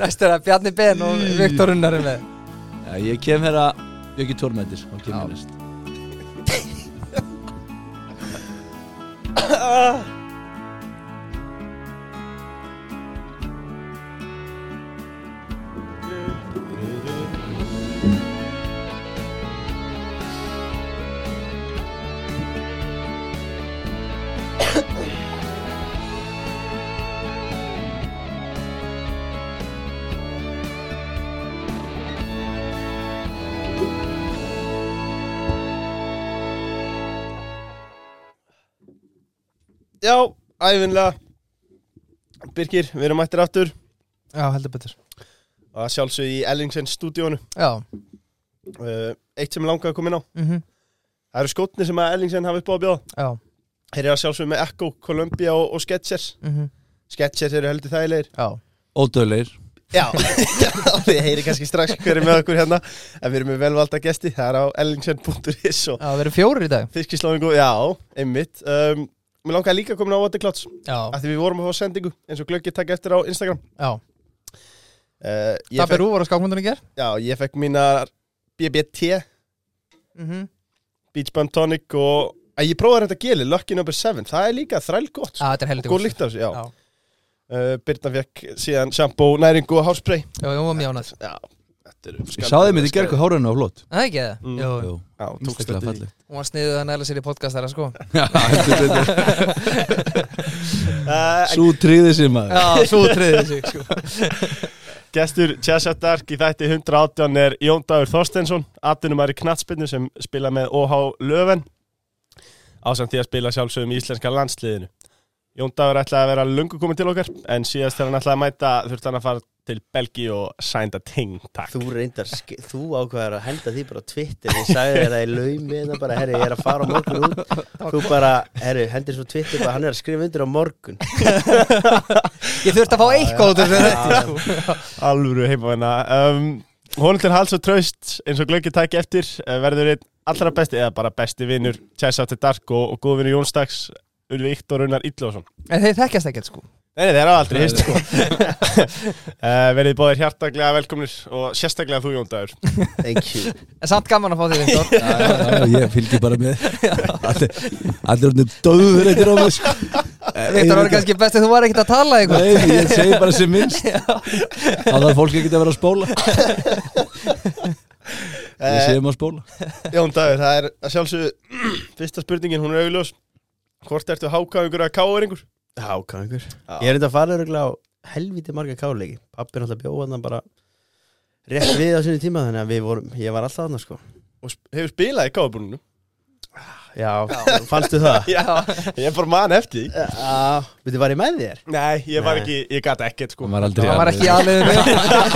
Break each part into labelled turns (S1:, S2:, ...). S1: Næst er það Bjarni Ben og Viktor Unnar er með
S2: Já, ég kem hérna, hér að Björki Tormendir og kem
S1: Já.
S2: hér næst
S3: Já, æfinlega Birgir, við erum mættir aftur
S1: Já, heldur betur
S3: og að sjálfsög í Ellingsens stúdíónu
S1: Já,
S3: uh, Eitt sem langaði að koma inn á
S1: mhm,
S3: Það eru skotni sem að Ellingsen hafa upp á að bjóða
S1: já,
S3: Þeir eru að sjálfsög með Echo, Columbia og, og Skechers
S1: mhm,
S3: Skechers eru heldur þægilegir
S1: já
S2: Ódöðleir
S3: Já, þið heyri kannski strax hverju með okkur hérna En við erum með velvalda gesti, það er á ellingsen.is og
S1: Já, við erum fjórir í dag
S3: fiskislóðingu, já, einmitt um, Mér langaði líka að koma inn á Waterclouds
S1: Já,
S3: af því við vorum að fá sendingu eins og glöggir takk eftir á Instagram
S1: já
S3: uh, ég,
S1: Dabbi
S3: fekk,
S1: Rú var á skákmundunum í ger
S3: já, ég fekk mínar BBT,
S1: Mhm
S3: Beach Bum Tonic og að ég prófaði þetta geli, Lucky Number 7 það er líka þræl gott,
S1: Já, Ah, þetta er heldur
S3: góð líkt af þessu já.
S1: Já.
S3: Uh, Birna fekk síðan shampoo, næringu og hárspray
S1: Já, ég var mjánað
S3: já, þetta eru
S2: Ég sáði mér í gerku hárunni á flott
S1: Það er ekki það?
S3: Mm.
S1: Jú, jú.
S2: Jú,
S3: já, tókst
S2: einstaklega
S3: þetta í.
S2: fallegt
S1: hún var sniðuð að næla sér í podcast þar sko
S2: Já, heldur betur
S3: uh, en
S2: Sú tríði sem maður
S1: Já, svo treyðið sig sko
S3: gestur Chesha Dark í þætti 118 er Jón Dagur Þorstensson atunumæri knatsbyrnu sem spila með OH Löven ásamt því að spila sjálfsögum í íslenska landsliðinu Jón Dagur ætlaði að vera lungu komin til okkar en síðast þegar hann ætlaði að mæta þurfti hann að fara til Belgi og sænda ting takk
S4: Þú reyndar, ske- þú ákvæðar að henda því bara á Twitter Ég sagði þér að ég laumi þetta bara, herri, ég er að fara á morgun út Þú bara, herri, hendir svo Twitter bara, hann er að skrifa undir á morgun
S1: Ég þurfti að fá eitthvað út úr þessu þetta sko
S4: Ah,
S3: alvöru heimavæna um, Honum til hals og traust eins og glöggir tæki eftir eh, verður einn allra besti eða bara besti vinnur Chesha Dark og, og góðvinur Jónstags Ulvi Íktor Unnar Illásson
S1: En þeir þekkjast ekkert sko
S3: Nei, nei, þeir hafa aldrei hist sko. uh, Verið bóðir hjartaglega velkomnir og sérstaklega þú Jón Dagur
S4: Thank you
S1: En samt gaman að fá því Viktor
S2: Já, já, já, Ég fylgji bara með Allir allir orðinu döður eftir á mig sko.
S1: Viktor var kannski best að þú var ekkert að tala eitthvað
S2: Nei, ég segi bara sem minnst Það þarf fólk ekki að vera að spóla Ég
S3: Eh,
S2: segi maður að spóla
S3: Jón Dagur, það er að sjálfsögðu fyrsta spurningin, hún er augljós Hvort ertu hákáðingur eða káðingur?
S4: Hákáðingur Ég er reynda að fara öruglega á helviti marga káleiki Pappi er alltaf bjóð hann bara rétt við á sinni tíma Þannig að við vorum, ég var alltaf hann sko
S3: Og sp- hefur spilað í káðbúrunum?
S4: Já, fannstu það?
S3: Já, ég bara man eftir því
S4: Já, veitir, var ég með þér?
S3: Nei, ég var
S4: Nei.
S3: ekki, ég gata ekkert sko
S2: Hann var aldrei
S1: Hann var ekki aðliðið með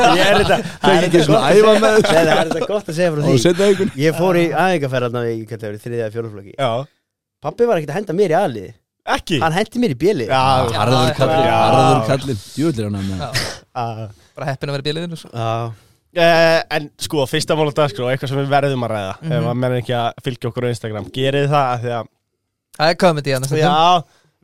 S4: Ég er þetta
S2: Það er ekki svona æfa með
S4: Nei, það er þetta gott að segja frá
S3: Eh,
S2: Og
S4: því
S2: setja einhvern
S4: Ég fór í aðeinkaferðarna í hvað það eru, þriðja eða fjóruflokki
S3: Já,
S4: Pappi var ekkert að henda mér í aðlið
S3: ekki
S4: Hann hendi mér í bjölið
S3: Já,
S2: Harður kallin,
S3: Já.
S2: harður kallin Djúvillir hann að með
S3: já
S1: Bara heppin að vera í bíliðinu sko
S4: Já,
S3: Eh, en sko, fyrsta mál á dagskrá, eitthvað sem við verðum að ræða
S1: Mhm.
S3: ef að menn ekki að fylgja okkur á Instagram gerið þið það, af því að
S1: Það er komið í hann
S3: Já,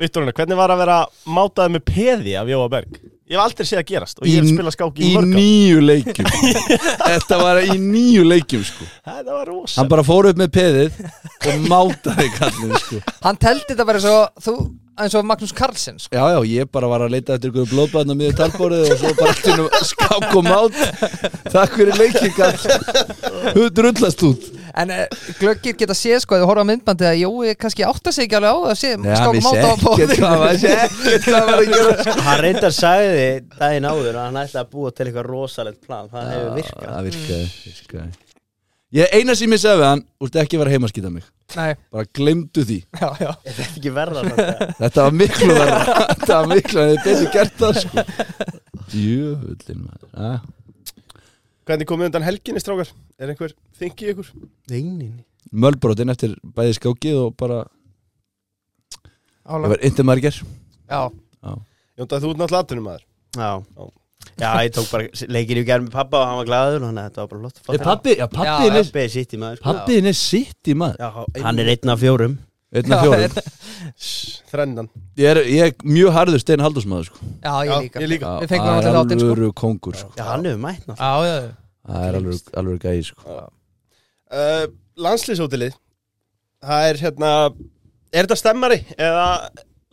S3: Vitturinu, hvernig var að vera mátað með peði af Jóa Berg? Ég hef aldrei séð að gerast og ég hef
S2: Í-
S3: spilað skáki
S2: Í
S3: í, í mörg á
S2: nýju leikjum Þetta var í nýju leikjum sko
S3: Það var rosa
S2: Hann bara fór upp með peðið Og mátaði kallin sko
S1: Hann teldi þetta bara svo Þú eins og Magnús Carlsen sko
S2: Já, já, ég bara var að leita eftir ykkur blóðbæðna miður talbórið og svo bara allt innum skák og mát Takk fyrir leikingall Hú drullast út
S1: En eh, glöggir geta séð sko að þú horfa á myndbandið að Jói kannski átta sig ekki alveg á það sé skákum máta á bóðinu
S2: ekkert hvað var að gera
S4: hann reyndar sagði daginn áður að hann ætlaði að búa til eitthvað rosalegt plan það hefur virkað
S2: Það virkaði, virkaði Ég eina sem ég sagði við hann, úrst ekki vera heima að skýta mig
S1: Nei,
S2: Bara glemdu því
S1: já, já
S4: Er þetta ekki verða þetta?
S2: Þetta var miklu verra Þetta var miklu verra, þetta er þessi gert það sko Jöfullin maður ah.
S3: Hvernig komið undan helginni, strákar? Er einhver þingi ykkur?
S4: Neinin
S2: Mölbrotin eftir bæði skákið og bara Það
S1: Álag.
S2: var yndi margir
S1: Já,
S3: Jónda, þú ert náttúrulega aðtunum maður
S4: Já. Já, ég tók bara leikinu í gerð með pappa og hann var glaður og hann þetta var bara lott
S2: Er pabbi, já
S1: Já,
S2: pabbiðin er
S4: Pappi er sitt í maður sko.
S2: Pabbiðin er sitt í maður
S4: Já, Hann er einn af fjórum
S2: Einn af
S1: Já,
S2: fjórum
S4: Þrennan
S2: Ég er, ég er mjög harður Stein Haldursmaður sko.
S1: Já, ég líka
S5: Ég líka
S1: Við fengum hann til þáttinn, sko.
S2: Alvöru kongur sko.
S4: Já, hann hefur mætt náttúrulega
S1: Já, já, já.
S2: Það er alvöru, alvöru gæi sko.
S5: uh, Landslýsótilið Það er hérna Er þetta stemmari eða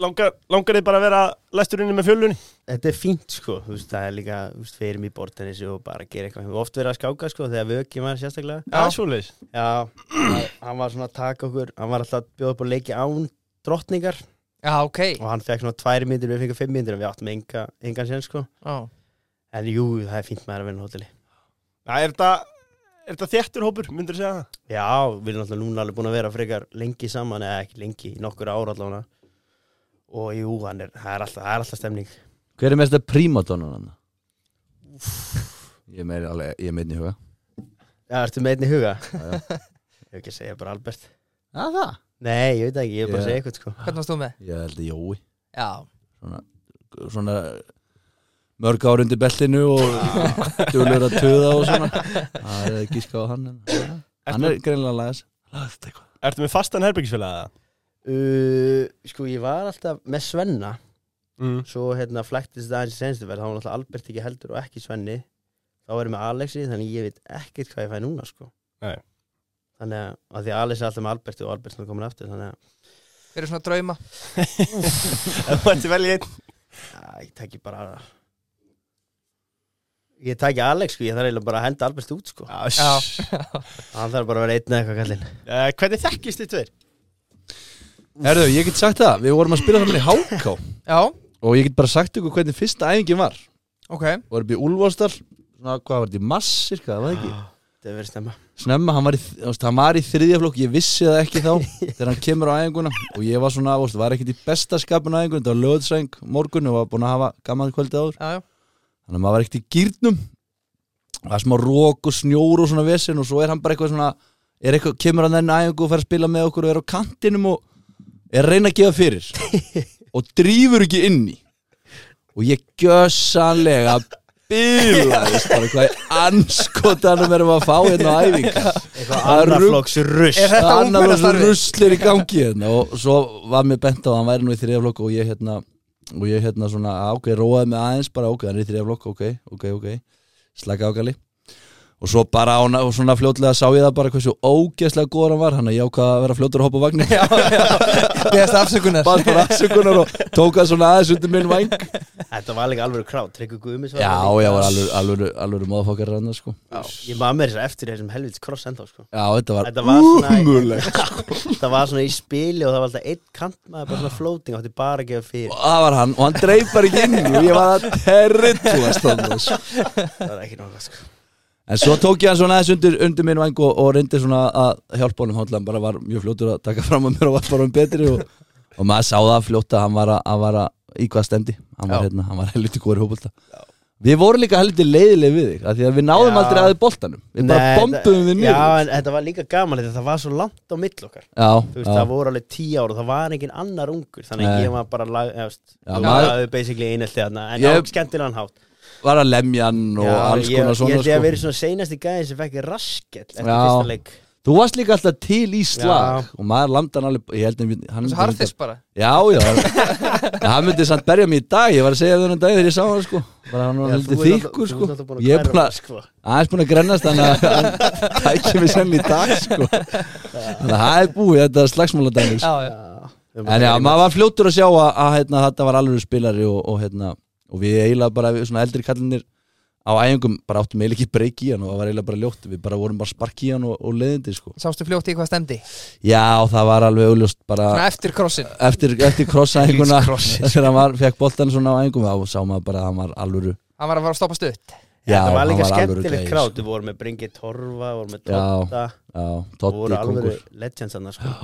S5: langar, langar þið bara að vera læsturinn með fjölunni?
S4: Þetta er fínt sko, þú veist, það er líka, þú veist, við erum í bortanissi og bara gera eitthvað, við höfum oft verið að skáka sko, þegar vöki var sérstaklega.
S5: Já, svoleiðis
S4: Já, hann var svona að taka okkur, hann var alltaf að bjóða upp á leiki án drottningar
S1: já, ok
S4: og hann fekk svona tværi myndir, við fengum fimm myndir en við áttum enga, engan sén sko.
S1: Já.
S4: En jú, það er fínt maður að vinna á hóteli.
S5: Það er þetta Er þetta þéttur hópur, myndur segja það?
S4: Já, við erum alltaf núna alveg búin að vera frekar lengi saman, eða ekki lengi, í nokkur ára allavega. Og jú, hann er, það er alltaf, það er alltaf stemning.
S2: Hver er mesta prímadonnan hann? Ég meir alveg, ég meirni huga
S4: Já, ertu með einni huga?
S2: Já,
S4: Ég hef ekki að segja bara Albert.
S2: Það það?
S4: Nei, ég veit það ekki, ég hef
S2: Já.
S4: bara að segja eitthvað sko.
S1: Hvernig varst þú með?
S2: Ég held að Jói
S1: Já,
S2: Svona mörg ár undir beltinu og dölur að töða og svona Það er að gíska á hann en- Hann er greinilega að laga sig Laga þetta eitthvað.
S5: Ertu með fastan herbyggisfélaga?
S4: Uh, sko ég var alltaf með Svenna
S5: Mm.
S4: svo hérna flæktist það aðeins í senstu verð þá var alltaf Albert ekki heldur og ekki Svenni þá var ég með Alexi þannig ég veit ekkert hvað ég fæ núna sko
S5: Nei.
S4: þannig að, að því að Alex er alltaf með Albert og Albert er komin aftur þannig að
S1: við erum svona drauma
S5: Ef þú ætti vel í einn
S4: að, ég takki bara ég takki Alex sko ég þarf eiginlega bara að henda Albert út sko
S1: Já.
S4: hann þarf bara að vera einn eða eitthvað kallinn
S5: Eh, Hvernig þekkist þið tveir?
S2: Herðu, ég get sagt það, við vorum að spila saman í Háká
S1: Já,
S2: og ég get bara sagt ykkur hvernig fyrsta æfingin var
S1: ok
S2: og er upp í Úlfarsdal svona, hvað var þetta, í mass, cirka, það var ekki
S4: þetta er verið stemma
S2: snemma, hann var, í, þú veist, hann var í þriðja flokk ég vissi það ekki þá, þegar hann kemur á æfinguna og ég var svona, þú veist, var ekkit í besta skapun á æfinguna, þetta var löðsæng morgun og var búin að hafa gaman kvöldið áður
S1: Já, já,
S2: þannig að maður var ekkit í gýrnum það er smá rók og snjór og svona vesinn og svo er hann bara eitthvað svona er eitthvað, kemur hann enn æfingu og fer að spila með okkur og er á kantinum og er að reyna að gefa fyrir og drýfur ekki inn í og ég gjössanlega bílaðist bara hvað í anskotanum erum að fá hérna á æfingu
S4: eitthvað
S2: Það er
S4: annar
S2: rugl.
S4: flokks russ
S1: Er þetta
S2: var svo
S1: ungmennastarfið?
S2: ruslir í gangi hérna og svo var mér bent á að hann væri nú í þriðaflokk og ég hérna og ég hérna svona ah, ok, róaði mig aðeins bara ok, hann er í þriðaflokk, ok, ok, ok slaka ákali og svo bara á, og svona fljótlega sá ég það bara hversu ógeðslega góður hann var hann að ég ákvað að vera fljótur að hoppa á vagnin
S1: já, já Beðast afsökunar
S2: bara bara afsökunar og tók hann svona aðeins undir minn væng
S4: þetta var alveg alveg krát Tryggvi Guðmis var
S2: já,
S4: þarna líka.
S2: ég var alveg, alveg, alveg móðfokkar hann sko.
S4: ég maður mér þess að eftir þessum helvits kross ennþá sko
S2: já, þetta var
S4: Þetta var svona-
S2: umulegt
S4: það var svona í spili og það var alltaf einn kant maður bara
S2: Ah.
S4: svona floating átti bara að gefa fyrir
S2: og það var hann og hann dreif bara ekki inn í og ég var að territuast þannig sko.
S4: það var ekki náttúrulega sko
S2: En svo tók ég hann svona aðeins undir, undir minn vang og, og reyndi svona að hjálpa honum hann bara var mjög fljótur að taka fram að mér og var bara um betri og, og maður sá það fljótt að hann var að, að, var að í hvað stemdi hann var,
S1: Já.
S2: hérna, hann var helviti góður í hópulta Við vorum líka helviti leiðileg við þig af því að við náðum
S4: Já.
S2: aldrei aðeins boltanum Við bara
S4: Nei,
S2: bombuðum
S4: þetta-
S2: við
S4: já
S2: nýður
S4: en þetta var líka gaman þetta það var svo langt á mill okkar
S2: Já,
S4: þú veist
S2: já,
S4: það voru alveg tíu ára það var engin annar ungur þannig
S2: Ah. Nei.
S4: að ég var bara lag já, veist,
S2: Já,
S4: það
S2: maður-
S4: var basically einelti þarna en
S2: Ég-
S4: á skemmtilegan hátt
S2: var að lemja hann og
S4: Já,
S2: alls
S4: ég,
S2: konar
S4: ég
S2: svona
S4: held ég að
S2: sko.
S4: verið svona seinasti gæðin sem fekk raskett eftir
S2: Já.
S4: fyrsta leik
S2: Þú varst líka alltaf til í slag og maður landa hann alveg ég held að við- hann
S1: Þessu
S2: myndi-
S1: harðis bara
S2: Já, já En hann myndi samt berja mig í dag Ég var að segja það þennan dag þegar ég sá hann sko Bara hann var
S4: Já, þú
S2: haldið
S4: ert
S2: þykkur
S4: náttúrulega-
S2: sko
S4: þú ert náttúrulega búin að
S2: Ég er
S4: kæra
S2: búin
S4: okkur,
S2: að
S4: sko.
S2: aðeins búin að grennast Þannig að hann tækja mig senn í dag sko Þannig að það er búið Þetta slagsmála dæmis
S1: Já, já,
S2: En já, maður var fljótur að sjá að, að hérna, þetta var alveg spilari og, og, hérna, og við eiginlega bara, við svona eldri kallinir á æfingum, bara áttum eiginlega ekki breyk í hann og það var eiginlega bara ljótt, við bara vorum bara spark í hann og, og leiðindi sko.
S1: sástu fljótt í hvað stemdi
S2: Já, það var alveg auðljóst bara
S1: Svona eftir krossin
S2: eftir, eftir krossæðinguna
S1: Lýs krossið.
S2: þegar hann var, fekk boltan svona á æðingum þá sá maður bara að hann var alvöru
S1: Hann var að fara að stoppa stutt
S2: Já,
S4: þetta var
S2: hann
S4: líka
S2: var alvöru gæi,
S4: skemmtilegt krát við vorum með Bringi Torfa vorum með
S2: Já.
S4: Totta
S2: já,
S4: voru
S2: Totti kongur
S4: alveg legends annars sko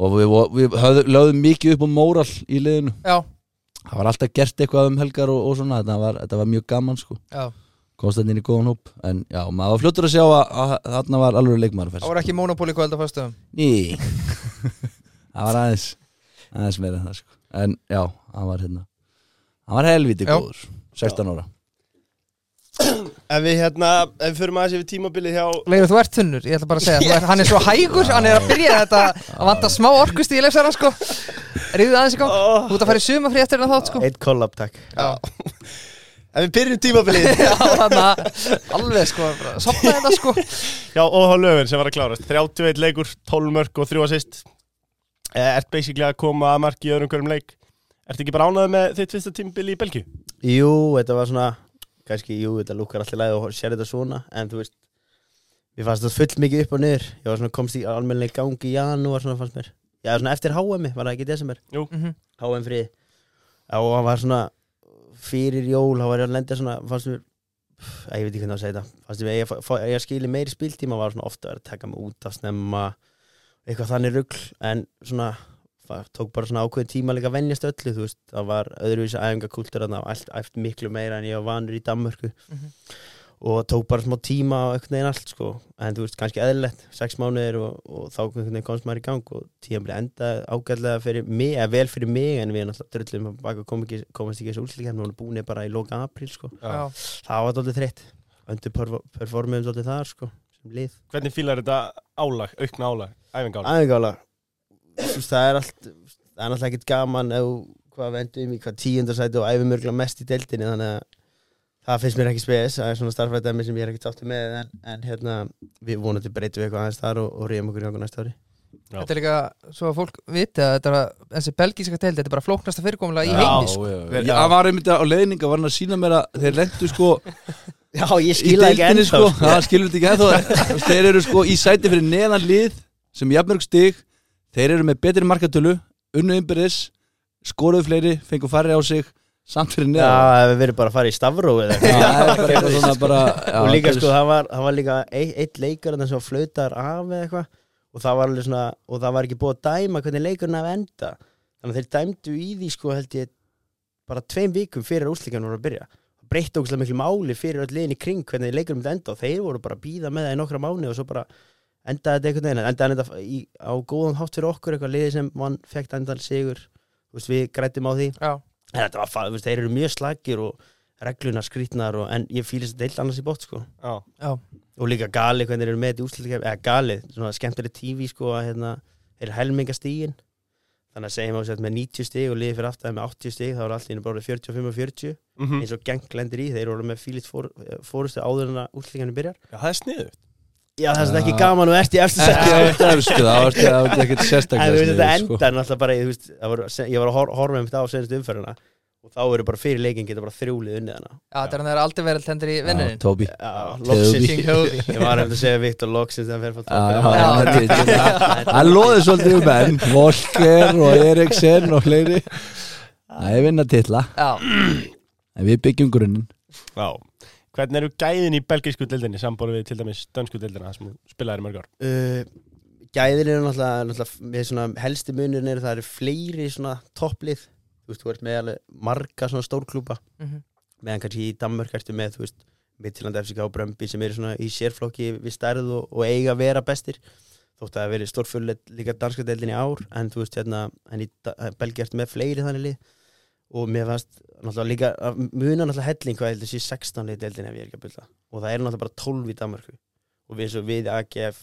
S2: og við, vo- við höfðu, lögðum mikið upp á móral í liðinu
S1: Já,
S2: það var alltaf gert eitthvað um helgar og, og svona þetta var, þetta var mjög gaman sko
S1: já
S2: komst hann inn í góðan hóp en já, maður var fljótur að sjá að, að þarna var alvöru leikmaður
S1: Það voru ekki monopóli kvöld á föstum
S2: ný það var aðeins aðeins meira en það sko en já, hann var hérna hann var helviti
S1: Já.
S2: góður 16 ára
S5: Ef við hérna, ef við förum aðeins yfir tímabilið hjá
S1: Leifur, þú ert þunnur, ég ætla bara að segja yes. Hann er svo hægur, hann er að byrja þetta að vanta smá orkust í leifsara sko Ríðu aðeins í gang Þú ert að fara í sumafrí eftir hennar þátt sko
S4: Eitt kollab, takk
S3: En við byrjum tímabilið
S1: Já, þannig að alveg sko bara Sopna þetta sko
S5: Já, og á löfin sem var að klárast 31 leikur, 12 mörg og 3 assist Eh, Ert basically að koma að marki í öðrum hverjum leik Ertu ekki bara ánæðið með þitt fyrsta tímbili í Belgíu?
S4: Jú, þetta var svona kannski, jú, þetta lukkar allir læg og sér þetta svona En þú veist Ég fannst þetta full mikið upp og niður Ég var svona komst í almennileg gangi í janúar svona fannst mér Já, svona eftir HM, var það ekki í desember
S1: Mhm.
S4: HM frið Já, og hann var svona fyrir jól hann var ég að lenda svona, fannst mér Æ, ég veit ekki hvernig á að segja þetta fannst mér, ég, ég, ég skili meiri spiltíma var svona ofta að vera að taka mig út að snemma eitthvað þannig rugl en svona, það tók bara svona ákveðin tíma líka að venjast öllu, þú veist það var öðruvísi æfingakultur þannig að allt æft miklu meira en ég var vanur í Danmörku
S1: Mhm.
S4: og tók bara smá tíma á einhvern veginn allt sko, en þú veist, kannski eðlilegt sex mánuðir og, og þá einhvern veginn komst maður í gang og tíma endaði ágæðlega fyrir mig, eða vel fyrir mig en við náttúrulega drullum að baka kom ekki, komast ekki þessu úrslikenn, hún er búin bara í loka apríl sko,
S1: Já.
S4: það var dálítið þreytt underperformum dálítið þar sko, sem lið
S5: Hvernig fílar þetta álag, aukna álag, æfingálag?
S4: æfingála það er allt það er alltaf ekkert gaman ef þú- hvað við endum í hvað tíundarsæti og æfum örgulega mest í deildinni þannig að það finnst mér ekki spes það er svona starfræðdæmi sem ég er ekki tátu með en, en hérna við vonandi breytum við eitthvað aðeins þar og, og reyðum okkur í gangu næsta ári
S5: Já.
S1: Þetta er líka svo að fólk viti að þetta er að þessi belgíska teild, þetta er bara flóknasta fyrirkomulega í
S2: Já,
S1: heimi sko.
S2: já, já. Ég- hann var einmitt á leiðninga var hann að sína mér að þeir lendu sko
S4: já ég
S2: í deildinni sko, það skilur þetta ekki ennþá Þú veist, þeir eru sko í sæti fyrir neðan lið sem jafnmörg stig þeir eru með betri markatölu, unnu innbyrðis skoruðu fleiri, fengu færri á sig samt fyrir
S4: já
S2: neðan
S4: ef við verðum bara að fara í stafró eða eitthvað.
S2: það er bara eitthvað svona bara já,
S4: og líka
S2: þetta er-
S4: sko það var, það var líka eitt, eitt leikar þannig sem var flautar af eða eitthvað og það var alveg svona og það var ekki búið að dæma hvernig leikurinn af enda þannig að þeir dæmdu í því sko held ég bara tveim vikum fyrir úrslikanum voru að byrja það breytti ógustlega miklu máli fyrir öll liðin í kring hvernig leikurinn myndi enda og þeir voru bara að býða með það í nokkra mánu og svo bara endaði þetta einhvern veginn en endaði þetta í, á góðan hátt fyrir okkur eitthvað liði sem vann fekk endal sigur Þú veist, við grættum á því
S1: Já.
S4: en þetta var, fa- þú veist, þeir eru mjög slagir og regluna skrýtnar og, en ég fýlis þetta heilt annars í bótt sko
S5: Já,
S1: Já.
S4: og líka gali hvernig þeir eru með þetta úrslitakefni eða gali, svona skemmtileg tífi sko að hérna, þeir helminga stígin þannig að segjum á sér með 90 stíg og liðið fyrir aftan með 80 stíg þá er allt í einu bara orðið 45 og 40
S5: mm
S4: eins og geng lendir í, þeir eru orðið með fílitt fór, fórustu áður en að úrslitakefni byrjar Ah.
S5: Já það er sniðu
S4: Já, það er svona
S2: Já.
S4: ekki gaman og ert í eftir
S2: ekki
S4: sæti.
S2: eftir efsku, það var það var ekkert
S4: En þú
S2: sérstaklega
S4: veist,
S2: sniðugt,
S4: þetta
S2: sko.
S4: endar náttúrulega bara, í, þú veist, það voru, se- ég var að hor horfa um þetta á senstu umferðina og þá eru bara fyrir leikin geta bara þrjúlið unnið hana.
S1: Já, þetta er hann þegar aldrei verið hendur í
S2: Já,
S1: vinnurinn
S2: Tóbi
S4: Já,
S2: Tóbi.
S4: loksins.
S1: King Hjóði
S4: Ég var eftir að segja Viktor loksins þegar hann fer
S2: Já, já, já,
S4: frá
S1: Já.
S2: þetta- þetta- hann loði svolítið um enn Volker og Eriksen og fleiri það er vinna titla
S1: Já,
S2: en við byggjum grunninn
S5: Já Hvernig eru gæðin í belgísku dildinni samborið við til dæmis dönsku dildina það sem þú spilaðir í mörg ár?
S4: Uh, gæðir eru náttúrulega, náttúrulega með svona helsti munir eru það eru fleiri svona topplið þú veist, þú ert með alveg marga svona stórklúpa
S1: Mhm.
S4: meðan kannski í Danmörk ertu með, þú veist, Midtjylland FCK og Brömbi sem eru svona í sérflokki við stærð og, og eiga að vera bestir þótt að það veri stórfjöld líka danska deildin í ár en þú veist, hérna, en í Da- Belgíu ertu með fleiri þannig lið og mér fannst náttúrulega líka, að muna náttúrulega helling hvað heldur sé 16 lið deildin ef ég er ekki að byrja og það eru náttúrulega bara 12 í Danmörku og við eins og við AGF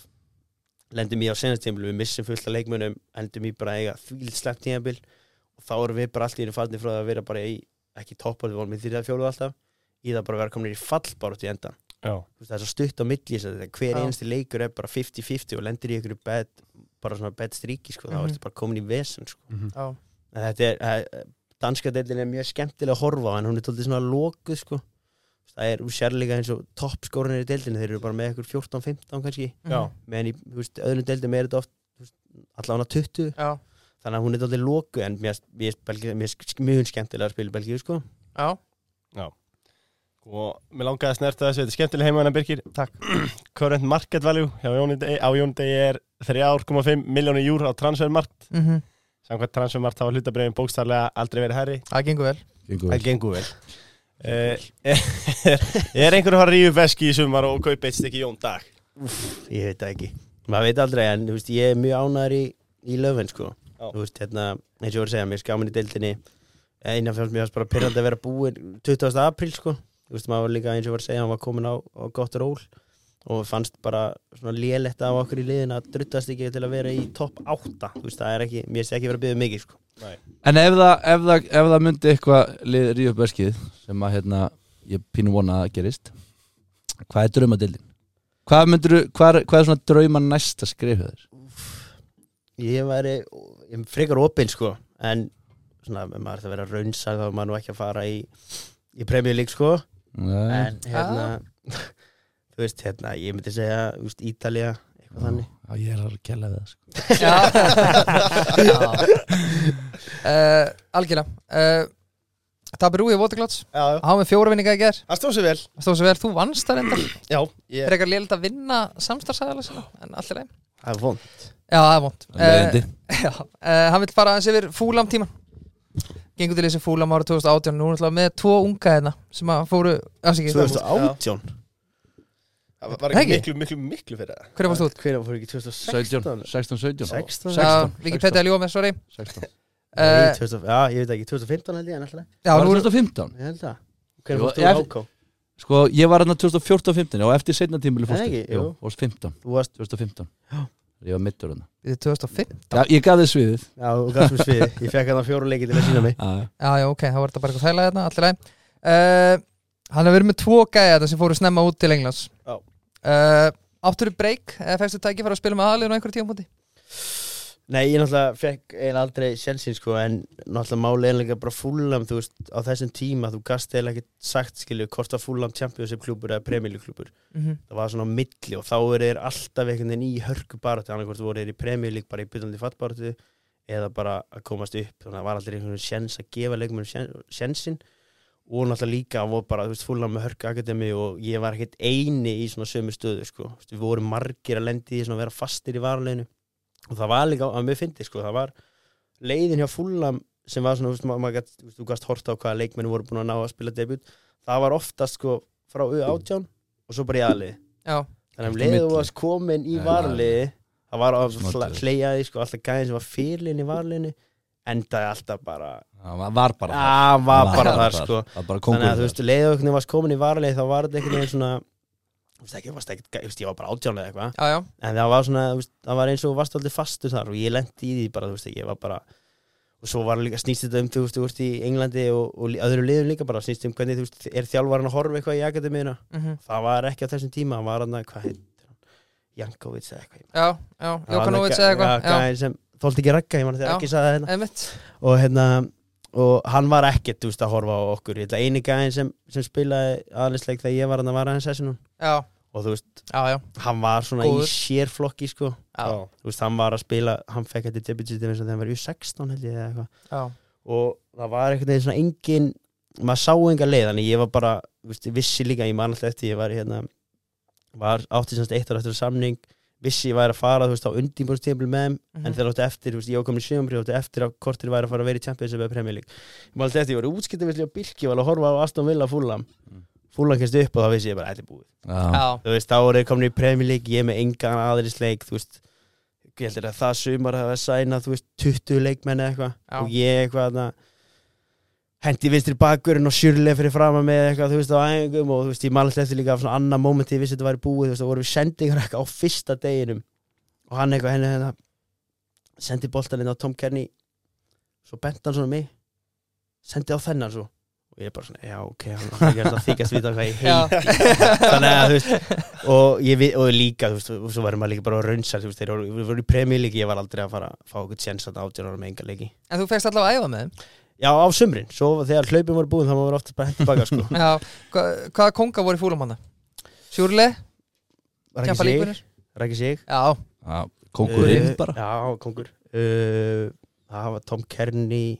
S4: lendum í á senastímbil, við missum fullt af leikmönum endum í bara að eiga því slepp tímabil og þá erum við bara allt í einu farnir frá það að vera bara í, ekki toppar, við vorum í þýrða fjóluð alltaf, í það bara að vera komin í fallbárat í endan,
S5: Já
S4: Þú veist, það er svo stutt á milli þess að þetta, hver
S1: Já.
S4: einasti leikur er bara 50-50 og lendir í einhverju bed, bara svona bed stríki,
S1: Mhm.
S4: sko, þá ertu bara komin í vesen, sko
S5: Mhm.
S1: já,
S4: En þetta er, eh, danska deildin er mjög skemmtilega að horfa á en hún er tóldið svona lokuð sko það er úr sérleika eins og toppskórinir í deildinu þeir eru bara með ekkur 14-15 kannski
S5: Já
S4: meðan í þú veist, öðrum deildum er þetta oft þú veist, allavega 20
S1: já,
S4: þannig að hún er dálítið loku en mér er mjög skemmtilega að spila í Belgíu sko.
S1: já
S5: Og mér Sko, langaði að snerta þessu, þetta er skemmtileg heimaðan að Birgir Takk Current market value hjá Jóni Degi- á Jóndegi er 3,5 miljónu júr á transfermarkt
S1: Mhm.
S5: Samkvæmt transfermarkt hafa hlutabrefin bókstarlega aldrei verið herri
S1: Það gengur vel
S2: Gengur vel.
S5: Það gengur vel Eh, Er er einhver að fara að ríðu veski í sumar og kaupa eitt stykki Jón Dag?
S4: ég veit það ekki maður veit aldrei en þú veist, ég er mjög ánæður í, í löfven sko.
S5: Já.
S4: Þú veist, hérna, eins og ég voru að segja, mér er skaman í deildinni einan fjóðs mér fannst bara pyrrandi að vera búin 20. apríl sko. Þú veist, maður var líka eins og ég voru að segja hann var komin á, á gott ról og fannst bara svona léletta á okkur í liðin að druttast ekki til að vera í topp 8 Þú veist, það er ekki, mér sé ekki verið að byggja mikið sko.
S5: Nei.
S2: En ef það, ef það, ef það myndi eitthvað lið ríða upp öskið sem að hérna, ég pínu vona að gerist hvað er draumadildin? Hvað, myndiru, hvað, er, hvað er svona drauma næsta skrifið þér?
S4: Ég væri, ég er frekar opinn sko En svona, ef maður ætti að vera raunsag Þá er maður nú ekki að fara í Í Premier League sko
S2: Nei,
S4: En hérna Þú veist, hérna, ég myndi segja þú veist, Ítalía, eitthvað þannig
S2: Já, ég er alveg að kella við það sko.
S1: Já, já. Uh, Algjörlega uh, Tapir úi í Votaglats
S3: Já, já.
S1: Há með fjóra vinninga í ger
S3: Það stóð sér vel
S1: Stóð sem verður þú vannst það reyndar
S3: Já, ég,
S1: Frekar lélit að vinna samstarfsæðala sinna En allir einn
S4: Það er vond
S1: Já, það er vond
S2: Leiðindi.
S4: Eh,
S1: Já, uh, hann vil fara aðeins yfir fúlam tíman Gengur til þessi fúlam ára 2018 Nú er hann með tvo unga hérna Sem að fóru Ah, afsikið Hver
S4: 2018
S3: það var
S1: Nei,
S3: ekki
S1: ekki.
S3: miklu, miklu, miklu fyrir það
S1: varst þú út?
S4: Hver fór ekki 2016?
S2: 17, 16, 17
S4: 16.
S2: 16,
S1: Já, Wikipedia ljóð með, sorry
S2: 16
S4: Nei,
S1: uh,
S4: 2000 Já, ég veit ekki, 2015 held ég en alltaf
S1: Já,
S2: Var
S1: nú
S2: það
S1: er
S2: 2015?
S4: Ég held það Hver
S2: Jú,
S4: fórst
S2: ég-
S4: þú HK?
S2: Sko, ég var hérna 2014-15 og eftir setna tímili
S4: Nei,
S2: fórstu
S4: ekki, jú.
S2: og 15,
S4: Þú varst,
S2: 2015
S4: Já.
S2: Ég var mittur hérna
S1: Þetta er 2005
S2: Já, ég gaf þið sviðið
S4: já, þú gafst mér sviði Ég fekk hann fjóra leiki til að sína mig
S2: Já,
S1: Já, já, ok, þá var þetta bara eitthvað þæla hérna, allir læg uh, Hann hefur verið með tvo gæja þetta sem fóru snemma út til Englands
S3: Já.
S1: uh, Áttur í break, eða fækstu tæki að spila með aðliðinu á einhverjum tímapunkti
S4: Nei, ég náttúrulega fekk eiginlega aldrei sjensin sko En náttúrulega máli einlega bara fullam Þú veist, á þessum tíma Þú gast eiginlega ekki sagt, skilju Hvort að fullam championship klúbur eða premjölu klúbur
S1: mm -hmm.
S4: Það var svona á milli og þá eru þeir alltaf einhvern veginn í hörku baráttu Þannig hvort voru þeir í premjölu bara í bytandi fattbaráttu Eða bara að komast upp Þannig að það var aldrei einhvern veginn sjens að gefa leikmennum sjensin og náttúrulega líka hann var bara, þú veist, fullan með Hörk Akademi og ég var ekkert eini í svona sömu stöðu, sko, Þú veist, við vorum margir að lendi í því svona að vera fastir í varuleginu og það var líka, að mér fyndi, sko, það var leiðin hjá fullan sem var svona, þú veist, ma- maður gætt, þú veist, þú gæst horta á hvaða leikmenni voru búin að ná að spila debut það var oftast, sko, frá U18 og svo bara í aðlið
S1: Já,
S2: Allt
S4: þannig að um
S2: á
S4: leiðið
S2: milli.
S4: þú varst komin í
S2: Já,
S4: varliði það var að
S2: Smá
S4: hla-
S2: döður.
S4: hleyja því, sko, alltaf gæðin sem var fyrirlin í varliðinu endaði alltaf bara,
S2: það var bara þar.
S4: að, var bara þar, sko
S2: Það var bara
S4: þannig að
S2: kongur
S4: þú veist, leiðu einhvern veginn varst komin í varlega þá var þetta einhvern veginn svona þú veist ekki, varst ekki, þú veist, ég var bara átjánlega eitthvað
S1: já, já,
S4: en það var svona, þú veist, það var eins og þú varst aldrei fastur þar og ég lendi í því bara, þú veist, ég var bara og svo var líka snýst þetta um, þú veist, þú veist, í Englandi og, og lí- öðrum liðum líka bara snýst um hvernig, þú veist, er þjálfarinn að horfa eitthvað í akademiðina
S1: mm
S4: það var ekki á þessum tíma, það var hann að, hvað heit Jankovic eða eitthvað
S1: já, já Jókanovits eða eitthvað Já,
S4: gæðin sem þóldi ekki ragga, ég man
S1: Já.
S4: þegar ekki sagði það hérna
S1: emitt
S4: og hérna og hann var ekkert þú veist að horfa á okkur ég ætla eini gæðin sem, sem spilaði aðlisleik þegar ég var hann að vara hans sessunum
S1: Já,
S4: og þú veist,
S1: já, já,
S4: hann var svona
S1: Góður.
S4: í sérflokki sko,
S1: já,
S4: þú veist, hann var að spila hann fekk þetta debutsítið eins og þegar hann var í 16 held ég eða eitthvað,
S1: já.
S4: og það var einhvern veginn svona engin, maður sá enga leið þannig ég var bara, þú veist, ég vissi líka ég man alltaf eftir, ég var í, hérna var átti semst eitt ára eftir samning vissi ég væri að fara, þú veist, á undinbúrstímpil með þeim
S1: Mhm.
S4: en þeir áttu eftir, þú veist, ég var komin í sjöfumbri áttu eftir að kortir væri að fara að vera í Championship eða Premier League ég var alltaf eftir, ég var útskiptavisli á Birki ég var alveg að horfa á Aston Villa Fulham Fulham kemst upp og þá vissi ég bara, þetta er búið
S2: Já,
S1: Já,
S4: þú veist, þá voru þeir komin í Premier League ég er með engan aðrisleik, þú veist ég heldur að það sumar hafa sæna þú veist, 20 leikmenn
S1: Já.
S4: eða eitthvað og ég eitthvað þarna, hendi vinstri bakurinn og sjurlega fyrir fram með eitthvað, þú veist, á æfingum og þú veist, ég man alltaf eftir líka af svona annað momenti ég vissi þetta væri búið, þú veist, þá vorum við sendingar eitthvað á fyrsta deginum og hann eitthvað henni hérna sendi boltan inn á Tom Kenny svo bent hann svona á mig sendi á þennan svo og ég er bara svona, já, ok, hann hann er alltaf þykast vita hvað ég
S1: já,
S4: heiti þannig að þú veist og, ég, vi- og líka, þú veist, og svo varum maður líka bara raunsar, þú veist, þeir voru, við voru í premjulíki ég var aldrei að fara að fá okkur tjens að átján ára með enga leiki,
S1: en þú fegst allavega að æfa með þeim
S4: já á sumrin svo þegar hlaupin voru búin þá maður ofta bara hendt tilbaka sko.
S1: Já, hva, hvaða konga voru í fúlam hann? Sjúrle,
S4: Raggi
S1: kempa
S4: sig,
S1: líkunir
S4: Raggi sig
S1: Já,
S2: já, kongurinn
S4: Uh,
S2: bara
S4: já, kongur uh, það var Tom Kearney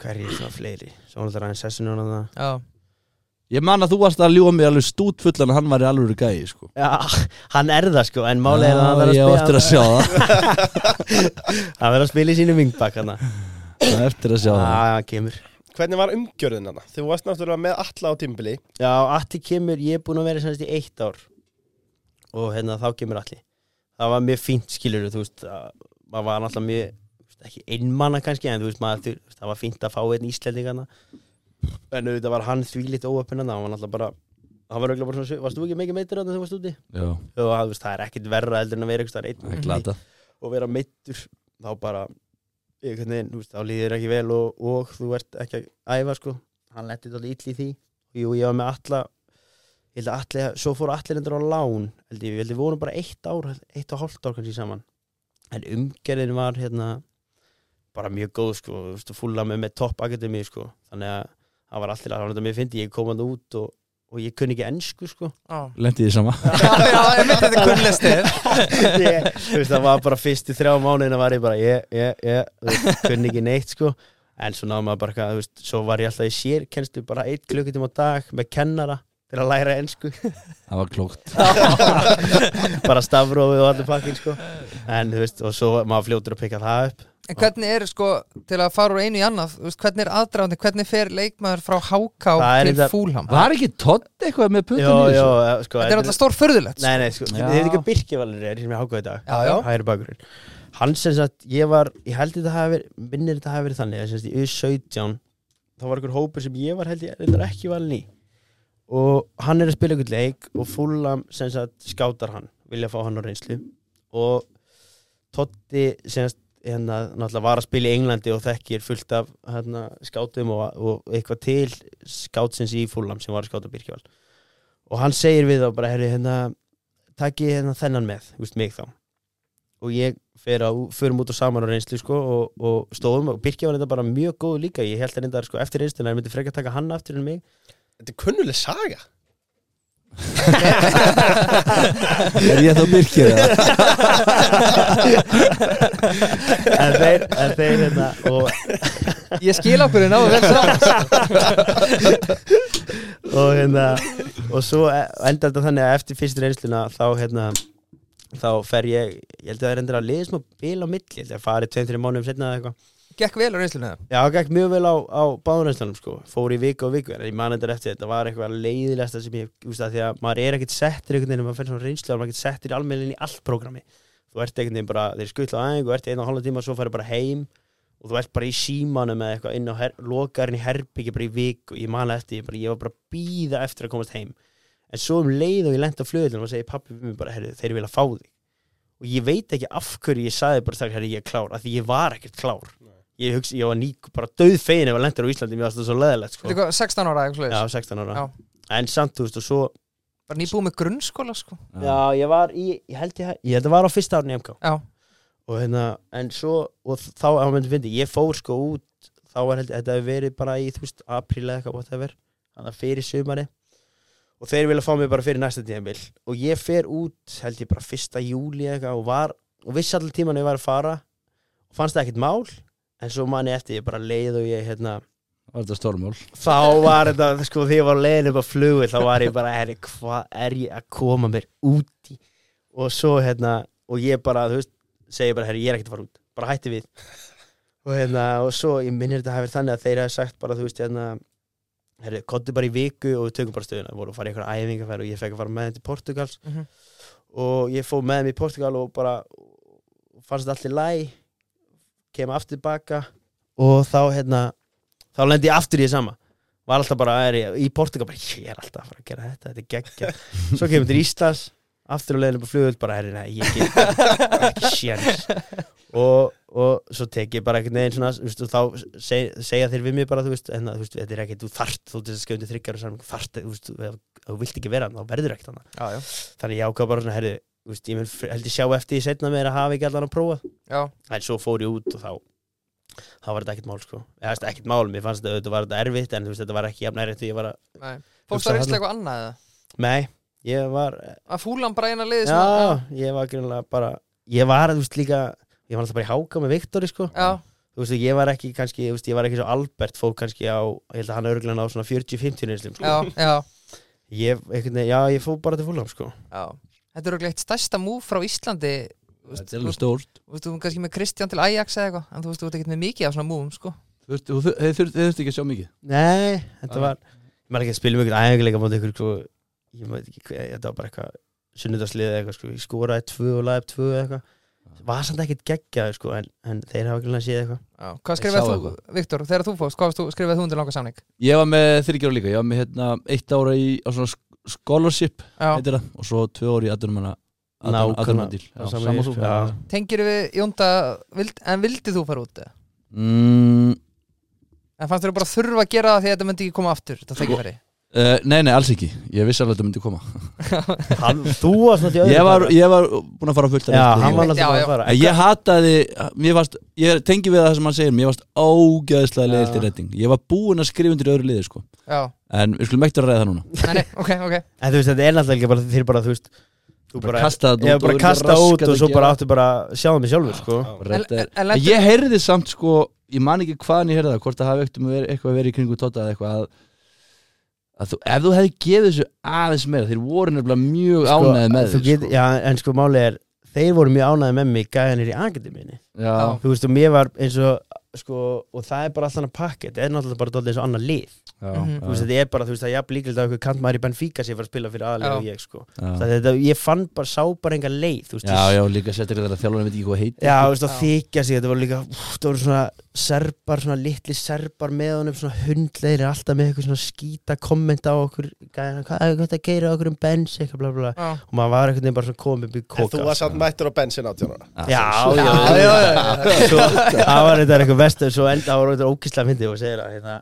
S4: hvað er ég svona fleiri svo var alltaf ræðin sessinu hann að
S1: já,
S2: Ég man að þú varst að ljúa mig alveg stútfullan að hann var í alvöru gæi sko.
S4: já, hann er það sko en málið er að
S2: Já,
S4: hann verður
S2: Ég á
S4: að
S2: eftir
S4: spila
S2: að sjá það
S4: hann verður að spila í sínu vingbak hann að
S2: Ég á Eftir að sjá það
S4: Ah, hann kemur
S3: Hvernig var umgjörðin hann? Þú varst náttúrulega með alla á tímbili
S4: Já, Atti kemur, ég er búin að vera semst í eitt ár og hérna þá kemur Atti það var mjög fínt skilur þú veist, að- maður var náttúrulega mjög þú veist, ekki einmanna kannski, en þú veist maður þú veist, það var fínt að fá einn íslendingana en auðvitað var hann þvílitt óöpinna hann var náttúrulega bara hann var auðvitað bara svona, varst þú ekki mikið meittur þannig að þú varst úti?
S2: Já,
S4: Og það, þú veist, það er ekkit verra heldur en að vera einhvers staðar einn
S2: það er
S4: úti
S2: glata
S4: og vera meittur þá bara ég, hvernig, þú veist, þá líður þér ekki vel og, og þú ert ekki að æfa sko. hann letti þetta ítli í því jú, ég var með alla ég held að allir, svo fór allir endur á lán held ég, við heldum við vorum bara eitt ár eitt og hálft ár kannski saman en umgerðin var hérna bara mjög góð sko, þú veist, fúla með með topp akademi sko, þannig að það var allir að hann þetta mér fyndi, ég kom hann út og, og ég kunni ekki ennsku sko
S1: Já.
S2: Lendi því sama
S1: Já, já, ég myndi þetta kunnlega stið
S4: ég, þú veist, það var bara fyrstu þrjá mánuðina var ég bara, ég, ég, ég þú veist, kunni ekki neitt, sko en svo náðum maður bara, eitthvað, þú veist, svo var ég alltaf í sérkennslu bara eitt klukkutíma á dag með kennara til að læra ennsku,
S2: Það var klókt
S4: bara stafrófið og allir pakkin, sko en, þú veist, og svo maður fljótur að pikka það upp
S1: En hvernig er sko, til að fara úr einu í annað þú veist, Hvernig er aðdrafandi, hvernig fer leikmaður frá HK
S4: Það er
S1: til
S4: þetta-
S1: Fúlham
S2: Var ekki tótt eitthvað með
S4: Jó,
S2: puttum í
S4: jó,
S2: þessu?
S4: eh, sko
S1: Þetta er alltaf stór förðulegt
S4: Nei, nei, sko,
S2: Já.
S4: þið hefði ekki Birkivalur er sem ég hákaði í dag
S1: Já, já.
S4: Hægri bakurinn Hann sem sagt, ég var, ég held þetta hafi verið minnir þetta hafi verið þannig, að sem sagt, í U17 þá var einhver hópur sem ég var held ég reyndar ekki valin í og hann er að spila einhvern leik og Fulham sem sagt skátar hann, vilja fá hann á reynslu og Totti sem sagt, hérna, náttúrulega var að spila í Englandi og þekkir fullt af hérna, skátum og, og eitthvað til skátsins í Fulham sem var að skáta Birkival og hann segir við þá bara, herri, hérna takki hérna þennan með, þú veist, mig þá og ég fer á, förum út og saman á reynslu sko og, og stóðum og Birkja var þetta bara mjög góð líka ég held að reyndar sko eftir reynsluna ég myndi frekar taka hann aftur en mig
S3: Þetta er kunnuleg saga
S2: Er ég þá byrkir eða?
S4: en þeir, en þeir hérna og,
S1: Ég skil okkur en áður vel saman
S4: og hérna og svo e- endar þetta þannig að eftir fyrstu reynsluna þá hérna þá fer ég, ég held að það er reyndar að liða smá bil á milli, ég held að farið 2-3 mánuðum setna eða eitthvað
S1: Gekk vel á reynslunni það
S4: Já, það gekk mjög vel á, á báðunarstænum sko. fór í viku og viku, en ég man þetta eftir þetta var eitthvað leiðilegsta sem ég þú veist það, því að maður er ekkert settir einhvern veginn ef maður fyrir svona reynslu, maður er ekkert settir almennilegin í allt prógrami þú ert einhvern veginn bara, þeir skutla á aðeins og ert í einu og hálfa tíma og svo færi bara heim og þú ert bara í símanum eða eitthvað inn á her, lokarinn í herbyggi bara í viku ég man eftir, ég, bara, ég var bara að býða eftir að komast heim en svo um leið og ég lent á flöðlunum og segi pappi við mig bara, herru, þeir vilja fá þig og ég veit ekki af hverju ég saði bara strax, herru, ég er klár, af því ég var ekkert klár ég hugsi, ég var nýk, bara döð fegin ef að lendur á Íslandi, mér varst það svo leðilegt
S1: Þetta
S4: sko.
S1: er hvað, 16 ára eitthvað
S4: já,
S1: svoleiðis?
S4: 16 ára,
S1: Já.
S4: en samt, þú veist, og svo
S1: Bara nýbúið með grunnskóla sko
S4: já, ég var í, ég held ég, ég held að var á fyrsta árni MK
S1: Já,
S4: og hérna, en svo, og þá á myndi fyndi, ég fór sko út þá var held, þetta hefur verið bara í, þú veist, apríl eða eitthvað, whatever, þannig að fyrir sumari og þeir vilja fá mig bara fyrir næsta tíðanbíl og ég fer út, held ég bara fyrsta júli eða eitthvað og var, og vissi allir tíman að ég var að fara og fannst það ekkert mál en svo manni eftir, ég bara leið og ég, hérna,
S2: Var þetta stórmál?
S4: þá var þetta, sko, því ég var leiðin upp á flugil, þá var ég bara, herri, hvað er ég að koma mér úti og svo, hérna, og ég bara, þú veist, segi bara, herri, ég er ekkert að fara út bara hætti við og hérna, og svo, ég minnir þetta hefur þannig að þeir hafi sagt bara, þú veist, hérna herri, kottu bara í viku og við tökum bara stöðuna voru að fara í einhverja æfingarferð og ég fekk að fara með þeim til Portugals
S1: Mhm.
S4: og ég fóð með þeim í Portugal og bara fannst þetta allir læg kem aftur baka og þá, hérna, þá lendi ég aftur í því sama var alltaf bara er, ég- í Portugal bara, ég er alltaf að fara að gera þetta, þetta er geggja svo kemur til Íslands aftur á leiðinu bara flugvöld bara, herri, nei, ég get ekki sjans og, og svo tek ég bara einhvern veginn svona, þú veist, og þá seg, segja þeir við mig bara, þú veist, en að, þú veist, þetta er ekki þú þart, þú veist, skjöndi þryggjar og saman þart, þú veist, ef ef þú vilt ekki vera hann, þá verður ekkert hann
S1: já, já,
S4: þannig ég ákvað bara svona, herri, þú veist, ég mun fr- held ég sjá eftir í setna meira að hafa ekki allan að prófa
S1: já.
S4: en svo fór ég út og þá þá var þetta ekkert mál, sko, eða þú veist, ekkert mál mér fannst þetta, þetta var þetta erfitt, en þú veist, þetta var ekki jafn erfitt og ég var að
S1: nei. Fórst
S4: Hugsa
S1: það reynslega eitthvað
S4: þarna.
S1: annað eða?
S4: Nei, ég var
S1: Að Fúlham bara eina liði sem að-
S4: Já, ég var greinlega bara Ég var, þú veist, líka Ég var alltaf bara í háka með Viktori, sko
S1: já,
S4: Þú veist, ég var ekki kannski Þú veist, ég var ekki svo Albert Fók kannski á Ég held að hann örglega ná svona 40-50 nýrslum, sko
S1: já, já,
S4: Ég, einhvern veginn, já, ég fór bara til fúlum, sko
S1: já Þetta er örugglega eitt stærsta múf frá Íslandi Þú veist,
S2: Þetta er
S1: þú-
S2: alveg stórt
S1: Þú veist, þú kannski með Kristján til Ajax eða eitthvað En þú veist, þú veist ekkert með mikið af svona múfum, sko
S2: Þú veist, þú- þau- Þeir þurft- þeir þurftu ekki að sjá mikið
S4: Nei, þetta
S2: Já.
S4: var Ég maður ekki að spila mjög æfingarleika Mátti ykkur, sko Ég maður ekki, hver- þetta var bara eitthvað Sunnudagslið eða eitthvað, sko Ég skoraði tvö og laði tvö eða eitthvað Var samt ekkert geggjaði, sko En, en þeir hafa ekki séð eitthvað
S1: já. Hvað
S2: Ég
S1: skrifaði
S2: sá
S1: þú, Viktor, þegar þú fórst, hvað varst þú, skrifaði þú undir langa samning?
S2: Ég var með þyrkjara líka, ég var með hérna eitt ára í á svona sk- scholarship
S1: Já,
S2: heitir það, og svo tvö ára í aðdunumanna
S4: Nákvæmlega.
S2: aðdunumanna díl,
S4: Sama
S2: saman
S4: ég,
S2: þú
S4: sko.
S2: já.
S1: tengir við Jónda, vild, en vildi þú fara út? eða?
S2: mm,
S1: En fannst þér bara þurfa að gera það því að þetta myndi ekki koma aftur Þetta tækifæri
S2: uh, Nei, nei, alls ekki Ég vissi alveg að þetta myndi koma
S4: Hann, þú varst náttúrulega í
S2: Ég
S4: öðru
S2: var,
S4: bara.
S2: ég var búin að fara á fullt af
S4: Já,
S2: eftir því.
S4: hann var
S1: Já,
S4: náttúrulega
S1: já.
S4: að fara
S2: En Ég hataði, mér varst, ég tengi við það sem hann segir, mér varst ágæðslega leiðilt í redding. Ég var búinn að skrifa undir í öðru liði, sko.
S1: Já,
S2: En við skulum ekkert að ræða það núna.
S1: nei, nei, ok, ok
S4: En þú veist, þetta er náttúrulega ekki bara þeir bara, þú veist Þú
S2: Bara kasta þetta út
S4: Já,
S2: og
S4: bara
S2: verður
S4: kasta
S2: raskat
S4: út
S2: að
S4: og svo
S2: gera.
S4: bara áttu bara að sjá það mig sjálfur, sko
S1: En-
S2: Redda-
S1: en- en lentu-
S2: Ég heyrði samt, sko, ég man ekki hvaðan ég heyrði það, hvort það hafi ekkert um að vera- eitthvað að vera í kringu tóta eða eitthvað að, að þú, ef þú hefði gefið þessu aðeins meira, þeir voru nefnilega mjög
S4: Sko,
S2: ánæði með
S4: þú
S2: þér,
S4: get-
S2: sko.
S4: Já, en sko málið er Þeir voru mjög ánæði með mig gæðanir í akademinni
S2: Já,
S4: Þú veist, og mér var eins og sko, og það er bara allan að pakka þetta er náttúrulega bara dóttir eins og annar lið
S2: já,
S1: Mhm.
S4: þú veist, þetta er bara, þú veist, það er jafn líkilegt að einhver kantmaður í Benfica sé að fara að spila fyrir aðlega
S1: Já.
S4: og ég, sko
S2: já,
S4: það, þetta, ég fann bara, sá bara enga leið þú veist,
S2: já,
S4: ég-
S2: já, líka sérstaklega þegar þjálfarinn veit ekki hvað heitir.
S4: Já, þú veist, að
S1: Já.
S4: þykja sig, þetta voru líka, úf, það voru svona serbar, svona litli serbar með honum, svona hundleiri, alltaf með eitthvað svona skýta kommenta á okkur, gæðina, hvað er þetta að gera okkur um bens, eitthvað bla bla, bla.
S1: Já,
S4: og maður var einhvern veginn bara svona komið upp í
S3: En þú
S4: koka.
S3: var samt mættur á bensin átján ára
S4: Já,
S1: já,
S4: já,
S1: já, já, já.
S4: Svo, það var þetta eitthvað vestu, svo enda var þetta ókislega myndið og segir að, hérna,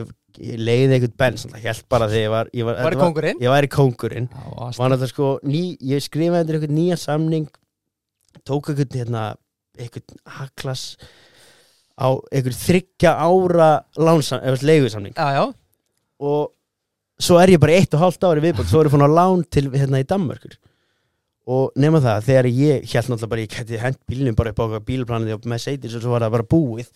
S4: ég, ég leiði einhvern bens, það held bara þegar ég var, ég var,
S1: Var
S4: þetta
S1: í kóngurinn?
S4: Ég var í kóngurinn
S2: Já, ast-
S4: var náttúrulega sko ný, ég skrifaði undir einhvern nýjan samning tók einhvern hérna einhvern haklas á einhvern þryggja ára lánsam, eða leigusamning
S1: já, já
S4: og svo er ég bara eitt og hálft ári viðbútt svo er ég fór á lán til hérna í Danmörkur og nema það, þegar ég held náttúrulega bara, ég geti hent bílnum bara upp á okkar bílplanið og með seitis og svo var það bara búið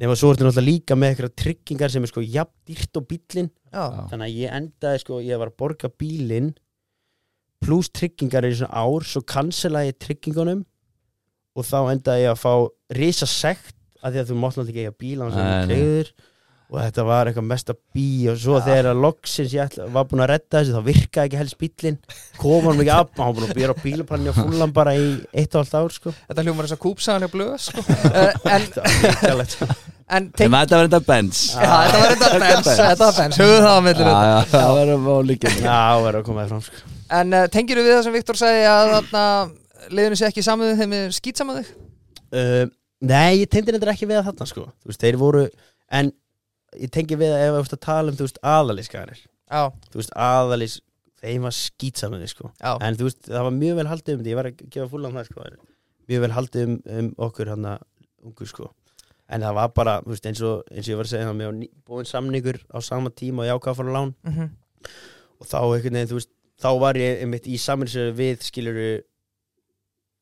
S4: nema svo ertu náttúrulega líka með einhverja tryggingar sem er sko jafn dýrt og bílinn
S1: Já,
S4: þannig að ég endaði sko, ég var að borga bílinn pluss tryggingar í svona ár, svo cancelaði ég tryggingunum og þá endaði ég að fá risa sekt af því að þú mátt náttúrulega ekki eiga bíl án
S2: Nei,
S4: sem þú
S2: nei.
S4: treyður og þetta var eitthvað mesta bí og svo þegar að loksins ég ætla, var búin að redda þessu þá virkaði ekki helst bílinn kom hann mikið af, hann var búin að býra á bílapanni og fúlan bara í eitt og allt ár sko
S1: þetta hljómar þess að kúpsaðanlega blöð sko. Eh, En, en tenk,
S2: En
S4: Þetta var hrikalegt, sko.
S2: þetta var enda bens.
S1: já, Þetta var þetta bens Þetta var bens, höfðu það á
S2: Já,
S1: millinu
S2: já, það var að fá líka.
S4: Já, það var að koma þér fram sko
S1: En uh, tengir við það sem Viktor sagði að þarna liðinu sé ekki saman þeim er skýt saman þig?
S4: Uh, nei, ég tengdi þetta ekki við að þarna sko Þú veist, þeir voru En ég tengi við að ef þú veist að tala um Þú veist, aðalískaðanir
S1: Já,
S4: Þú veist, aðalís Þeim var skýtsamöði sko
S1: já,
S4: En þú veist, það var mjög vel haldið um þetta Ég var að gefa fúlan það sko en Mjög vel haldið um, um okkur hann ungu sko En það var bara, þú veist, eins og, eins og ég var að segja það Mér var ný- búinn samningur á sama tíma Og ég ákvað að fara á lán
S1: mhm,
S4: og þá einhvern veginn, þú veist, þá var ég einmitt í saminsöðu við skiluru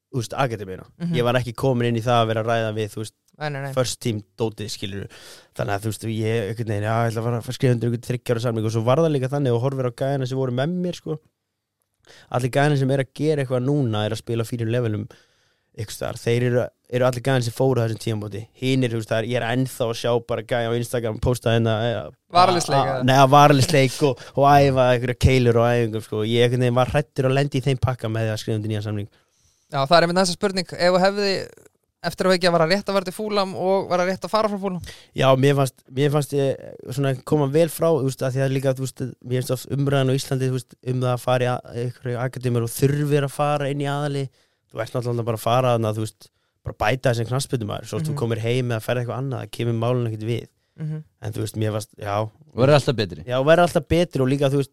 S4: þú veist, akademíuna
S1: Mhm.
S4: ég var ekki komin inn í það að vera að ræða við þú veist,
S1: nei, nei, nei
S4: first team dótið skiluru þannig að þú veist, ég einhvern veginn, já, ég ætla að fara að skrifa undir einhvern þryggjára samling og svo var það líka þannig og horfir á gæðina sem voru með mér, sko allir gæðina sem er að gera eitthvað núna er að spila á fínum levelum ykkur staðar, þeir eru, eru allir gæðin sem fóru á þessum tímabóti, hinn er, þú veist, það er ég er ennþá að sjá bara gæði á Instagram posta hérna, eh,
S1: Varalisleik,
S4: a- a-
S1: eða?
S4: Nei, að varalisleik og, og æfa einhverja keilur og æfingum, sko, ég einhvern veginn var hrættur að lendi í þeim pakka með því að skrifa undir nýjan samling
S1: Já, það er einmitt næsta spurning Ef þú hefði eftir að veikja var að rétt að vera til fúlam og var að rétt að fara frá fúlam
S4: Já, mér fannst, mér fannst ég eh, svona koma vel frá, þú veist, að því að líka þú veist, mér finnst oft umræðan á Íslandi, þú veist, um það að fara í að- einhverju akademir og þurfir að fara inn í aðali þú ert náttúrulega bara að fara þannig þú veist, bara bæta þessum knassbytumar svo mm
S1: Mhm.
S4: þú komir heim eða ferð eitthvað annað, það kemur málun ekkert við,
S1: mm
S4: en þú veist, mér fannst já,
S2: Það var alltaf betri.
S4: já, verða alltaf betri og líka, þú veist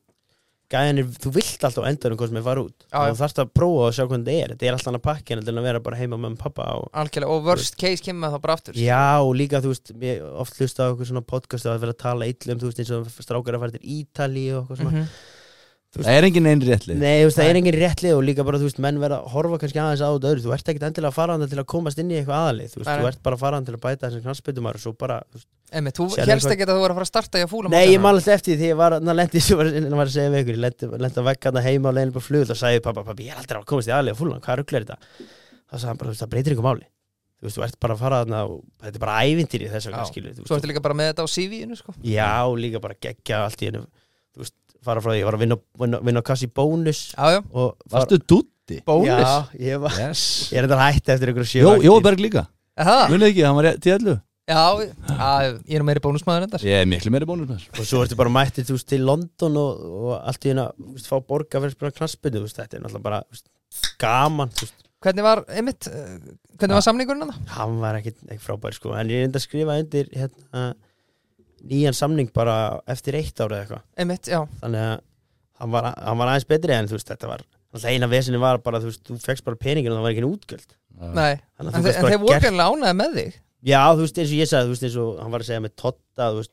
S4: gæðanir, þú vilt alltaf á endanum hvað sem er fara út
S1: Já,
S4: og
S1: já.
S4: þú þarfst að prófa og sjá hvernig þetta er þetta er alltaf annað pakki en að vera bara heima með mamma og pappa og
S1: Algjörlega, og worst case kemur maður þá bara aftur
S4: Já, og líka, þú veist, ég oft hlusta á okkur svona podcast og það er verið að tala illa um, þú veist, eins og strákar að fara til Ítali og okkur svona.
S1: Mhm.
S2: Það er engin einn réttlið.
S4: Nei, þú veist, það
S1: Nei.
S4: er engin réttlið og líka bara, þú veist, menn verða að horfa kannski aðeins á þetta öðru. Þú ert ekkit endilega að fara hann til að komast inn í eitthvað aðalið, þú veist,
S1: Nei, nei.
S4: þú ert bara að fara hann til að bæta þessum knallspytumar og svo bara, þú veist.
S1: Emi, þú
S4: Sérðu
S1: helst
S4: hvað-
S1: ekki að þú var að fara að starta í að fúlam
S4: Nei, ég man alltaf eftir því þegar ég var, na, lendi, sem var, sem var að segja við ykkur, ég lendi, lendi að vekka hann heima og leiðin bara flugul og sagði pappa, pappi, ég er aldrei að komast í aðalið og fúlan, hvað rugglar þetta? Þá sagði hann bara, þú veist, það breytir ykkur máli. Þú veist, þú ert bara að fara þarna og þetta er bara ævintýri þess vegna,
S1: Já.
S4: skilur við, þú veist,
S1: Svo ertu líka bara með þetta á CV-inu sko.
S4: Já, líka bara geggja allt í hennu Þú veist, fara frá því, ég var að vinna, vinna, vinna á kassi í bónus
S1: Já, já,
S4: og fara-
S2: Varstu dutti?
S4: Já, ég var
S2: Yes.
S4: Ég Ah. er þetta hætti eftir ykkur sjö
S2: Jó,
S4: vaktir.
S2: Jóberg líka.
S1: er það?
S2: Munið ekki, hann var rétt í allu.
S1: Já, já, ég er nú meiri bónusmaður endar
S2: Ég er miklu meiri bónus með þessu.
S4: Og svo ertu bara mættir, þú veist, til London og, og allt í hennu, þú veist, fá borga fyrir að spila knassbyrðu, þú veist, þetta er náttúrulega bara, þú veist, gaman, þú veist
S1: Hvernig var, einmitt, eh, hvernig var samningurinn hann?
S4: hann var ekkit ekki frábær sko en ég reyndi að skrifa undir hérna, nýjan samning bara eftir eitt ára eða eitthvað
S1: Einmitt, já,
S4: þannig að hann var, hann var aðeins betri en þú veist þetta var alltaf eina vesinni var bara þú veist þú fegst bara peningin og það var ekki útgjöld
S1: nei
S4: þannig
S1: En, þe en þeir voru kannar lánaði með þig
S4: já þú veist eins og ég sagði þú veist eins og hann var að segja með Totta þú veist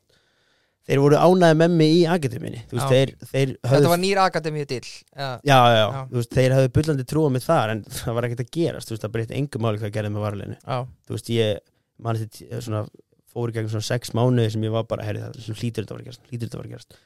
S4: þeir voru ánæði með mig í akademiðinni þú veist
S1: Já.
S4: þeir, þeir
S1: Þetta
S4: höfðu
S1: var nýr akademíu dill já,
S4: já, já, já.
S1: Já.
S4: þú veist þeir höfðu bullandi trúa mig þar en það var ekkert að gerast þú veist það breytti engum máli hvað gerði með varleginu
S1: já,
S4: þú veist ég mann þetta ég svona fór í gegn svona sex mánuði sem ég var bara herri það hlýtur þetta að fara að gerast hlýtur þetta að fara að gerast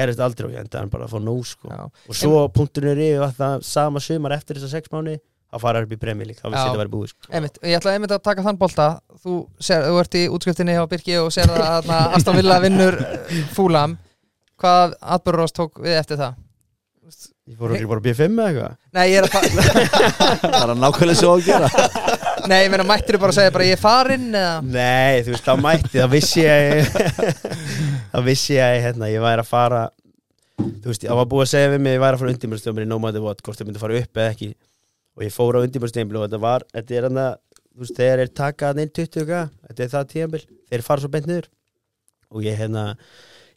S4: gerist aldrei og ég endaði bara að fá nóg sko
S1: já.
S4: og svo punkturinn er yfir að það sama sumar eftir þessa sex mánu þá fara upp í premjölík, þá vissi
S1: Já.
S4: þetta að vera búið sko.
S1: Einmitt, ég ætla einmitt að taka þann bolta Þú, ser, þú ert í útskriftinni hjá Birki og sér það að þarna Aston Villa vinnur eh, Fulham Hvað atbyrðurás tók við eftir það?
S4: ég fór okkur bara B5 eða eitthvað
S1: Nei, ég er að fara
S2: Það er nákvæmlega svo að gera
S1: Nei, ég meina mættir bara að segja bara ég er farinn eða
S4: nei, þú veist, þá mætti, þá vissi ég þá vissi ég hérna, ég væri að fara þú veist, það var búið að segja við mig ég væri að fara undirbjörnstjómur í no matter what hvort það myndi að fara upp eða ekki og ég fór á undirbjörnstjómur og þetta var, þetta er hann þú veist, þegar er takað inn 20 og þetta er það tíðanbjörn, þeir fara svo bent niður og ég hérna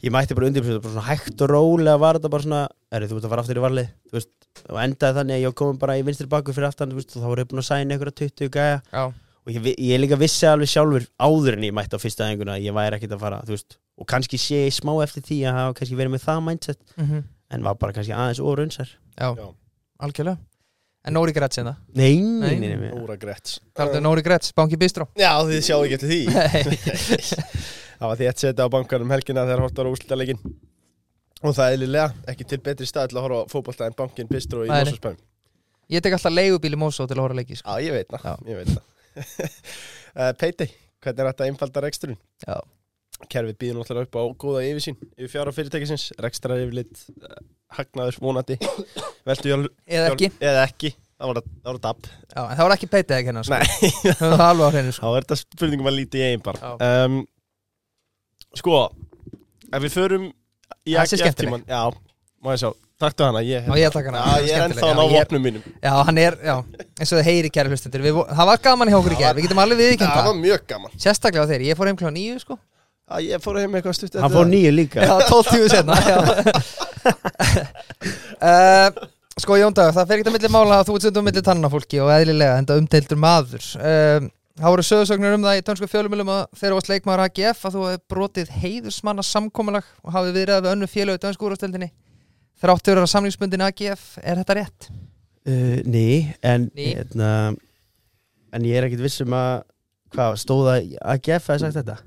S4: ég mætti bara undirbjörn bara svona hægt og rólega var þetta bara svona er þú ert að fara aftur í varlið þú veist, og endaði þannig að ég kom bara í vinstri baku fyrir aftan þú veist, og þá voru ég búin að sæna einhverja 20 gæja
S1: Já,
S4: og ég, vi- ég líka vissi alveg sjálfur áður en ég mætti á fyrsta aðinguna að ég væri ekkert að fara þú veist, og kannski sé ég smá eftir því að hafa kannski verið með það mindset
S1: mm
S4: en var bara kannski aðeins orunsar
S1: já,
S3: Já.
S1: algjörlega En Nóri Gretz hérna
S4: nei, nei,
S1: Nei.
S4: nei, nei, nei.
S3: Óra Gretz
S1: Taldu um Nóri Gretz, Banki Bistró
S3: Já, þið sjáu ekki eftir því
S1: Nei,
S3: Það var því að setja á bankanum um helgina þegar horta á úrslitaleikin Og það er liðlega ekki til betri stað til að horfa á fótbolta en bankin Bistró í
S1: Nei, nei.
S3: Mósaspöng
S1: Ég tek alltaf leigubíli Mósó til að hóra leiki sko.
S3: Já, ég veit það,
S1: Já.
S3: ég veit það uh, Peiti, hvernig er þetta einfaldar reksturinn?
S1: Já.
S3: Kerfið býður náttúrulega upp á góða yfirsýn yfir fjara fyrirtækisins, rekstrar yfirlit uh, hagnaður vonandi Veltu hjálp
S1: Eða ekki
S3: Eða ekki, það voru, það voru dab
S1: já, en Það var ekki peitið ekki hérna sko.
S3: Nei.
S1: Það var alveg á hreinu sko.
S3: Þá er þetta spurningum að lítið í eigin bara um, Sko Ef við förum í
S1: Það sé
S3: AGF tímann- Já, má ég sjá Takktu hana, ég,
S1: Já, ég taka hana.
S3: Já, ég
S1: Skemmtileg.
S3: er ennþá að
S1: Já,
S3: ná
S1: ég-
S3: vopnum mínum
S1: Já, hann er, já, eins og það heyri kæri hlustendur Við vo- Það var gaman hjá okkur í gerð, við getum alveg viðkynnt
S3: Það
S1: það
S3: var mjög gaman
S1: Sérstaklega á þeir, ég fór heim klá nýju sko
S3: Já, Ég fór heim eitthvað stutt
S4: hann fór nýju líka
S1: Já, 12 tíu senna uh, Sko Jón Dagur, það fer ekki að milli mála að þú ert stundum milli tannafólki og eðlilega enda umdeildur maður um, Það voru sögursögnir um það í tönsku fjölumilum að þegar þú varst leikmaður AGF að þú hefði brotið heiðursmanna samkomulag og hafið viðræðið við önnu félög í tönsku úrvastöldinni þrátt fyrir að samlingsbundin AGF er þetta rétt?
S4: uh, ný, en
S1: Ný.
S4: Hérna, en ég er ekkert viss um að hvað, stóða AGF að sagt þetta?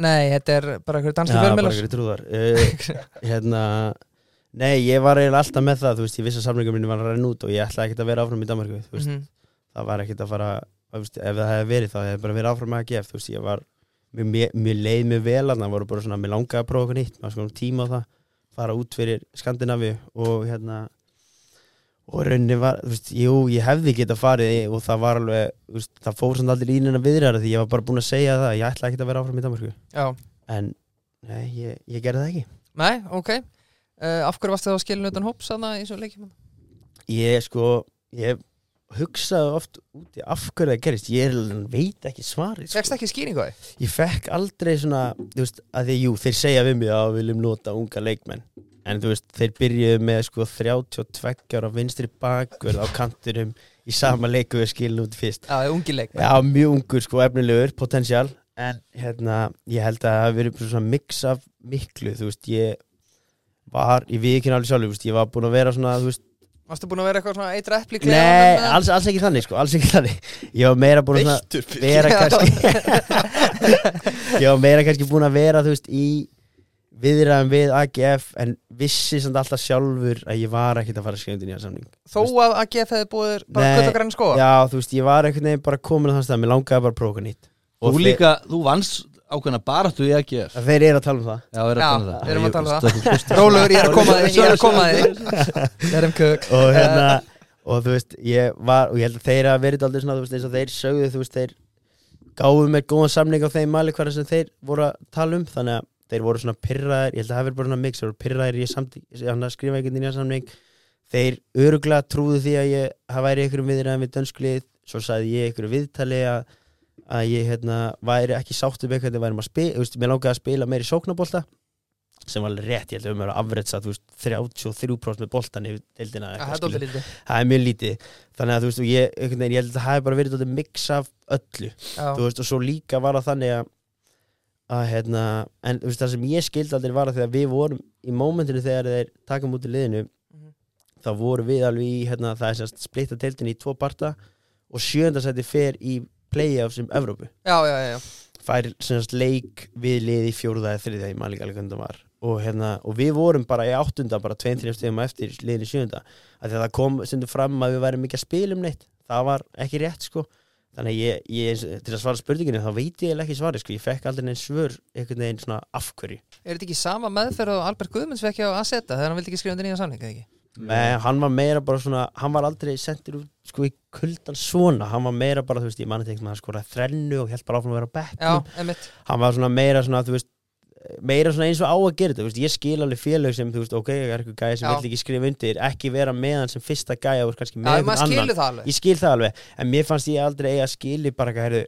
S1: Nei, þetta er bara einhverju danski
S4: bara
S1: fjölumilars
S4: ekki trúðar uh, hérna Nei, ég var eiginlega alltaf með það, þú veist, ég vissi að samlingum minni var að renna út og ég ætlaði ekkert að vera áfram í Danmarku, þú veist,
S1: Mhm.
S4: það var ekkert að fara þú veist, ef það hefði verið þá hefði bara verið áfram með AGF þú veist ég var mér- mér mér leið mér vel að það voru bara svona mér langaði að prófa okkur nýtt maður skoðum tíma á það fara út fyrir Skandinavi og hérna og rauninni var þú veist, jú ég hefði geta farið í- og það var alveg þú veist, það fór samt aldrei í neina viðræðar því ég var bara búinn að segja það ég ætla ekkert að vera áfram í Danmarku
S1: Já,
S4: en nei ég, ég gerði það ekki
S1: nei, ok uh, Af hverju varstu þá skilin utan hóps þarna í svo leikjum?
S4: ég sko ég hugsaði oft úti af hverju það gerist ég er, veit ekki svarið sko.
S1: Fekst ekki skýringu á því?
S4: ég fekk aldrei svona þú veist, að því, jú, þeir segja við mig að við viljum nota unga leikmenn en þú veist, þeir byrjuðu með sko 32 ára vinstri bakur á kanturum í sama leiku við skilum út fyrst
S1: Já, ungi leik
S4: já, mjög ungur sko, efnilegur, potensial en hérna, ég held að það hafi verið bara svona mix af miklu, þú veist, ég var, ég við ekki náttúrulega sjálf, þú veist, ég var búin að vera svona, þú veist,
S1: Varstu búin að vera eitthvað svona eitra epli í
S4: nei,
S1: klefanum eða?
S4: alls, alls ekki þannig sko, alls ekki þannig, ég var meira búin að svona
S3: Veittur
S4: vera kannski ég var meira kannski búin að vera þú veist í viðræðum við AGF en vissi samt alltaf sjálfur að ég var ekkert að fara að skrifa undir nýja samning
S1: Þó að AGF hefði búið þér bara
S4: Nei,
S1: gull og grann skoða
S4: já þú veist ég var einhvern veginn bara komin á þann stað mér langaði bara að prófa okkur nýtt
S2: Þú
S4: þeir-
S2: líka, þú vannst ákveðna baráttu í AGF
S4: að þeir eru að tala um það
S2: Já, við erum að tala um það
S1: við erum að tala um
S2: það
S1: Rólaugur, ég er að koma að þig, ég er að koma að þig Ég er um kök
S4: og hérna og þú veist ég var og ég held að þeir hafa verið aldrei svona þú veist eins og þeir sögðu þú veist þeir gáfu mér góðan samning á þeim mali hverja sem þeir voru að tala um þannig að þeir voru svona pyrraðir ég held að það hafi verið bara svona mix þeir voru pyrraðir ég samt hann að skrifa einhvern nýja samning þeir öruglega trúðu því að ég það væri ykkur um viðræðum við dönsklið svo sagði ég ykkur viðtali að að ég hérna, væri ekki sátt um eitthvað værum að spila, þú veist, mér langaði að spila meiri sóknabólta sem var alveg rétt, ég held að um er að afretsa þú veist, 33% með boltan yfir deildina
S1: Að
S4: eitthvað,
S1: Það er
S4: skilur.
S1: dóttir lítið
S4: það er mjög lítið þannig að þú veist, og ég, einhvern veginn, ég held að það hafi bara verið dálítið mix af öllu þú
S1: Já,
S4: veist, og svo líka var það þannig að að hérna, en þú veist, það sem ég skildi aldrei var að þegar við vorum í mómentinu þegar þeir takum út í liðinu
S1: Mhm.
S4: þá vorum við alveg í, hérna, það er sérst splitta deildinu í tvo parta og sjöndasætti fer í playoffs um Evrópu
S1: já, já, já, já.
S4: fær semast leik við liði fjórða eða þriðja í Malík Algönda var og, hérna, og við vorum bara í áttunda bara tveim, þrejum stegum eftir liðinu í sjöunda af því að það kom stundum fram að við værum ekki að spila um neitt það var ekki rétt sko þannig að ég, ég eins- til að svara spurninginu þá veit ég eiginlega ekki svarið sko, ég fekk aldrei neins svör einhvern veginn svona af hverju
S1: Er þetta ekki sama meðferð og Albert Guðmunds vekja á Aseta þegar hann vildi ekki skrifa undir nýja samlinga, ekki?
S4: Men, hann var meira bara svona, hann var aldrei sendur út sko í kuldan svona hann var meira bara, þú veist, ég manna til einhvern veginn skoraði þrennu og held bara áfram að vera á bekk
S1: Já, emitt
S4: hann var svona meira svona, þú veist meira svona eins og á að gera þetta, þú veist, ég skil alveg félög sem, þú veist, ok, ég er eitthvað gæði sem
S1: Já.
S4: vill ekki skrifa undir, ekki vera með hann sem fyrsta gæði og kannski með
S1: Já,
S4: einhvern
S1: maður skilur
S4: annan,
S1: það alveg
S4: ég skil það alveg en mér fannst ég aldrei eiga að skili bara eitthvað, herðu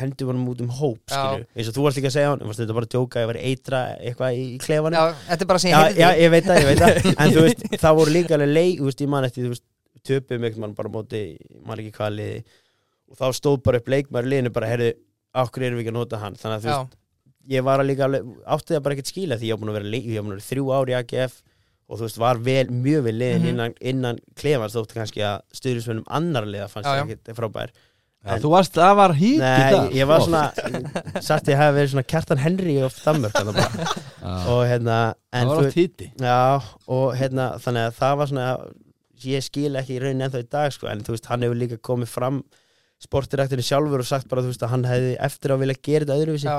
S4: hendur honum út um hóp,
S1: Já.
S4: skilu eins og þú varst líka að segja hann, varst þetta bara að djóka ég var að eitra eitthvað í, í klefanum
S1: Já, þetta er bara sem
S4: já,
S1: ég heyrði
S4: já, ég veit það, ég veit það En þú veist, það voru líka alveg leik Þú veist, ég man eftir, þú veist, töpum einhvern mann bara á móti, ég man ekki hvað liði og þá stóð bara upp leikmaður í liðinu bara, herðu, okkur erum við ekki að nota hann þannig að
S1: Já,
S4: þú veist, ég var að líka alveg átti það bara ekkert skila því ég var búin að vera, leik, ég var búin að vera þrjú ár í AGF og þú veist, var vel, mjög vel liðin
S1: Mhm.
S4: innan, innan klefans þótti kannski að stuðlismennum annar liða fannst
S1: Já, já.
S4: ekki frábær
S2: Já, þú varst, það var hít í dag
S4: Nei, ég var svona, sagt ég hafi verið svona Kjartan Henry of Danmörk þarna bara.
S2: Það
S4: og hérna, en
S2: var
S4: þú
S2: allt híti
S4: Já, og hérna, þannig að það var svona ég skil ekki í raunin ennþá í dag sko, en þú veist, hann hefur líka komið fram sportiræktinu sjálfur og sagt bara þú veist að hann hefði eftir á að vilja gera þetta öðruvísi
S1: já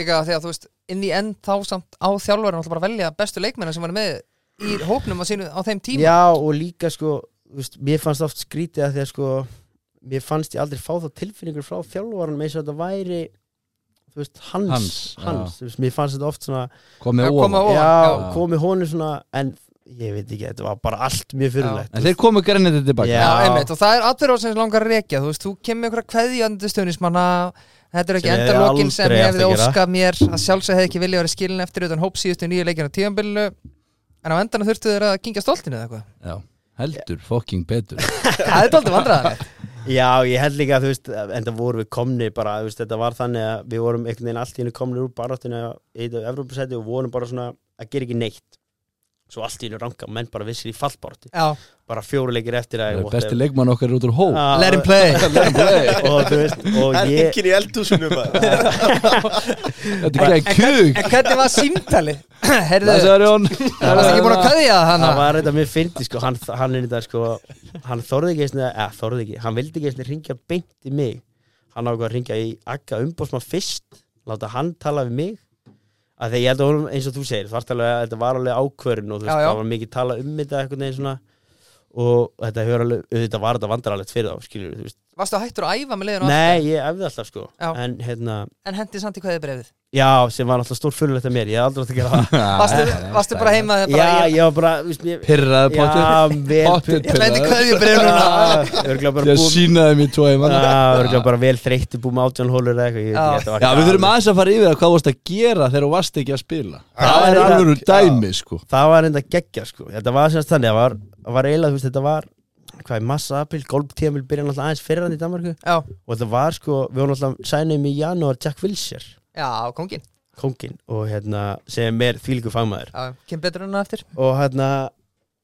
S1: Líka þegar þú veist, inn í end þá samt á þjálfur hann bara að velja bestu leikmennar sem var með í hópnum á, sínu, á þeim tíma
S4: Já, og líka sko, þú veist, mér fannst oft skrítið að því að sko, mér fannst ég aldrei fá þá tilfinningur frá þjálfvaran eins og þetta væri, þú veist, hans hans,
S2: Hans,
S4: þú veist, mér fannst þetta oft svona
S1: Já,
S2: Komið
S1: komið
S2: ofan
S1: ofan.
S4: já,
S2: já.
S4: komið honum svona, en ég veit ekki, þetta var bara allt mjög fyrirlegt
S2: En þeir komu grænandi tilbaka
S1: Já,
S4: Já.
S1: einmitt, og það er aðverð sem langar að rekja, þú veist, þú kemur ykkur að kveðja undir stöðnismanna, þetta er ekki
S4: Sem ég
S1: endalokin sem
S4: aldrei
S1: ég
S4: átti
S1: hefði
S4: að gera.
S1: óskað mér að sjálfsög hefði ekki viljað að vera skilin eftir utan hóp síðustu nýju leikina tíðanbyllu en á endanum þurftu þeir að kingja stoltinu eða eitthvað
S2: Já, heldur, fokking betur
S1: það er dálítið vandræðanlegt
S4: Já, ég held líka að þú veist, en það vorum við komni bara, þú veist, þetta var þannig að við vorum einhvern veginn allt í hennu komnir úr baráttinu í þetta Evrópusæti og vorum bara svona að gera ekki neitt. Svo allt í hennu ranga menn bara vissir í fallbárati.
S1: Já,
S4: Bara fjóru leikir eftir að...
S2: Besti leikmann okkar er út úr hó
S4: Ah,
S1: let him play
S4: Og þú veist, og
S3: Það er
S4: ég...
S3: enginn í eldhúsinu maður
S2: Þetta er ekki kug
S1: En hvernig var símtali? Herðu, það
S2: Læsar Jón
S1: varst ekki búin að kveðja hana
S4: Það var þetta mér fyndi sko, hann, hann er þetta sko, hann þorði ekki eða, eða þorði ekki, hann vildi ekki eða ringja beint í mig, hann ákvað að ringja í Agga umbósmann fyrst, láta hann tala við mig, að þegar ég held að honum eins og þú segir, það alveg, að þetta var alveg ákvörun og þú veist,
S1: Já, já.
S4: það var mikið tala um þetta eitthvað neginn svona og þetta hefur alveg, þetta var þetta vandrarlegt fyrir þá, skilur þú veist,
S1: Varstu hættur að æfa með leiðinu
S4: nei, ég efði alltaf sko,
S1: Já.
S4: en hérna,
S1: en hendi samt í kveðið brefið
S4: já, sem var alltaf stór fyrirlegt að mér, ég hef aldrei átt að gera það,
S1: Varstu, varstu bara heima þegar bara
S4: já,
S1: ég,
S4: ég var bara, þú veist, mér,
S2: Pirraði
S4: já, vel Ah,
S2: pottur
S1: ég ætla hendi
S2: Pottur
S1: kveðið brefið núna
S4: Örgulega bara
S2: pirraði Ég
S4: búið
S2: sínaði mér tvo í mann
S4: Örgulega bara vel þreytti búið með átjón hólur eða eitthvað ég veit
S1: Já.
S4: ekki, þetta var
S2: Já, við
S4: galið.
S2: þurfum aðeins að fara yfir að hvað varst að gera þegar þú varst ekki að spila
S4: Það
S2: Það er
S4: er
S2: alveg dæmi, sko
S4: Það var enda geggja sko Þetta var semst þannig, það var, það var eiginlega, þú veist, þetta var hvað er massa apil, golftíðamil byrja náttúrulega aðeins fyrir hann í Danmarku
S1: Já,
S4: og þetta var sko, við vorum náttúrulega sænum í janúar Jack Wilshere,
S1: já, kongin
S4: kóngin og hérna, sem er þvílíku fagmaður
S1: Já, kem betur en hann eftir
S4: og hérna,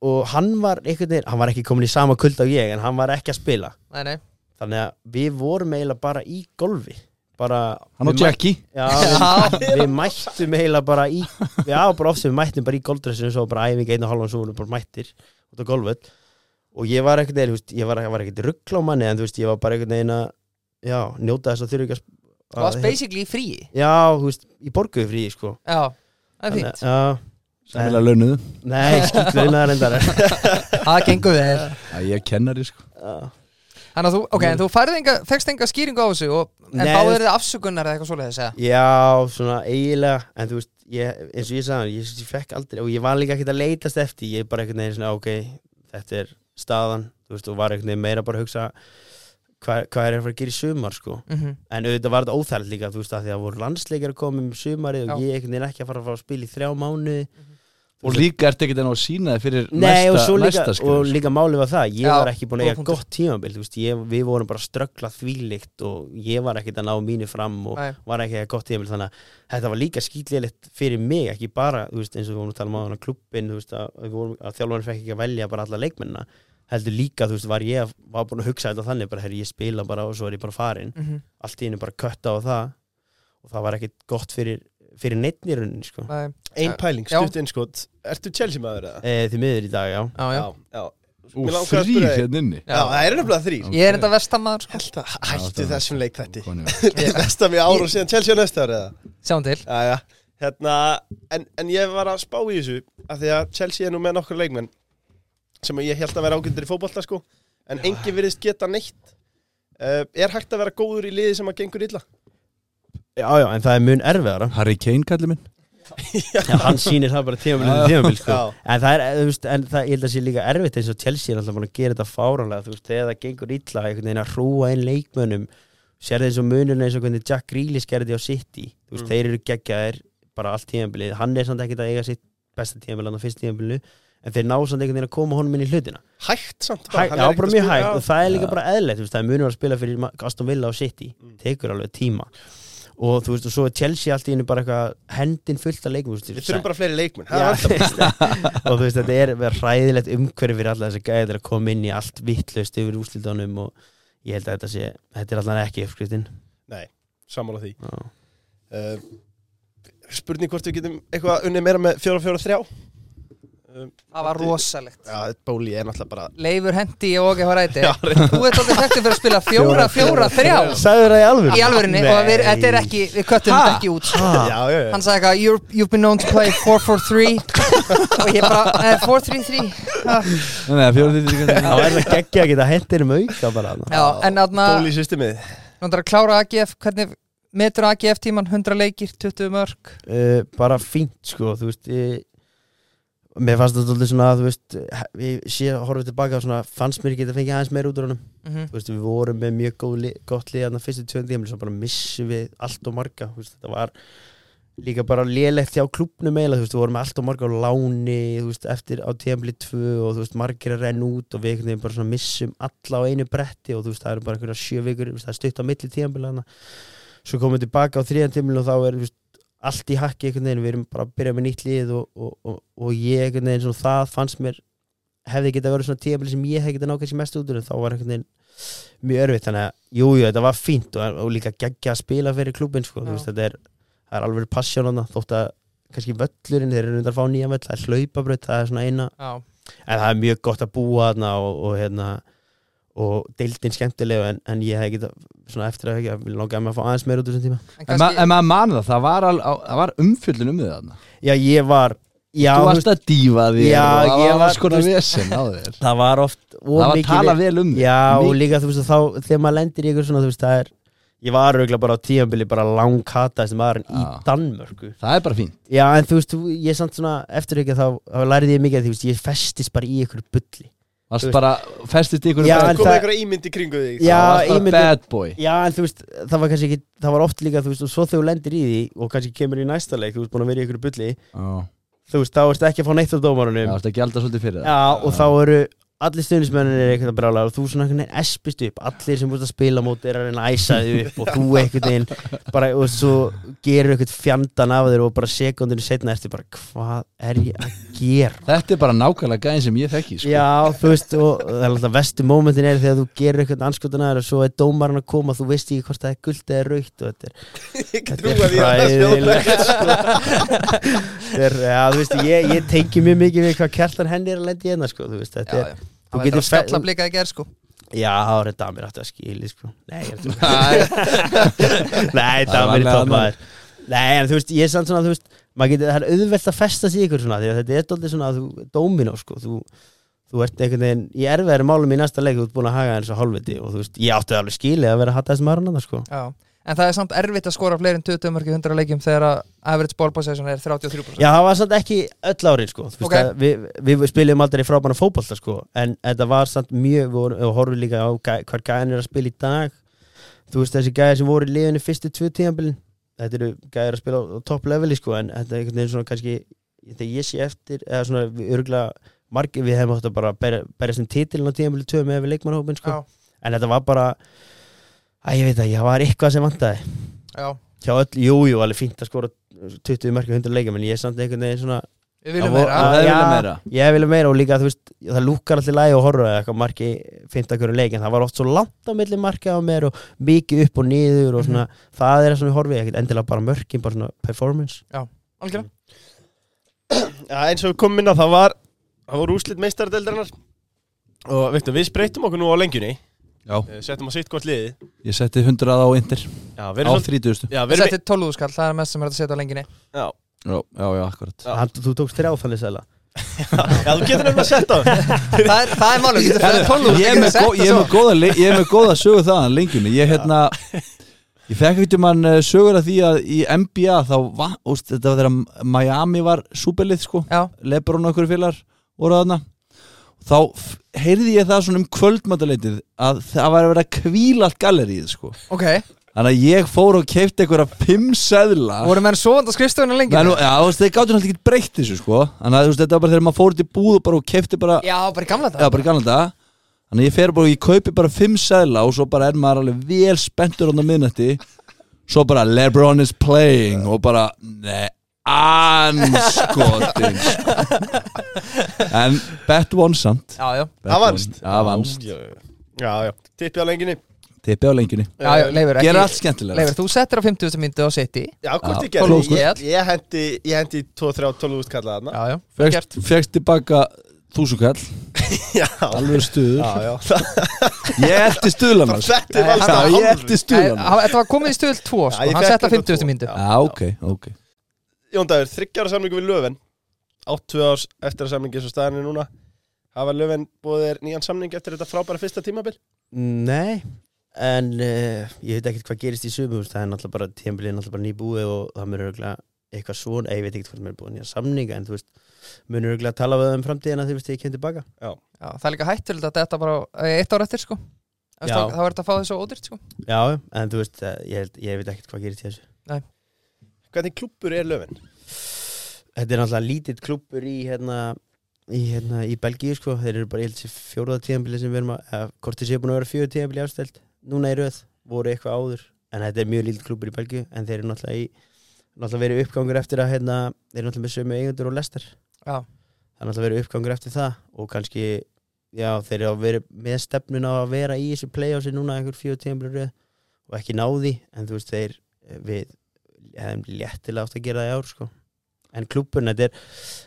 S4: og hann var einhvern veginn, hann var ekki komin í sama kuld á ég en hann var ekki að spila,
S1: Nei, nei
S4: þannig að við vorum eiginlega bara í golfi bara,
S2: Hann og
S4: við mæ-
S2: Jackie
S4: Já,
S1: Já.
S4: við, við mættum eiginlega bara í Já, bara oft sem við mættum bara í golddressinu Svo bara æfing einu og hálfan svo vorum við bara mættir Út á golföld Og ég var ekkert veginn, þú veist, ég var, ég var ekkert ruggla á manni En þú veist, ég var bara ekkert veginn að Já, njóta þess að þurfa ekki að,
S1: Þú varst basically í fríi
S4: Já, þú veist, ég borguði frí, sko
S1: Já, það er
S4: Þannig
S1: fínt
S4: að-
S2: Sæmilega launuðu
S4: Já, nei, skýt launaðar endar
S1: Það gengur vel
S2: Já, Ég er kennari, sko
S1: Þannig að þú, ok, en þú færði enga, fegst enga skýringu á þessu og, En
S4: Nei,
S1: báðir þið afsökunar eða eitthvað svoleiðis eða?
S4: Já, svona eiginlega En þú veist, ég, eins og ég sagði, ég, ég fekk aldrei Og ég var líka ekkert að leitast eftir Ég bara ekkert neginn svona, ok þetta er staðan þú veist, og var einhvern veginn meira bara að hugsa hvað, hvað er að fara að gera í sumar sko.
S1: Mhm.
S4: en auðvitað var þetta óþægilegt líka þú veist, að því að voru landsleikir að koma um sumarið og
S1: Já.
S4: ég einhvern veginn ekki að fara að fara að spila í þrjá mánu
S2: Og líka ertu ekkert enn á að sína þið fyrir
S4: Nei, og,
S2: næsta,
S4: svo líka,
S2: næsta
S4: og
S2: skrif
S4: líka málið var það ég
S1: sko. Já,
S4: var ekki búin að
S1: góð
S4: eiga
S1: punktur.
S4: gott tímabil þú veist, ég, við vorum bara að ströggla þvílikt og ég var ekkert að ná mínu fram og
S1: Nei.
S4: var ekki að eiga gott tímabil þannig að þetta var líka skýtlilegt fyrir mig ekki bara, þú veist, eins og við vorum að tala um á hana klubbin þú veist, að, við vorum- að þjálfarinn fekk ekki að velja bara alla leikmennina heldur líka, þú veist, var ég að- var búin að hugsa þetta þannig bara, herri, ég spila bara og svo er ég bara farin
S1: Mhm.
S4: allt í einu bara kötta á það og það var ekkert gott fyrir, fyrir neittnýrunin, sko,
S1: Nei.
S3: Ein pæling,
S1: Já.
S3: stutt innskot Ertu Chelsea maður eða?
S4: e, því miður í dag, já
S1: Já, já.
S3: já.
S2: Og
S3: Mig langar
S2: þrýr
S3: að spyrja þig.
S2: hérna inni
S3: Já, það er nefnilega þrýr
S1: Ég er enda vestamæður sko.
S3: Held að
S2: Já,
S3: hættu
S2: það-
S3: þessum leik þetta
S2: Konum.
S3: Næsta við ára og síðan Chelsea á næsta ára eða?
S1: Sjáum til
S3: Já, já Hérna, en, en ég var að spá í þessu af því að Chelsea er nú með nokkur leikmenn sem ég held að vera ágöndir í fótbolta sko en enginn virðist geta neitt uh, Er hægt að vera góður í liði sem að gengur illa?
S4: Já, já, en það er mun erfiðara
S2: Harry Kane kallir minn
S4: Já, hann sýnir það bara tímamil en tímamil sko.
S3: Já.
S4: en það er, þú veist, en það, ég held að sé líka erfitt eins og Chelsea er alltaf búin að gera þetta fáranlega þú veist, þegar það gengur illa, einhvern veginn að hrúa inn leikmönnum, sér þeir svo mununa eins og hvernig Jack Grealish gerði á City þú veist,
S3: Mm.
S4: þeir eru geggjaðir bara allt tímambilið, hann er samt ekkert að eiga sitt besta tímambil hann á fyrst tímambilinu en þeir ná samt einhvern veginn að koma honum inn í hlutina
S3: Hægt samt
S4: Hæ,
S3: hann er
S4: já,
S3: ekkert
S4: bara
S3: að
S4: mjög
S3: spila-
S4: hægt og það er líka
S2: Já.
S4: bara eðlilegt, þú veist, það er munur að spila fyrir Ma- Aston Villa og City,
S3: Mm.
S4: tekur alveg tíma og þú veist, og svo er Chelsea allt í henni bara eitthvað hendin fullt af leikum
S3: Við þurfum bara fleiri leikmenn
S4: Já,
S3: ha,
S4: þú veist, og þú veist þetta er verið hræðilegt umhverfi fyrir alla þessi gæði til að koma inn í allt vittlaust yfir úrslitunum og ég held að þetta sé þetta er allan ekki uppskriftin
S3: Sammála því
S4: Já.
S3: uh, Spurning hvort við getum eitthvað unnið meira með 4-4-3
S1: Það var rosalegt
S3: Já, bóli er náttúrulega bara
S1: Leifur hendi og ekki ræti Þú ert alveg þekktið fyrir að spila fjóra, fjóra, þrjá
S4: Sæður það í alvöru?
S1: Í alvörinni Og við, þetta er ekki Við köttum þetta ekki út
S4: ha,
S3: Já, já, já
S1: Hann sagði eitthvað "You're- You've been known to play 4-4-3 Og ég bara eh, 4-3-3 Ha.
S2: Nei, Nei, fjóra þrýr
S4: þá
S2: kallir
S4: er það geggja að geta hendir um auka bara þarna.
S1: Já, en aðna
S3: Bóli í systemið
S1: Nú ætlar að klára AGF Hvernig metur AGF tíman 100 leikir, 20 mörg
S4: uh, bara fínt sko þú veist ég, mér fannst þetta alltaf svona þú veist he- ég sé að horfa tilbaka á svona fannst mér ekki að fengja aðeins meira út úr honum
S1: Mhm.
S4: þú veist, við vorum með mjög góð, li- gott lið þannig að fyrstu tjóðum tímil svo bara missum við allt og marga þú veist, þetta var líka bara lélegt hjá klubnum eiginlega, þú veist, við vorum með allt og marga á láni þú veist, eftir á tímli 2 og þú veist, margir að renna út og við einhvern veginn bara svona missum alla á einu bretti og þú veist, það eru bara einhverja sjö vikur þú veist, það er stutt á milli tímil svo komum við tilbaka á þriðan tímil og þá er þú veist, allt í hakki einhvern veginn, við erum bara að byrja með nýtt lið og, og, og, og ég einhvern veginn svona, það fannst mér hefði geta verið svona tímabili sem ég hefði geta nákvæmst mest út úr en þá var einhvern veginn mjög örfitt þannig að jújú, jú, þetta var fínt og, og líka geggja að spila fyrir klubin sko,
S1: Já.
S4: þú veist, þetta er, það er alveg passjón hana, þótt að kannski völlurinn þeir eru undan að fá nýja völl, það er hlaupabraut það er svona eina,
S1: Já,
S4: en það er mjög gott að búa hana og, og hérna og deildin skemmtilega en, en ég hefði geta svona eftir að ekki, langaði mig að fá aðeins meira út úr þessum tíma
S1: en
S2: En ma-
S1: kannski
S2: en maður mani það, það var, al, á, það var umfjöllun um þið þarna
S4: Já, ég var, já,
S2: Þú
S4: þú
S2: varst að dífa þér
S4: Já,
S2: og það
S4: ég
S2: var
S4: var-
S2: alls konar
S4: þú
S2: vesen á þér
S4: það var oft of
S2: Það var
S4: mikið
S2: talað
S4: við-
S2: vel um þig.
S4: Já, og
S2: Mikið.
S4: líka þú veist að þá þegar maður lendir í ykkur svona, þú veist, það er ég var auðvitað bara á tíðanbili bara langkata sem maðurinn í
S2: Já.
S4: Danmörku
S2: Það er bara fínt
S4: Já, en þú veist, þú, ég samt svona eftir ekki þá, þá lærið ég mikið að því, þú veist, ég festist bara í ykkur bulli
S2: Varst
S4: Þú veist-
S2: bara, festist ykkur
S4: Já, en
S3: Það komið
S4: það-
S3: einhverja ímynd í kringu því
S4: Já,
S2: Varst bara
S4: ímyndun-
S2: bad boy
S4: Já, en þú veist, það var kannski ekki það var oft líka, þú veist, og svo þegar þú lendir í því og kannski kemur í næsta leik, þú veist, búin að vera í ykkur bulli
S2: Já,
S4: þú veist, þá erst ekki að fá neitt af dómarunum
S2: varst að gjalda svolítið fyrir það
S4: Já, og þá eru allir stuðnismennin er eitthvað brála og þú svona einhvern veginn espist upp allir sem búist að spila móti er að reyna að æsa þig upp og þú einhvern veginn bara, og svo gerur einhvern fjandan af þér og bara sekundinu setna ertu bara hvað er ég að gera
S2: Þetta er bara nákvæmlega gæðin sem ég þekki sko.
S4: Já, þú veist, og það er alltaf vestu mómentin er þegar þú gerir einhvern anskotan aðeins og svo er dómarinn að koma, þú veist ekki hvort það er guld eða raukt og þetta er
S3: Ég
S4: Þetta
S3: trúi
S4: er
S3: að því að það spjóða
S4: fræðilegt sko. Þetta er, já, þú veist, ég, ég tengi mjög mikið við hvað kjartan henni er að lendi hérna, sko, þú veist, þetta
S1: Já,
S4: er
S1: já.
S4: þú
S1: Það var
S4: getur
S1: eitthvað
S4: fe-
S1: skalla blikað í gerð sko
S4: Já, það var þetta að mér átti að skili sko. Nei, ég er þetta
S2: Æ,
S4: Nei,
S2: Það
S4: þetta að
S2: var
S4: mér er
S2: alveg
S4: topp maður Nei, en þú veist, ég er samt svona, þú veist maður getur, það er auðvelt að festast í ykkur svona því að þetta er dóldið svona, þú, dóminó sko, þú, þú ert einhvern veginn í erfiðari málum í næsta leik, þú ert búin að haga eins og hálfviti og þú veist, ég átti alveg skilið að vera að hatta þessum aðrunanda sko
S1: Já. en það er samt erfitt að skora fleiri en 20 mörg í 100 leikjum þegar að average ball possession er 33%
S4: Já, það var samt ekki öll árið sko Þú veist
S1: Ok.
S4: að við, við spilum aldrei frábæna fótbolta sko En þetta var samt mjög Við vorum- og horfum líka á gæ, hvað gæðin er að spila í dag Þú veist þessi gæði sem voru í liðinu fyrstu tvö tíðanbylin Þetta eru gæðir að spila á, á topp leveli sko En þetta er einhvern veginn svona kannski Þegar ég sé eftir Eða svona við örgulega margir Við hefum átt að bara berja, berja sem titilin á tíðanbylin tvö Með við leikmannhópin sko
S1: Já.
S4: En þetta var bara Æ, ég veit það, það var eitthvað sem vantaði
S1: Já,
S4: hjá öll, jú, jú, alveg fínt að skora 20 mörg í 100 leikjum, en ég er samt einhvern veginn svona
S1: við viljum
S4: Já,
S1: meira
S4: og-
S2: Ah, Það er
S4: Já.
S2: vilja meira
S4: ég vil meira og líka, þú veist, það lúkar allir lægi og horfa eða eitthvað marki 15 hverju leik en það var oft svo langt á milli marki á mér og mikið upp og niður og
S2: Mhm.
S4: svona það er það sem við horfið, ekkert endilega bara mörkin bara svona performance
S1: Algjörlega.
S3: ja, eins og við komum inn á það var það voru úslit meistaradeildarinnar og veitum, við spreytum okkur nú á lengjunni
S2: Já,
S3: eh, settum á sitt gott liði
S2: ég setti 100 á indir
S3: já,
S2: Á
S3: við erum svolítið
S2: 30
S3: já, við
S1: Ég
S3: erum
S1: setti 12 skall, það er mest sem er hægt að setja á lenginni
S3: já,
S2: Já, já, já, akkurat
S3: Já.
S4: Hann, þú tókst þrjá þannig sæla
S3: já, þú getur nefnilega sett á það
S1: Það er, það er málum, getur
S2: Herðu,
S1: fyrir 12
S2: Ég er með gó- ég er með góða le- ég er með góða sögu þaðan lengjunni Ég hérna Ég fekk eitthvað mann sögur að því að í NBA þá var, úst, þetta var þegar Miami var súbelið sko
S1: Já,
S2: Lebron og okkur félagar voru þarna þá f- heyrði ég það svona um kvöldmataleitið að það var að vera að kvíla allt gallerið sko
S1: ok
S2: þannig að ég fór og keipti einhverja fimm seðla
S1: Voru menn sovandi á skrifstofunni á
S2: Nei,
S1: lenginni?
S2: nú, já, þú veist, þeir gáttu náttúrulega ekki breytt þessu sko þannig að þú veist, þetta var bara þegar maður fór út í búð og bara og keipti bara
S1: Já, bara í gamla
S2: Já,
S1: dag
S2: bara í gamla dag Þannig að ég fer bara og ég kaupi bara fimm seðla og svo bara er maður alveg vel spenntur hann á miðnætti Svo bara Lebron is playing og bara Nei, anskotin sko. En bet one samt
S1: Já, já,
S2: Bet
S3: Avanst.
S2: one. Avanst
S3: já, já, já, já. tippi á lengjunni
S2: Tippi á lengjunni
S1: já, já Leifur,
S2: Gera
S1: ekki
S2: allt skemmtilega
S1: Leifur, þú settir á 50. myndu á City
S3: já,
S2: Já,
S3: hvort ég gerði
S2: tólf
S1: þúsund.
S3: ég, ég hendi, ég hendi 2-3-12 úst kallaða þarna
S1: Já, já,
S2: Fekst, fekst tilbaka þúsukall Alveg stuður
S3: já, já
S2: Ég eldi stuðlan hans
S3: þetta er
S1: hann-
S3: alveg
S2: Já, ég
S3: hálfur
S2: eldi
S1: Nei,
S2: stuðlan hans
S1: hann- Þetta var komið í stöðl 2
S3: Já,
S1: sko.
S3: ég
S1: Hann
S3: fékk
S1: settir á
S3: þetta
S1: 50.
S3: tvo.
S1: myndu
S2: Já, ok, ok
S3: Jón Dagur, þryggjára samlingu við Löfven 80 árs eftir að samlingi eins og staðan er núna hafa Löfven búið þér nýjan samling eftir þetta frábæra fyrsta tímabil
S4: Nei en uh, ég veit ekkert hvað gerist í sumum það er náttúrulega bara tíðanbylið er náttúrulega bara nýbúið og það mjög örgulega eitthvað svona, eh, ég veit ekkert hvað mér er búið nýja samninga en þú veist, mjög örgulega tala við það um framtíðina þegar ég kem tilbaka
S1: Já, það er líka hættilegt að þetta bara eh, eitt ára eftir sko Þú veist,
S4: Já.
S1: þá þá er þetta að fá þessu ódýrt sko
S4: Já, já, en þú veist, eh, ég, held- ég veit ekkert hvað gerist í þessu
S3: hvernig klúppur er Löfven?
S4: Þetta er náttúrulega lítill klúppur í hérna í, hérna, í Belgíu sko þeir eru bara ég held sér fjóruða tíðanbili sem við erum að eða, hvort þessi er búin að vera fjóruða tíðanbili ástælt núna í röð, voru eitthvað áður en þetta er mjög lítill klúppur í Belgíu en þeir eru náttúrulega í náttúrulega verið uppgangur eftir að hérna, þeir eru náttúrulega með sömu eigundur og lestar
S1: Já.
S4: það er náttúrulega verið uppgangur eftir það og kannski, já, þeir eru að verið með stefnun á að vera í þessu playási núna einhver fjóruða tíðanbili röð og ekki náði, en þú veist þeir eh, við hefum léttilega átt að gera það í ár sko en klúbburinn, þetta er,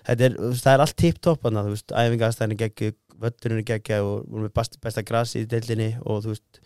S4: þetta er þú veist, það er allt tipptopp hann, þú veist, æfingastæðin geggju, völlurinn geggja og við erum með best, besta grasi í deildinni og þú veist,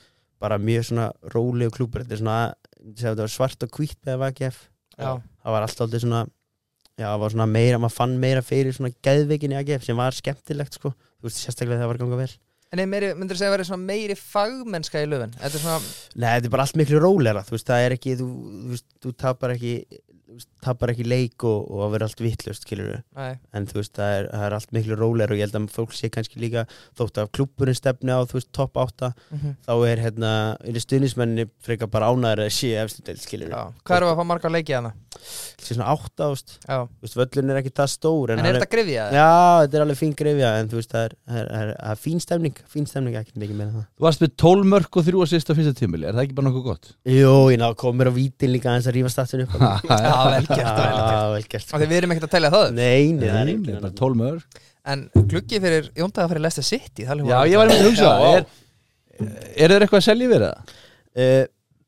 S4: bara mjög svona róleg klúbbur, þetta er svona sem þetta var svart og hvítt með VGF
S1: Já,
S4: það var alltaf aldrei svona já, það var svona meira, maður fann meira fyrir svona geðveikinni AGF sem var skemmtilegt sko, þú veist, sérstaklega þegar það var að ganga vel
S1: en er meiri, myndir segja að vera svona meiri fagmennska í löfun Þetta er svona,
S4: Nei, þetta er bara allt miklu rólera þú veist, það er ekki, þú, þú veist, þú tapar ekki þú veist, tapar ekki leik og, og að vera allt vittlust, skilur
S1: nei,
S4: en þú veist, það er, það er allt miklu rólegur og ég held að fólk sé kannski líka þótt af klúburinn stefni á, þú veist, topp átta
S1: mhm,
S4: þá er hérna, er stuðnismenni frekar bara ánæður að sé efstu deild, skilur
S1: já Hvað erum við að fá marga leikið hana?
S4: sé svona átta, þú veist,
S1: Já,
S4: þú veist, völlun er ekki það stór
S1: en
S4: hann
S1: er þetta grifja?
S4: Já, þetta er alveg fín grefja, en þú veist, það er, það er, það er, það er fín stemning, fín stemning, ekkert mikið meira en það.
S2: Þú varst með 12 mörg og 3 sýst á fyrsta tímil Er það ekki bara nokkuð gott?
S4: Jó, ég ná, komur á vítin líka aðeins að rífa statsun upp.
S1: Já, vel gert, vel gert
S4: Já, vel gert.
S1: Af því við erum ekkert að telja það upp.
S4: Nei, nei, það er
S2: Nei,
S4: engin
S2: bara
S4: annar.
S2: 12 mörg
S1: En gluggi fyrir Jóndaga fyrir Leicester City það er alveg-
S2: Já, ég var einmitt að hugsa
S3: Já.
S2: er, er þeir eitthvað að selja yfir það?
S4: Eh,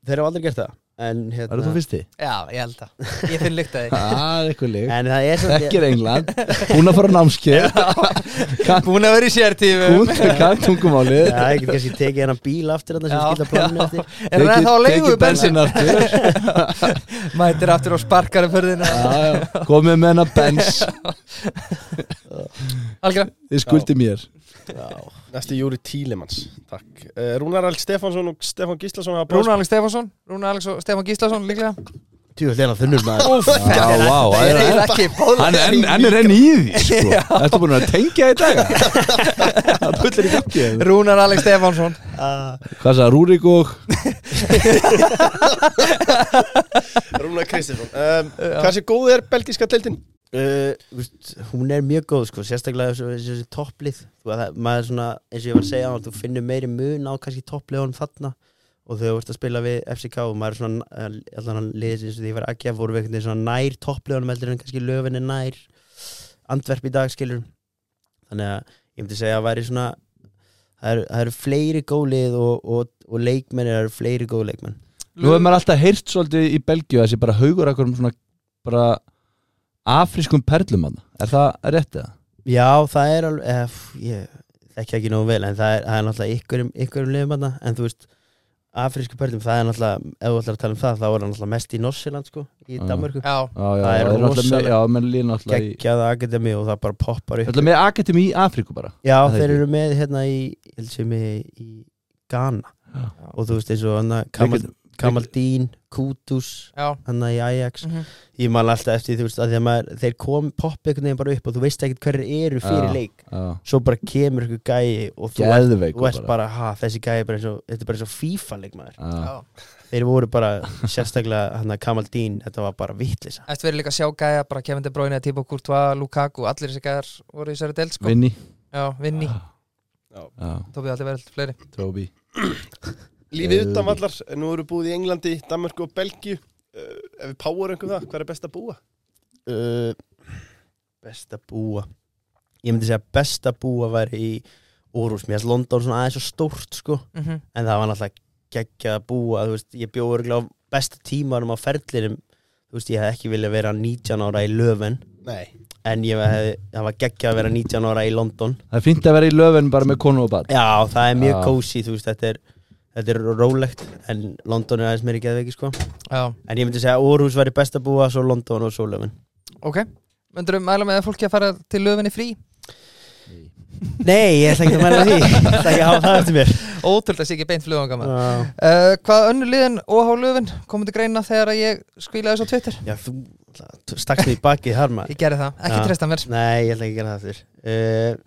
S4: Þeir hafa aldrei gert það, en
S2: Var þú
S4: hérna,
S2: fyrsti?
S1: Já, ég held það Ég finn lykt að því
S2: Það er eitthvað lík
S4: en það er samt-
S2: Þekkir England Búin að fara á námskeið Kann-
S1: Búin að vera í sértífum
S2: Hún kann tungumálið
S4: Já, ég get kannski tekið hennan bíl aftur þarna sem
S1: Já,
S4: skilta planinu
S1: já.
S4: eftir
S1: Er það
S2: Tekið-
S1: þá að leigu
S2: tekið
S1: bensin?
S2: bensin aftur
S1: Mætir aftur og sparkar um förðina
S2: Já, já. Komið með hennar bens
S1: Algjörn
S2: Þið skuldi mér
S3: Næsti Júri Tílemans, takk uh, Rúnar Alg Stefansson og Stefán Gíslason hafa báðir-
S1: Rúnar Alex Stefansson Rúnar Alex og Stefán Gíslason líklega
S4: Tjóðu þeirra þunnur maður
S1: Úf,
S2: Já, vá, það
S1: það
S2: er-
S1: er ekki
S2: Hann enn, enn er enn í því sko. Þetta er búin að tengja í dag Það bullir í gangi
S1: Rúnar Alex Stefansson
S2: Hvað sagði Rúrik og
S3: Rúnar Kristinsson um, Hversu góð er belgíska deildin?
S4: Uh, veist, hún er mjög góð sko, sérstaklega þessu, þessu topplið þú, að, það- maður svona, eins og ég var að segja áðan, þú finnur meiri mun á kannski toppliðunum þarna og þegar þú ert að spila við FCK og maður er svona, eh, allan að liðis eins og því ég var ekki að voru við einhvern veginn svona nær toppliðunum heldur en kannski löfinni nær andverp í dag skilur þannig að ég myndi segja að væri svona það eru, það eru fleiri góð lið og, og, og leikmenn eru fleiri góð leikmenn
S2: Nú hefur maður alltaf heyrt svolítið í Belgíu þessi bara haugur akkur um svona bara afrískum perlum hann Er það rétt eða?
S4: Já, það er alveg eh, f- ég ekki ekki nógu vel en það er, það er náttúrulega ykkurum, ykkurum liðum hana, en þú veist, afrísku pörlum það er náttúrulega, ef þú ætlar að tala um það þá er það náttúrulega mest í Norsjöland sko, í
S2: Mm.
S4: Danmörku
S1: Já,
S2: Já, já,
S4: Það er
S2: já, þeir náttúrulega
S4: rosalega-
S2: með- Já, menn lína alltaf í
S4: geggjaða akademi og það bara poppar upp
S2: Alltaf með akademi í Afríku bara
S4: Já,
S2: það er
S4: þeir
S2: ekki.
S4: eru með hérna í, ég held sem í, í Ghana
S2: Já.
S4: og þú veist eins og hana Kamal,
S2: Ekkert-
S4: Kamal Dín, Kutus
S1: já
S4: hana í
S2: Mm.
S4: Ajax,
S1: mhm.
S4: ég man alltaf eftir þú veist, að því að maður, þeir kom poppa einhvern veginn bara upp og þú veist ekkert hverju eru fyrir
S2: Já.
S4: leik
S2: Já,
S4: svo bara kemur ykkur gæi og þú ert
S2: geðveik
S4: Þú ert bara, ha, þessi gæði bara eins og Þetta er bara eins og FIFA leikmaður
S2: Já,
S1: Já.
S4: Þeir voru bara, sérstaklega hann að Kamal Dín Þetta var bara vittlisa
S1: Æst verið líka að sjá gæja bara Kevin De Bruyne, Thibaut Courtois, Lukaku Allir þessi gæjar voru í særi delt sko
S2: Vinni
S1: Já, Vinni,
S2: Já,
S1: Tóbi allir verið fleiri
S2: Tróbi
S3: Lífið
S2: Eh,
S3: utan vallar, nú eru búið í Englandi, Danmarku og Belgíu uh, Ef við power einhver það, hver er best að búa?
S4: uh, Besta búa Ég myndi segja að besta búa væri í Úrús, mér finnst London svona aðeins og stórt sko.
S1: Mhm.
S4: En það var náttúrulega geggjað að búa Þú veist, ég bjóð örgulega á besta tímanum á ferlinum Þú veist, ég hef ekki viljað vera 19 ára í Löfven
S3: Nei
S4: En ég hef, það var geggjað að vera 19 ára í London
S2: Það er fínt að vera í löfin bara með konu og bad
S4: Já, það er mjög
S2: Já.
S4: kósi, þú veist, þetta er þetta er rólegt, en London er aðeins meiri geðveiki, sko.
S1: Já,
S4: En ég myndi segja að Orhus væri best að búa, svo London og svo Löfven.
S1: ok Möndurum mæla með að fólki að fara til löfinni frí
S4: Nei, ég ætla ekki að mæla því. Ég ætla ekki að hafa það eftir mér.
S1: Ótrúld að sé ekki beint fluganga maður
S4: Já.
S1: uh, Hvað önnu liðin og há löfin komið til greina þegar að ég skvílaði þessu á Twitter
S4: Já, þú náttúrulega, þú stakst mig í bakið þar maður.
S1: Ég gerði það, ekki
S4: Já.
S1: treysta mér
S4: Nei, ég ætla ekki að gera það eftir. Uh,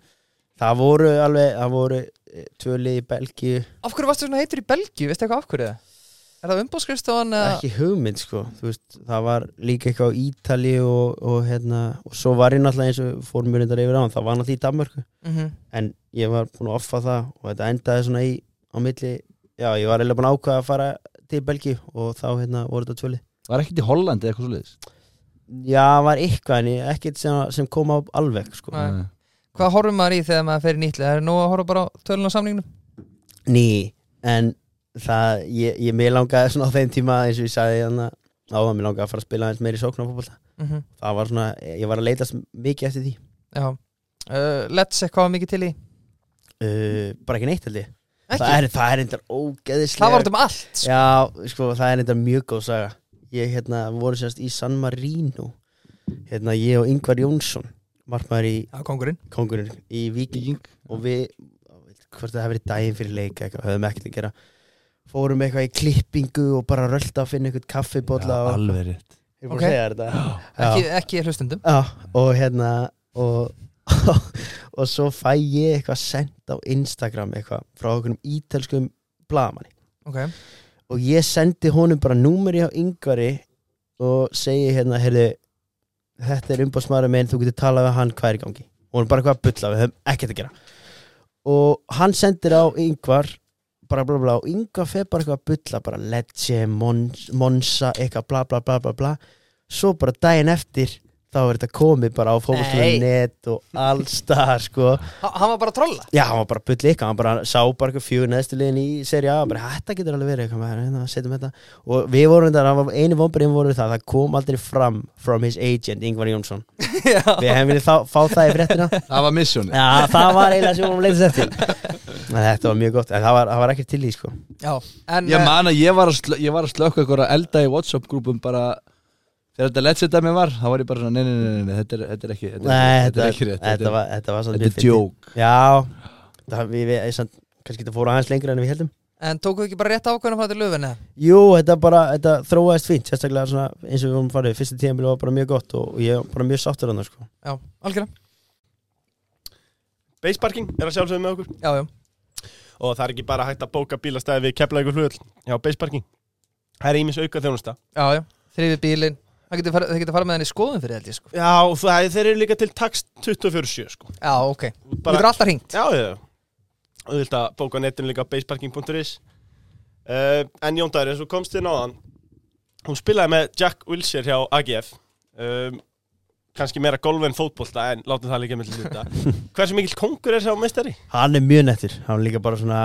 S4: það voru alveg, það voru eh, tvö lið í Belgíu,
S1: Af hverju varstu svona heitur í Belgíu, veistu eitthvað af hverju það? Er það umbóðskrifstofan? eða-
S4: ekki hugmynd, sko. Þú veist, það var líka eitthvað á Ítali og, og hérna, og svo var ég náttúrulega eins og fórum mér reyndar yfir á hann, það var náttúrulega í Danmörku.
S1: Mhm.
S4: en ég var búinn að offa það og þetta endaði svona í á milli já, ég var eiginlega búinn að ákvaða að fara til Belgíu og þá hérna voru þetta tvöli
S2: Var ekkert í Hollandi eða eitthvað svo liðis
S4: já, var eitthvað en ég ekkert sem, sem kom á alveg sko.
S1: Nei. Hvað horfum maður í þegar maður fer í nýtli? Það er nú að horfa bara á tölun á samningnum
S4: ný, en það ég, ég mér langaði svona á þeim tíma eins og ég sagði þannig að áðan mér langaði að fara að spila aðeins meiri sóknarfótbolta
S1: Mhm.
S4: það var svona, ég var að leitast mikið eftir því
S1: Já uh, Let's eitthvað var mikið til í
S4: uh, bara ekki neitt held ég
S1: Ekki?
S4: það er, það er endur ógeðislega
S1: Það var þetta um allt sko.
S4: Já, sko, það er þetta mjög góð saga Ég, hérna, voru sérst í San Marino Hérna, ég og Yngvar Jónsson Markmaður í
S1: Já, kongurinn
S4: kongurinn Í Viking
S2: Víking
S4: Og við, hvort það hefur verið daginn fyrir leik eitthvað, Höfum ekkert að gera Fórum eitthvað í klippingu og bara rölda að finna eitthvað kaffibólla og...
S2: alveg rétt
S4: Ég er búin
S1: ok.
S4: að segja þér þetta
S1: ekki, ekki hlustundum
S4: Já, og hérna og, og svo fæ ég eitthvað sendt á Instagram eitthvað frá okkur um ítelskum blaðamanni
S1: Ok
S4: og ég sendi honum bara númeri á yngvari og segi hérna, heyrðu þetta er umbásmaður minn, þú getur talað við hann hvað er í gangi og hann bara hvað að bulla, við höfum ekkert að gera og hann sendir á yngvar bara bla bla og yngvar fer bara eitthvað að bulla bara Lecce, Mons- Monza, eitthvað bla bla bla bla bla svo bara daginn eftir þá er þetta komið bara á
S1: Nei.
S4: fókustlunet og allstar sko
S1: ha, Hann var bara að trolla
S4: Já, hann var bara bull ykkar, hann bara sá bara eitthvað fjögur neðstu liðin í seri A bara þetta getur alveg verið eitthvað með þér, hérna, setjum þetta og við vorum þetta, hann var einu vombriðin voru það það kom aldrei fram from his agent Ingvar Jónsson,
S1: Já
S4: við hefum viljað fá, fá það í fréttina
S2: Það var missjóni
S4: Já, það var eiginlega sem við vorum leiðis eftir en þetta var mjög gott, en það var, það var ekkert til í sko
S1: Já En
S2: Ég
S1: eh,
S2: man að ég var að, slö, ég var að slökka eitthvað elda í Whatsapp grúpum bara þegar þetta let's þetta mér var þá var ég bara svona nei, nei, nei, nei, nei þetta, er, þetta er ekki þetta, er-
S4: Nei,
S2: þetta
S4: þetta,
S2: er ekki rétt
S4: þetta, var, þetta var
S2: þetta
S4: svolítið
S2: er joke
S4: Já, það, við, við, samt, kannski þetta fór aðeins lengra en við heldum
S1: eh, En tókuðu ekki bara rétt ákvæmum frá til löfinni?
S4: Jú, þetta bara, þetta þróaðist fínt sérstaklega svona, eins og við vorum farið, fyrsta tíðanbili var bara mjög gott og, og ég var bara mjög sáttur hann sko.
S1: Já, algjörlega
S3: Baseparking er að sjálfsögum með okkur
S1: Já, já,
S3: og það er ekki bara hægt að bóka bílastæði við kepla ykkur hlugull Já, Baseparking Það er ímis auka þjónusta
S1: já, já Þrifi bílinn Það getur farið geta farið með henni í skoðum fyrir held ég sko
S3: Já, og það, þeir eru líka til tax 247 sko
S1: Já, ok Þú
S3: Bara-
S1: getur alltaf hringt
S3: Já, já Og þú vilt að bóka á netinu líka á baseparking.is uh, En Jón Dæri, eins og komst þér náðan Hún spilaði með Jack Wilshere hjá AGF um, kannski meira golf en fótbolta en látum það líka með hluta Hversu mikill kongur er sá meistari?
S4: hann er mjög nettur, hann er líka bara svona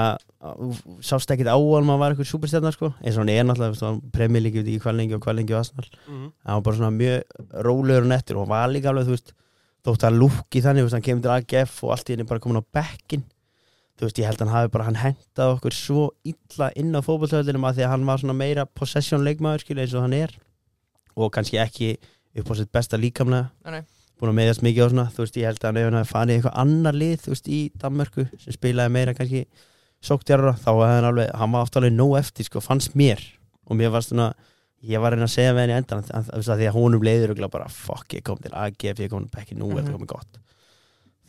S4: þú sást ekkit á hann, maður var eitthvað superstjarnar sko. eins og hann er náttúrulega, veist, hann premjör líka í kvalengi og kvalengi og aðsnall
S3: Mm.
S4: hann var bara svona mjög rólegur og nettur og hann var líka alveg, þú veist, þótt að lúki þannig, þú veist, hann kemur til AGF og allt í henni bara komin á bekkin þú veist, ég held hann hafi bara, hann hentað okkur svo illa inn á fótbollhöllinum að því að hann var svona meira possession leikmaður skilja eins og hann er og kannski ekki upp á sitt besta líkamlega
S1: Nei, nei.
S4: búin að meðast mikið á svona, þú veist, ég held að hann ef hann hafi farið í eitthvað annar lið, þú veist, í Danmörku sem spilaði meira kannski sóktjarra, þá var hann alveg, hann var oft alveg nóg eftir, sko, fannst mér og mér var svona, ég var að reyna að segja með henni endan að, að, að því að honum leiður og bara, fuck, ég kom til AGF, ég kom ekki nú,
S1: Mhm.
S4: mm þetta komið gott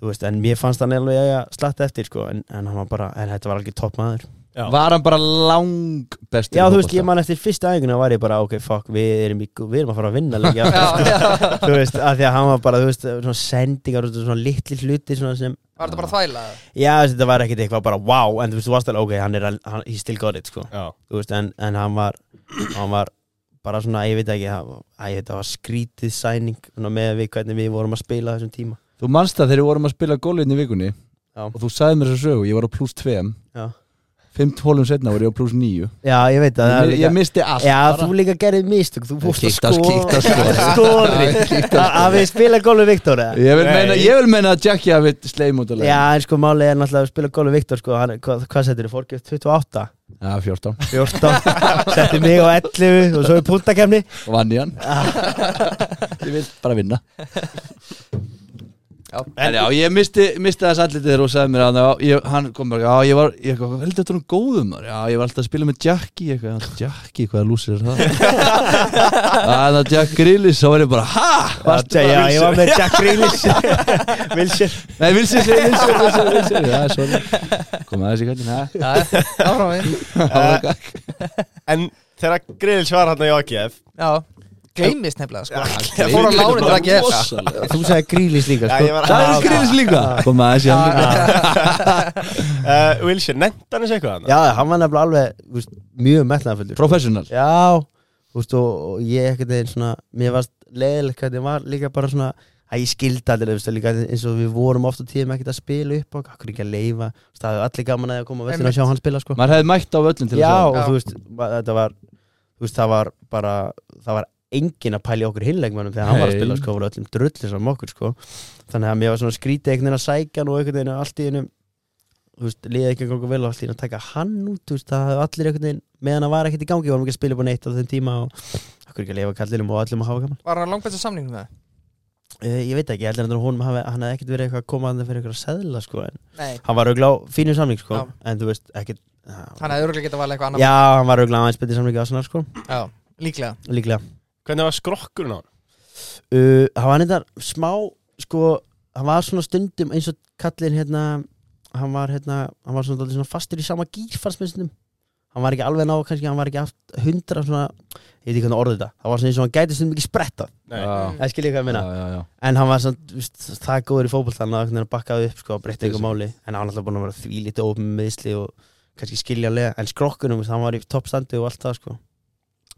S4: þú veist, en mér fannst hann alveg að slatta eftir, sko, en, en hann var bara en þetta var alveg topp maður
S3: Já.
S2: Var hann bara lang bestur
S4: Já,
S2: í
S4: þú veist,
S2: fótbolta?
S4: ég man eftir fyrsta æfinguna var ég bara, ok, fuck, við erum, í, við erum að fara að vinna leikja
S1: Já, já Var
S4: þú veist, að því að hann var bara, þú veist, svona sendingar, og svona litli hluti, svona sem
S1: þetta bara þvæla? eða?
S4: Já, þessi, þetta var ekkit eitthvað bara wow En þú veist, þú varst alveg, ok, hann er, al- hann, he still got it, sko
S3: Já.
S4: Þú veist, en, en hann var Hann var bara svona, ég veit ekki hann- Æ, þetta var skrítið sæning Svona með við hvernig við vorum að spila á þessum tíma
S2: Þú manst það þegar við vorum að spila golfinn í vikunni
S4: Já.
S2: og þú sagði mér þess að sögu, ég var á pluss 2
S4: Já.
S2: 5 hólum setna var ég á pluss 9
S4: Já, ég veit að það
S2: Ég,
S4: er
S2: ég
S4: líka
S2: misti allt
S4: Já,
S2: bara.
S4: þú líka gerðið mistök Þú fórst að
S2: Kíkti á skíkti á
S4: skora
S2: skorið.
S4: Skori Að við spila golfi Viktor eða?
S2: Ég vil,
S3: Nei.
S2: meina, ég vil meina að Jackie hafi sleim út að leið
S4: Já, en sko málið er náttúrulega að spila golfi Viktor sko, hann, hvað, hvað settir þið, fórgjöf 28
S2: Já, 14
S4: 14, settir mig á 11 og svo er púntakefni
S2: og vann í hann Ég vil bara vinna
S1: Já.
S2: En já, ég misti, misti þess allir þegar þú sagði mér að ég, hann kom bara, já, ég var, ég eitthvað, heldur þetta er um góðum maður, já, ég var alltaf að spila með Jackie, eitthvað, Jackie, hvaða lúsir er það? Það er Jack Grillis, þá var ég bara, ha? Varstu
S4: Já,
S2: bara-
S4: já, ég var með Jack Grealish Wilson
S2: Nei, vilsir, vilsir, vilsir, vilsir, já, sorry, kom aðeins í kallin, ha?
S1: Já, já, frá mig
S3: Eh, En þegar Grils var hann á AGF
S1: Já Gleimist nefnilega sko
S2: Það
S1: fór á láni til AGF.
S4: Þú sagði Grealish líka
S3: Já,
S4: sko.
S3: ég var
S2: Það er Grillis líka, kom aðeins í hann líka.
S3: uh, Wilshere, nefndi hann þessu eitthvað hann?
S4: Já, hann var nefnilega alveg þú veist, mjög metnaðfullur
S2: Professional
S4: Já, þú veist, og, og ég ekkert einn svona Mér varst leiðilegt hvernig var líka bara svona að ég skildi allir, þú veist, líka eins og við vorum oft á tíðum ekkert að spila upp og okkur ekki að leifa, þú veist, það hefur allir gaman að að koma að vestinu og sjá hann spila, sko
S2: Maður hefði mætt á völlin til
S4: Já,
S2: að sjá
S4: og
S1: Já.
S4: þú veist, ma- þetta var þú veist, það var bara það var engin að pæla í okkur hinleikmannum þegar hann var að
S2: Nei.
S4: spila, sko, það voru öllum drullir sem okkur, sko þannig að mér var svona skrítið einhvern veginn að sækja hann og einhvern veginn allt í einu þú veist, liðið ekki að ganga vel og allt í einu að taka hann út, þú veist, það hafði allir einhvern veginn meðan hann var ekkert í gangi, varum ekki að spila upp á neitt á þeim tíma og okkur ekki að lifa kallinum og öllum að hafa gaman
S1: Var hann langbæsta samning með það?
S4: uh, ég veit ekki, ég heldur að honum hafi, hann hafði ekkert verið eitthvað að koma að fyrir eitthvað seðla, sko, en
S1: Nei
S4: hann var auðvitað á fínum samling, sko,
S1: Já.
S4: en þú veist, ekkert hann,
S1: Hann hefði örgulega getað valið eitthvað annað
S4: já, hann var auðvitað aðeins betið samlingi á Arsenal, sko,
S1: Já, líklega
S4: líklega
S3: Hvernig var skrokkurinn á hann?
S4: Uh, hann var neitt smá sko, hann var svona stundum eins og kallinn hérna hann var hérna, hann var svona, dálítið svona fastur í sama gírfarsmyndum hann var ekki alveg ná, kannski hann var ekki aft hundra svona, ég veit ekki hvernig orðið þetta það var svona eins og hann gæti stundum ekki spretta
S3: Nei.
S2: Já,
S4: það skil ég hvað ég
S2: já,
S4: minna,
S2: já, já.
S4: en hann var svona þú veist, það góður í fótboll þannig að hann bakkaði upp sko, breytti eitthvað máli, en hann var alltaf búin að vera því lítið ópum meðisli og kannski skiljanlega en skrokkunum, þú veist, hann var í toppstandi og allt það sko.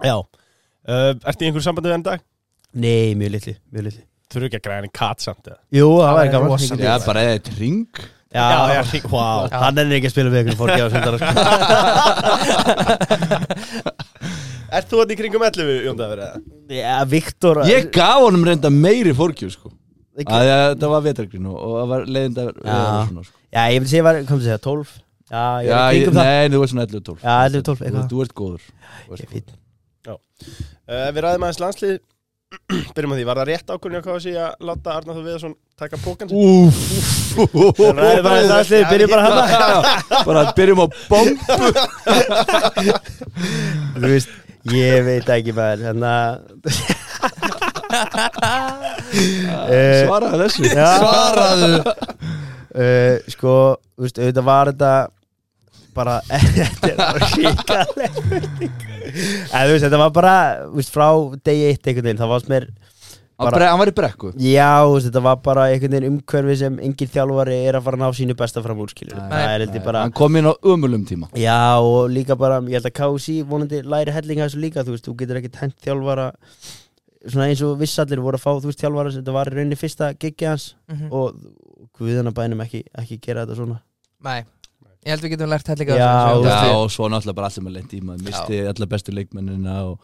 S3: Já uh, Ertu í einhverju sambandi við hann í dag?
S4: nei, mjög litli, mjög litli
S3: Þurfu ekki að græða henni kat samt eða?
S4: jú, það var
S1: Það er
S4: gaman
S1: rosalega.
S2: Já, bara eða eitt ring
S4: já,
S3: já, hring- wow.
S1: Já.
S4: Hann er ekki að spila við ykkur fólki á sundar sko.
S3: Ert þú hann í kringum 11, Jón Dæfur?
S4: Já, Viktor
S2: Ég gaf honum reynda meiri fórkjú sko
S4: Ekki-
S2: Að að Það var vetargrín og og það var leiðinda veðar og svona, sko.
S4: Já, ég vil segja, var, kom að segja, 12 Já, ég
S2: Já,
S4: er í
S2: ég,
S4: kringum það
S2: nei, þú ert svona 11 og 12
S4: Já, 11 og
S2: Þú-
S4: 12,
S2: sko.
S4: eitthvað
S2: Þú ert góður
S4: Ég er fínn.
S3: Uh, við ræðum Eh, aðeins landslið byrjum að því, var það rétt ákvörðin að KFC að láta Arnar Þór Viðarsson taka pókan sinn?
S2: Úf
S3: ræðum bara þetta allir, byrjum bara
S4: hérna.
S2: Bara byrjum á bomb
S4: Þú veist, ég veit ekki maður hérna. Þannig að Eh,
S2: Svaraði þessu
S1: Svaraðu
S4: eh, Sko, þú veist, auðvitað var þetta bara þetta er bara ríkaleg en þú veist, þetta var bara þú veist, frá degi eitt einhvern veginn það var mér,
S2: Hann bre- hann var í brekku
S4: já, þú veist, þetta var bara einhvern veginn umhverfi sem engin þjálfari er að fara að ná sínu besta fram úr skilur
S2: Nei,
S4: það er heldur bara
S2: Hann kom inn á ömulum tíma
S4: Já og líka bara, ég held að KFC vonandi læri hellinga þessu líka, þú veist, þú getur ekkert hent þjálfara svona eins og vissallir voru að fá, þú veist, þjálfara sem þetta var í rauninni fyrsta giggi hans
S2: Mm.
S1: Mhm.
S4: og guðana bænum ekki, ekki gera þetta svona
S1: Nei, ég held við getum lært hellinga
S4: Já,
S1: af þessu.
S2: Já, og svo náttúrulega bara allir með lendi í maður Misti allar bestu leikmennina og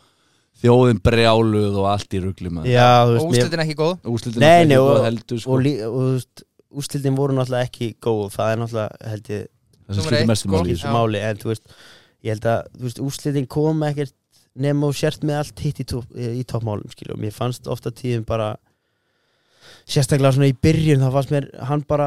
S2: þjóðin brjáluð og allt í rugli maður
S4: Já,
S1: Og
S4: þú veist, mér,
S1: úrslitin ekki góð
S2: Úslitin
S4: Nei, nei,
S2: og
S4: og-
S2: heldur sko
S4: og, lí, og þú veist, ústildin voru náttúrulega ekki góð, það er náttúrulega, held ég,
S2: Það sem
S1: Númer
S2: skilur
S1: eitt,
S2: mestum
S1: sko.
S2: máli
S1: Já.
S2: í þessu
S4: þessu máli, en þú veist, ég held að, þú veist, ústildin kom ekkert nema og sért með allt hitt í, top, í toppmálum, skiljum, mér fannst ofta tíðum bara sérstaklega svona í byrjun, þá fannst mér hann bara,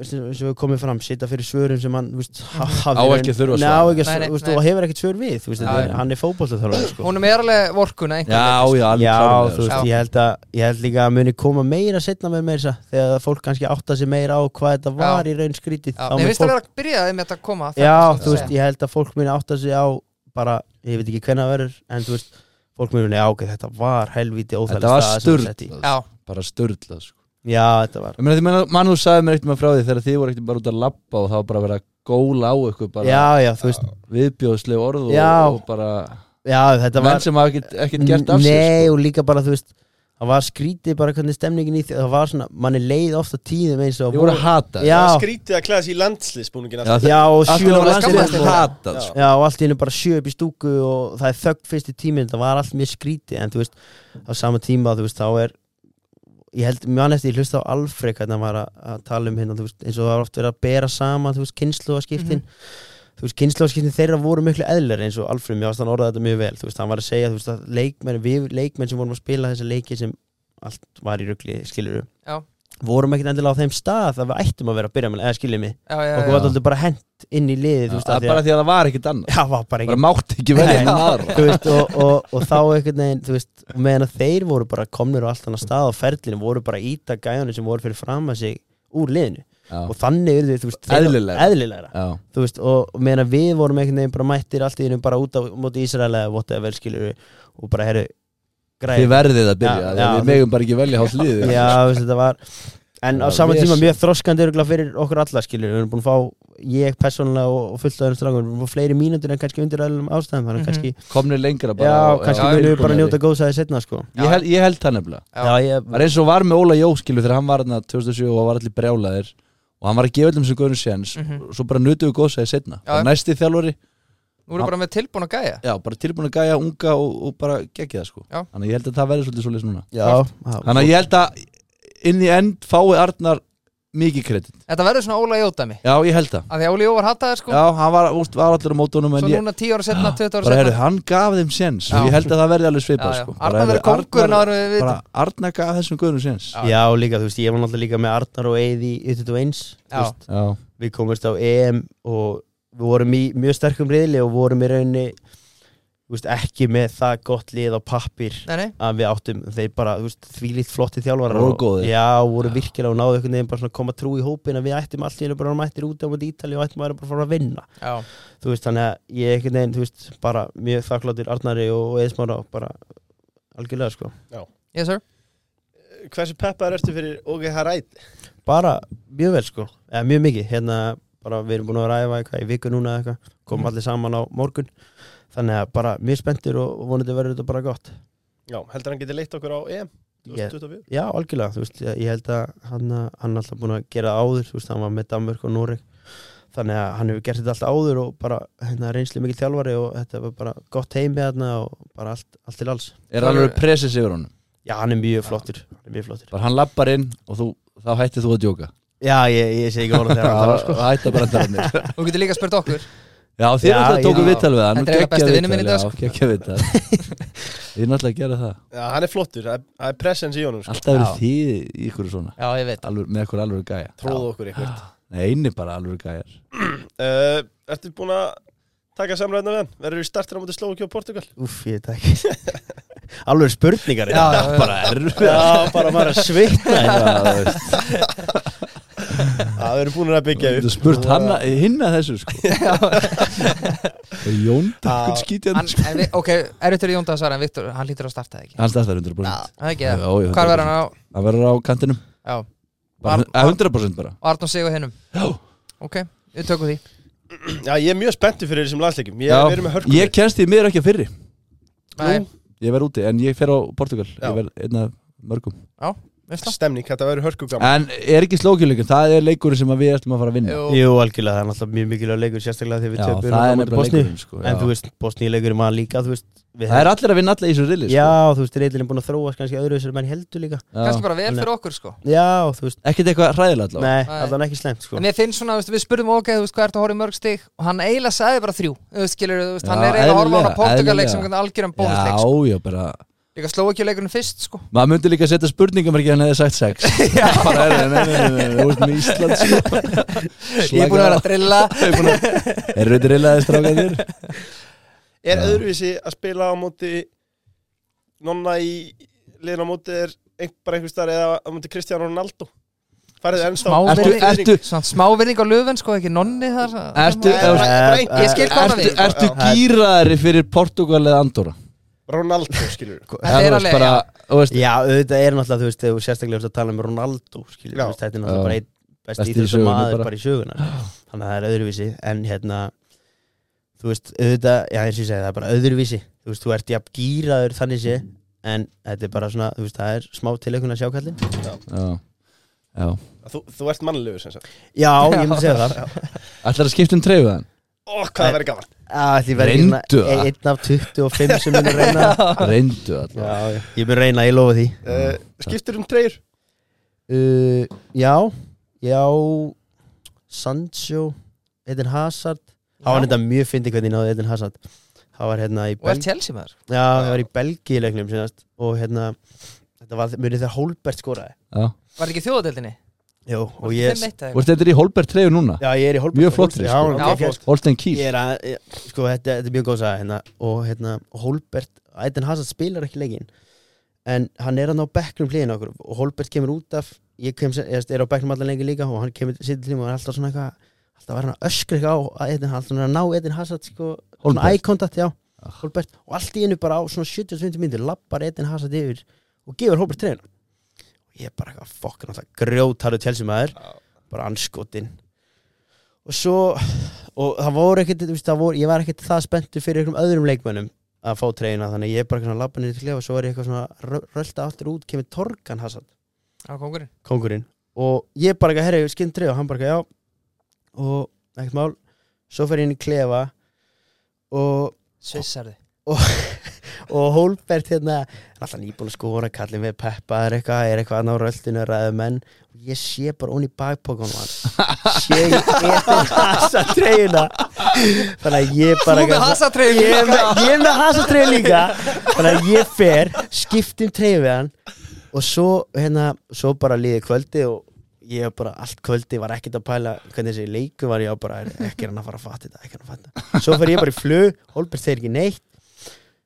S4: eins og eins og við komum fram sita fyrir svörum sem hann, þú veist ha- hafi-
S2: Mhm. Á ekki að þurfa að
S4: Nei,
S2: svara.
S4: á ekki að
S1: Nei,
S4: svara,
S1: nei,
S4: þú veist,
S1: nei.
S4: og hefur ekkert svör við, þú veist,
S1: Já,
S4: þetta
S2: já.
S4: er- hann er fótbollþjálfari, sko
S1: Hún er með alveg vorkuna
S2: Já, já, alveg
S4: Já,
S2: klárlega,
S4: þú
S2: sko.
S4: veist,
S1: sko.
S4: ég held að ég held líka að muni koma meira setna með meira þess að þegar fólk kannski átta sig meira á hvað þetta var í raun skrítið þá
S1: Mér
S4: mun
S1: finnst það
S4: fólk-
S1: vera að byrja með þetta að koma að
S4: Já,
S1: þetta,
S4: þú
S1: sko.
S4: veist, ég held að fólk muni átta sig á bara, ég veit ekki hvenna það verður en þú veist, fólk muni, já, ok, þetta var helvíti óþægileg
S2: Þetta var
S4: staða sem þú
S2: sturlað
S4: sett í.
S2: sko.
S1: Já,
S2: Bara sturlað sko.
S4: Já, þetta var
S2: Ég meina því mann- mann þú sagði mér eitthvað frá því þegar þið voru eitthvað bara út að labba og það var bara að vera að góla á eitthvað bara
S4: Já, já, þú veist,
S2: viðbjóðsleg orð og,
S4: Já.
S2: og bara
S4: já, þetta
S2: menn
S4: var
S2: sem hafa ekkert, ekkert gert af
S4: Nei,
S2: sér sko.
S4: og líka bara, þú veist það var skrítið bara hvernig stemningin í því það var svona, mann er leið ofta tíðum eins og
S2: Þið voru að hata
S4: Já,
S3: Það var skrítið að klæða sér í landsliðsbúningin
S2: Já,
S3: alltaf.
S4: já, og
S2: Allt í
S4: sjö
S2: einu var
S1: landsliðið
S2: landsliðið
S1: og-
S2: hatað sko.
S4: Já, og allt í hennu bara sjö upp í stúku og það er þögg fyrst í tíminn, það var allt mjög skríti en þú veist, á sama tíma þú veist, þá er ég held, mjög annars ég hlusta á Alfred hvernig hann var að, að tala um hérna, þú veist, eins og það var oft verið að bera saman, þú veist, kynnslóaskiptin
S1: Mhm.
S4: þú veist, kynnslóaskiptin þeirra voru miklu eðlar eins og Alfred, mér varst hann orðað þetta mjög vel þú veist, hann var að segja, þú veist, að leikmenn við leikmenn sem vorum að spila þessa leiki sem allt var í rugli, skilur
S1: Já.
S4: vorum ekkert endilega á þeim stað að við ættum að vera að byrja með, eða skiljum mig,
S1: já, já,
S4: okkur
S1: já.
S4: var þetta bara hent inn í liðið, þú veist,
S2: Það
S4: af
S2: er
S4: því að-
S2: bara því að það var ekkert annað
S4: Já, var bara
S2: Bara
S4: engin
S2: mátt ekki velja
S4: Nei.
S2: einn aðra
S4: þú veist, og, og, og þá einhvern veginn þú veist, og meðan að þeir voru bara komnir á allt annað stað á ferlinu, voru bara að íta gæjunum sem voru fyrir fram að sig úr liðinu
S2: Já,
S4: og þannig eru þau, þú veist,
S2: Eðlilegra.
S4: eðlilegra.
S2: já
S4: þú veist, og og meðan að við vorum einhvern veginn bara mættir allt í einu bara út á móti Ísraela eða whatever, skilur við, og bara herru
S2: Þið
S4: græði,
S2: verðið að byrja, því
S4: Já,
S2: að
S4: já.
S2: við megum bara ekki velja hátt liðið
S4: já, þú veist, þetta var en á
S2: Já,
S4: saman tíma
S2: vesen.
S4: mjög þroskandi örgulega fyrir okkur alla, skilur við, við erum búin að fá ég persónulega og og fullt af öðrum strákum, við erum búin að fá fleiri mínútur en kannski undir aðlum ástæðum,
S1: Mhm.
S4: þannig að kannski
S2: Komnir lengra bara
S4: Já,
S2: og-
S4: kannski
S1: já,
S4: munum við
S2: tilbúnari.
S4: bara njóta góðsæði setna sko
S2: Ég held- Ég held það nefnilega
S1: Já.
S4: Já, ég,
S2: Það er eins og var með Óla Jóskilu þegar hann var hann 2007 og var allir brjálaðir og hann var að gefa öllum sem góðnum séns
S1: Mhm.
S2: og svo bara nutum við góðsæði setna
S1: Já, já.
S2: og næsti þjálfari,
S1: Nú erum bara með tilbúin að gæja
S2: já, bara tilbúin að gæja unga og, og bara gegja það sko
S1: Já.
S2: þannig að ég held að það verði svolítið svolítið núna
S4: já,
S2: þannig að ég held að inn í end fái Arnar mikið kredit
S1: Þetta verður svona Óla Jódæmi
S2: já, ég held það
S1: Af því að Óli Jó var hataði sko
S2: já, hann var, úst, var allir á mótunum
S1: Svo
S2: en ég,
S1: núna 10 ára setna, 20 ára
S2: bara heyrðu,
S1: setna
S2: hann gaf þeim séns
S1: Já.
S2: og ég held að það verði alveg svipað
S1: Já, já.
S2: sko Bara,
S1: Arnar
S2: heyrðu,
S1: verður kóngur
S2: Arnar-
S1: náður við
S2: bara
S1: vitum
S2: Arnar gaf þessum góðnum séns
S1: Já.
S4: já, líka, þú veist, ég var náttúrulega líka með Arnar og Eið í 21 þú
S1: Já.
S4: veist,
S2: já,
S4: Við komumst á EM og við vorum í mjög sterkum riðli og vorum í rauninni þú veist, ekki með það gott lið á pappir
S1: Nei, nei,
S4: að við áttum, þeir bara, þú veist, þvílíkt flotti þjálfarar
S2: Voru
S4: og-
S2: góðir.
S4: Já, voru virkilega og náðu einhvern veginn bara svona að koma trú í hópin að við ættum allt í hennu bara að mættir út á mætti Ítali og ættum að vera bara að fara að vinna
S1: já,
S4: þú veist, þannig að ég einhvern veginn, þú veist, bara mjög þakkláttur Arnari og Eðismára bara algjörlega, sko
S1: yes sir
S3: Hversu peppar ertu fyrir OK Haræt?
S4: bara mjög vel sko eða mjög mikið, hérna bara við erum búin að ræða eitthvað í viku núna eða eitthvað komum allir saman á morgun þannig að bara mjög spenntir og og vonandi verður þetta bara gott
S3: Já, heldur hann getið leitt okkur á EM
S4: Ég-
S3: 2024?
S4: já, algjörlega, þú veist, ég ég held að hann, hann er alltaf búin að gera það áður þú veist, hann var með Danmörk og Noreg þannig að hann hefur gert þetta alltaf áður og bara hérna reynslu mikið þjálfari og þetta var bara gott heimi þarna og bara allt, allt til alls
S2: er alveg presið yfir honum
S4: já, hann er mjög flottur, hann er mjög flottur
S2: bara hann lappar inn og þú, þá hættir þú að djóka
S4: já, ég, ég sé ekki orða þegar hann
S2: það
S4: talar sko
S2: það hættar bara að tala mér
S1: Þú getur líka spurt okkur
S2: Já, þið
S4: Já,
S2: er alltaf tóku
S1: já.
S2: viðtal við hann
S1: Þetta er eiginlega besti vinur minn í dag, sko.
S2: Gekkja viðtal Ég er náttúrulega að gera það
S3: Já, hann er flottur, það er- það er presens í honum sko.
S2: Alltaf verið
S1: Já.
S2: þið í ykkur svona
S1: Já, ég veit
S2: alvör, Með ykkur alveg gæja
S3: Tróð okkur eitthvað
S2: Nei, eini bara alveg gæjar
S3: uh, Ertu búin að taka samræðina við hann? Verður þú startir á móti Slóki og Portugal?
S4: Úff, ég veit það ekki Alveg spurningar
S1: Já, já, já.
S2: Bara erfið
S4: já, bara maður að svitna
S2: Það
S3: Já, við erum búin að byggja upp
S2: er spurt hann hinn að þessu sko Og Jón Dökkun skítið
S1: Hann-
S2: hann sko
S1: en við- Ok, er þetta Jón Dagsvara en Viktor, hann lítur að starta það ekki
S2: Hann startar 100%
S1: Það er ekki það
S2: Já, já,
S1: Hvar verður hann á?
S2: Hann verður á kantinum
S1: Já,
S2: Bara- eh, 100% bara
S1: og Arnón Sigur hinnum
S2: Já.
S1: Ok, við tökum því
S3: Já, ég er mjög spenntur fyrir þessum landsleikum Ég
S2: Já,
S3: er verið með hörkum
S2: Ég kennst því miður ekki að fyrri
S1: Nei,
S2: Ég verð úti en ég fer á Portugal
S3: Já.
S2: Ég verð einn af mörgum
S1: veist það
S3: Stemning, þetta verður hörkugaman
S2: En er ekki slókjuleikin Það er leikurinn sem að við ætlum að fara að vinna
S1: Jú,
S4: Jú, algjörlega, það er náttúrulega mjög mikilvæg leikur sérstaklega þegar við
S2: Já,
S4: töpum
S2: það er nefnilega leikurinn sko,
S4: En þú
S2: já.
S4: veist, Bosníu leikurinn maður líka þú veist, við-
S2: Það er allir að vinna allir í þessu rili sko.
S4: Já, þú veist, reyðlinn búin að þróast kannski öðru þessar menn heldur líka
S1: kannski bara vel
S4: Nei.
S1: fyrir okkur sko
S4: Já, þú veist,
S2: Ekkert eitthvað hræðilega allavega
S4: nei,
S1: Nei.
S4: allan ekki slæmt sko.
S1: En mér finnst svona, þú veist, við spurðum ok, þú veist, hvað ertu að horfa í mörg stig og hann eiginlega sagði bara þrjú Þú veist, skilur, þú veist,
S2: Já,
S1: hann er eiginlega að horfa á hana
S2: eðlilega,
S1: Portugal-leik sem
S2: eðlilega.
S1: einhvern algjöran bónusleik sko.
S2: Já, já, bara
S1: Líka sló ekki leikurinn fyrst, sko
S2: Maður myndi líka að setja spurningamarki hann hefði sagt sex Bara er það, nei, nei, nei, nei, þú veist með Ísland sko.
S1: Ég er búin að vera að drilla
S2: Er þetta rilaðið strákað þér?
S3: Er
S2: Já.
S3: öðruvísi að spila á móti Nonna í liðin á móti er ein, bara einhver starf eða á móti Kristján Ronaldo Færðu ennst á
S1: Smá
S2: Ertu,
S1: virðing-
S2: ertu,
S1: Svona smá vinning á löfun, sko, ekki nonni þar
S2: Ertu-
S3: Nei, bara- bara einhver-
S1: Ég skil hvað hann
S2: ertu,
S1: við
S2: ertu gýraðari fyrir Portugal eða Andorra?
S3: Ronaldo skilur
S1: Þetta
S2: Já,
S1: er
S2: þú veist
S1: alveg,
S2: bara, þú veist,
S4: Já, auðvitað er náttúrulega, þú veist, þegar þú sérstaklega ert að tala um Ronaldo,
S3: Já.
S4: skilur, þú veist, þetta er
S2: Já.
S4: náttúrulega bara einn besti
S2: Besti í
S4: íþjóðsum
S2: sögunni
S4: maður
S2: bara.
S4: bara í söguna Þannig að það er öðruvísi, en hérna þú veist, auðvitað, já, eins og ég segi, það er bara öðruvísi þú veist, þú ert jafn gýraður þannig sé en þetta er bara svona, þú veist, það er smá tilökun að sjá kallin
S2: já, já
S3: þú, þú ert mannlegur sem sagt
S4: Já, ég myndi segja það
S2: Ætlar að skipta um treyfið hann?
S3: Ó, hvað það verður gaman
S4: Ah, því verður ég
S2: Reyndu
S4: svona- e-
S2: það.
S4: Einn af 25 sem mun reyna
S2: Reyndu allavega
S4: Já, já. Ég mun reyna, ég lofa því
S3: uh, Skiptur um treyjur
S4: uh, Já, já Sancho Eden Hazard Það var þetta mjög fyndið hvernig ég náði Eden Hazard Það var hérna í
S1: Og er
S4: Belgi
S1: Chelsea maður
S4: Já, það var í Belgi í leiknum sinast Og hérna Þetta var munið þegar Hólbert skoraði
S2: Já.
S1: Var ekki í þjóðadeildinni?
S4: Jú, og
S1: Var
S4: ég
S1: ekki 5-1 eða
S2: Þú veist, þetta er í Holberg treyju núna
S4: Já, ég er í Hólbert
S2: Mjög flottri,
S4: Já, hérna
S2: sko.
S4: ok,
S1: Já,
S4: ok.
S1: flott.
S2: Holstein Kiel
S4: Ég er að, ég- sko, þetta, þetta er mjög góð saga hérna og hérna, Holbert, Aiden Hazard spilar ekki leikinn en hann er að ná bekknum hliðin okkur og Holbert kemur út af ég, kem, sem- ég er á bekknum allan lengi líka og hann kemur sittir tíma og er alltaf svona eitthvað alltaf var hann að öskra eitthvað á Aiden Hazard hann er að ná Aiden Hazard, sko, svona
S2: Hólmbert.
S4: eye contact, já Holbert, og allt í einu bara á svona 70-20 myndir lappar Aiden Hazard yfir og gefur Holbert treyna og ég er bara eitthvað, fokk, náttúrulega grjótarðu tjálsumæður bara anskotin og svo og það voru ekkert, þú veist, það voru, ég var ekkert það spenntu fyrir einhverjum öðrum leikmönnum að fá treyna, þannig að ég bara svona labba niður til klefa og svo var ég eitthvað svona rö- rölta aftur út kemur Torgan Hassad,
S1: eitthvað? Á kongurinn
S4: kongurinn og ég bara eitthvað, herri, skinn treyja og hann bara eitthvað, já og ekkert mál, svo fer ég inn í klefa og
S1: Svissarði
S4: og Hólbert hérna hann er alltaf nýbúin að skora, kallið með Peppa er eitthvað, er eitthvað að ná röldinu að ræða menn og ég sé bara onni bakpókanum hann sé ég etin hasa treyjuna þannig að ég bara
S1: Þú með Hazard-treyju
S4: ég er
S1: líka.
S4: með, ég er með hasa treyju líka þannig að ég fer, skiptum treyju við hann og svo hérna svo bara líði kvöldi og ég bara allt kvöldi var ekkert að pæla hvernig þessi leiku var ég var bara ekki er hann að fara að fatta þetta, ekki er hann að fatta þetta svo fer ég bara í flug, Holbert segir ekki neitt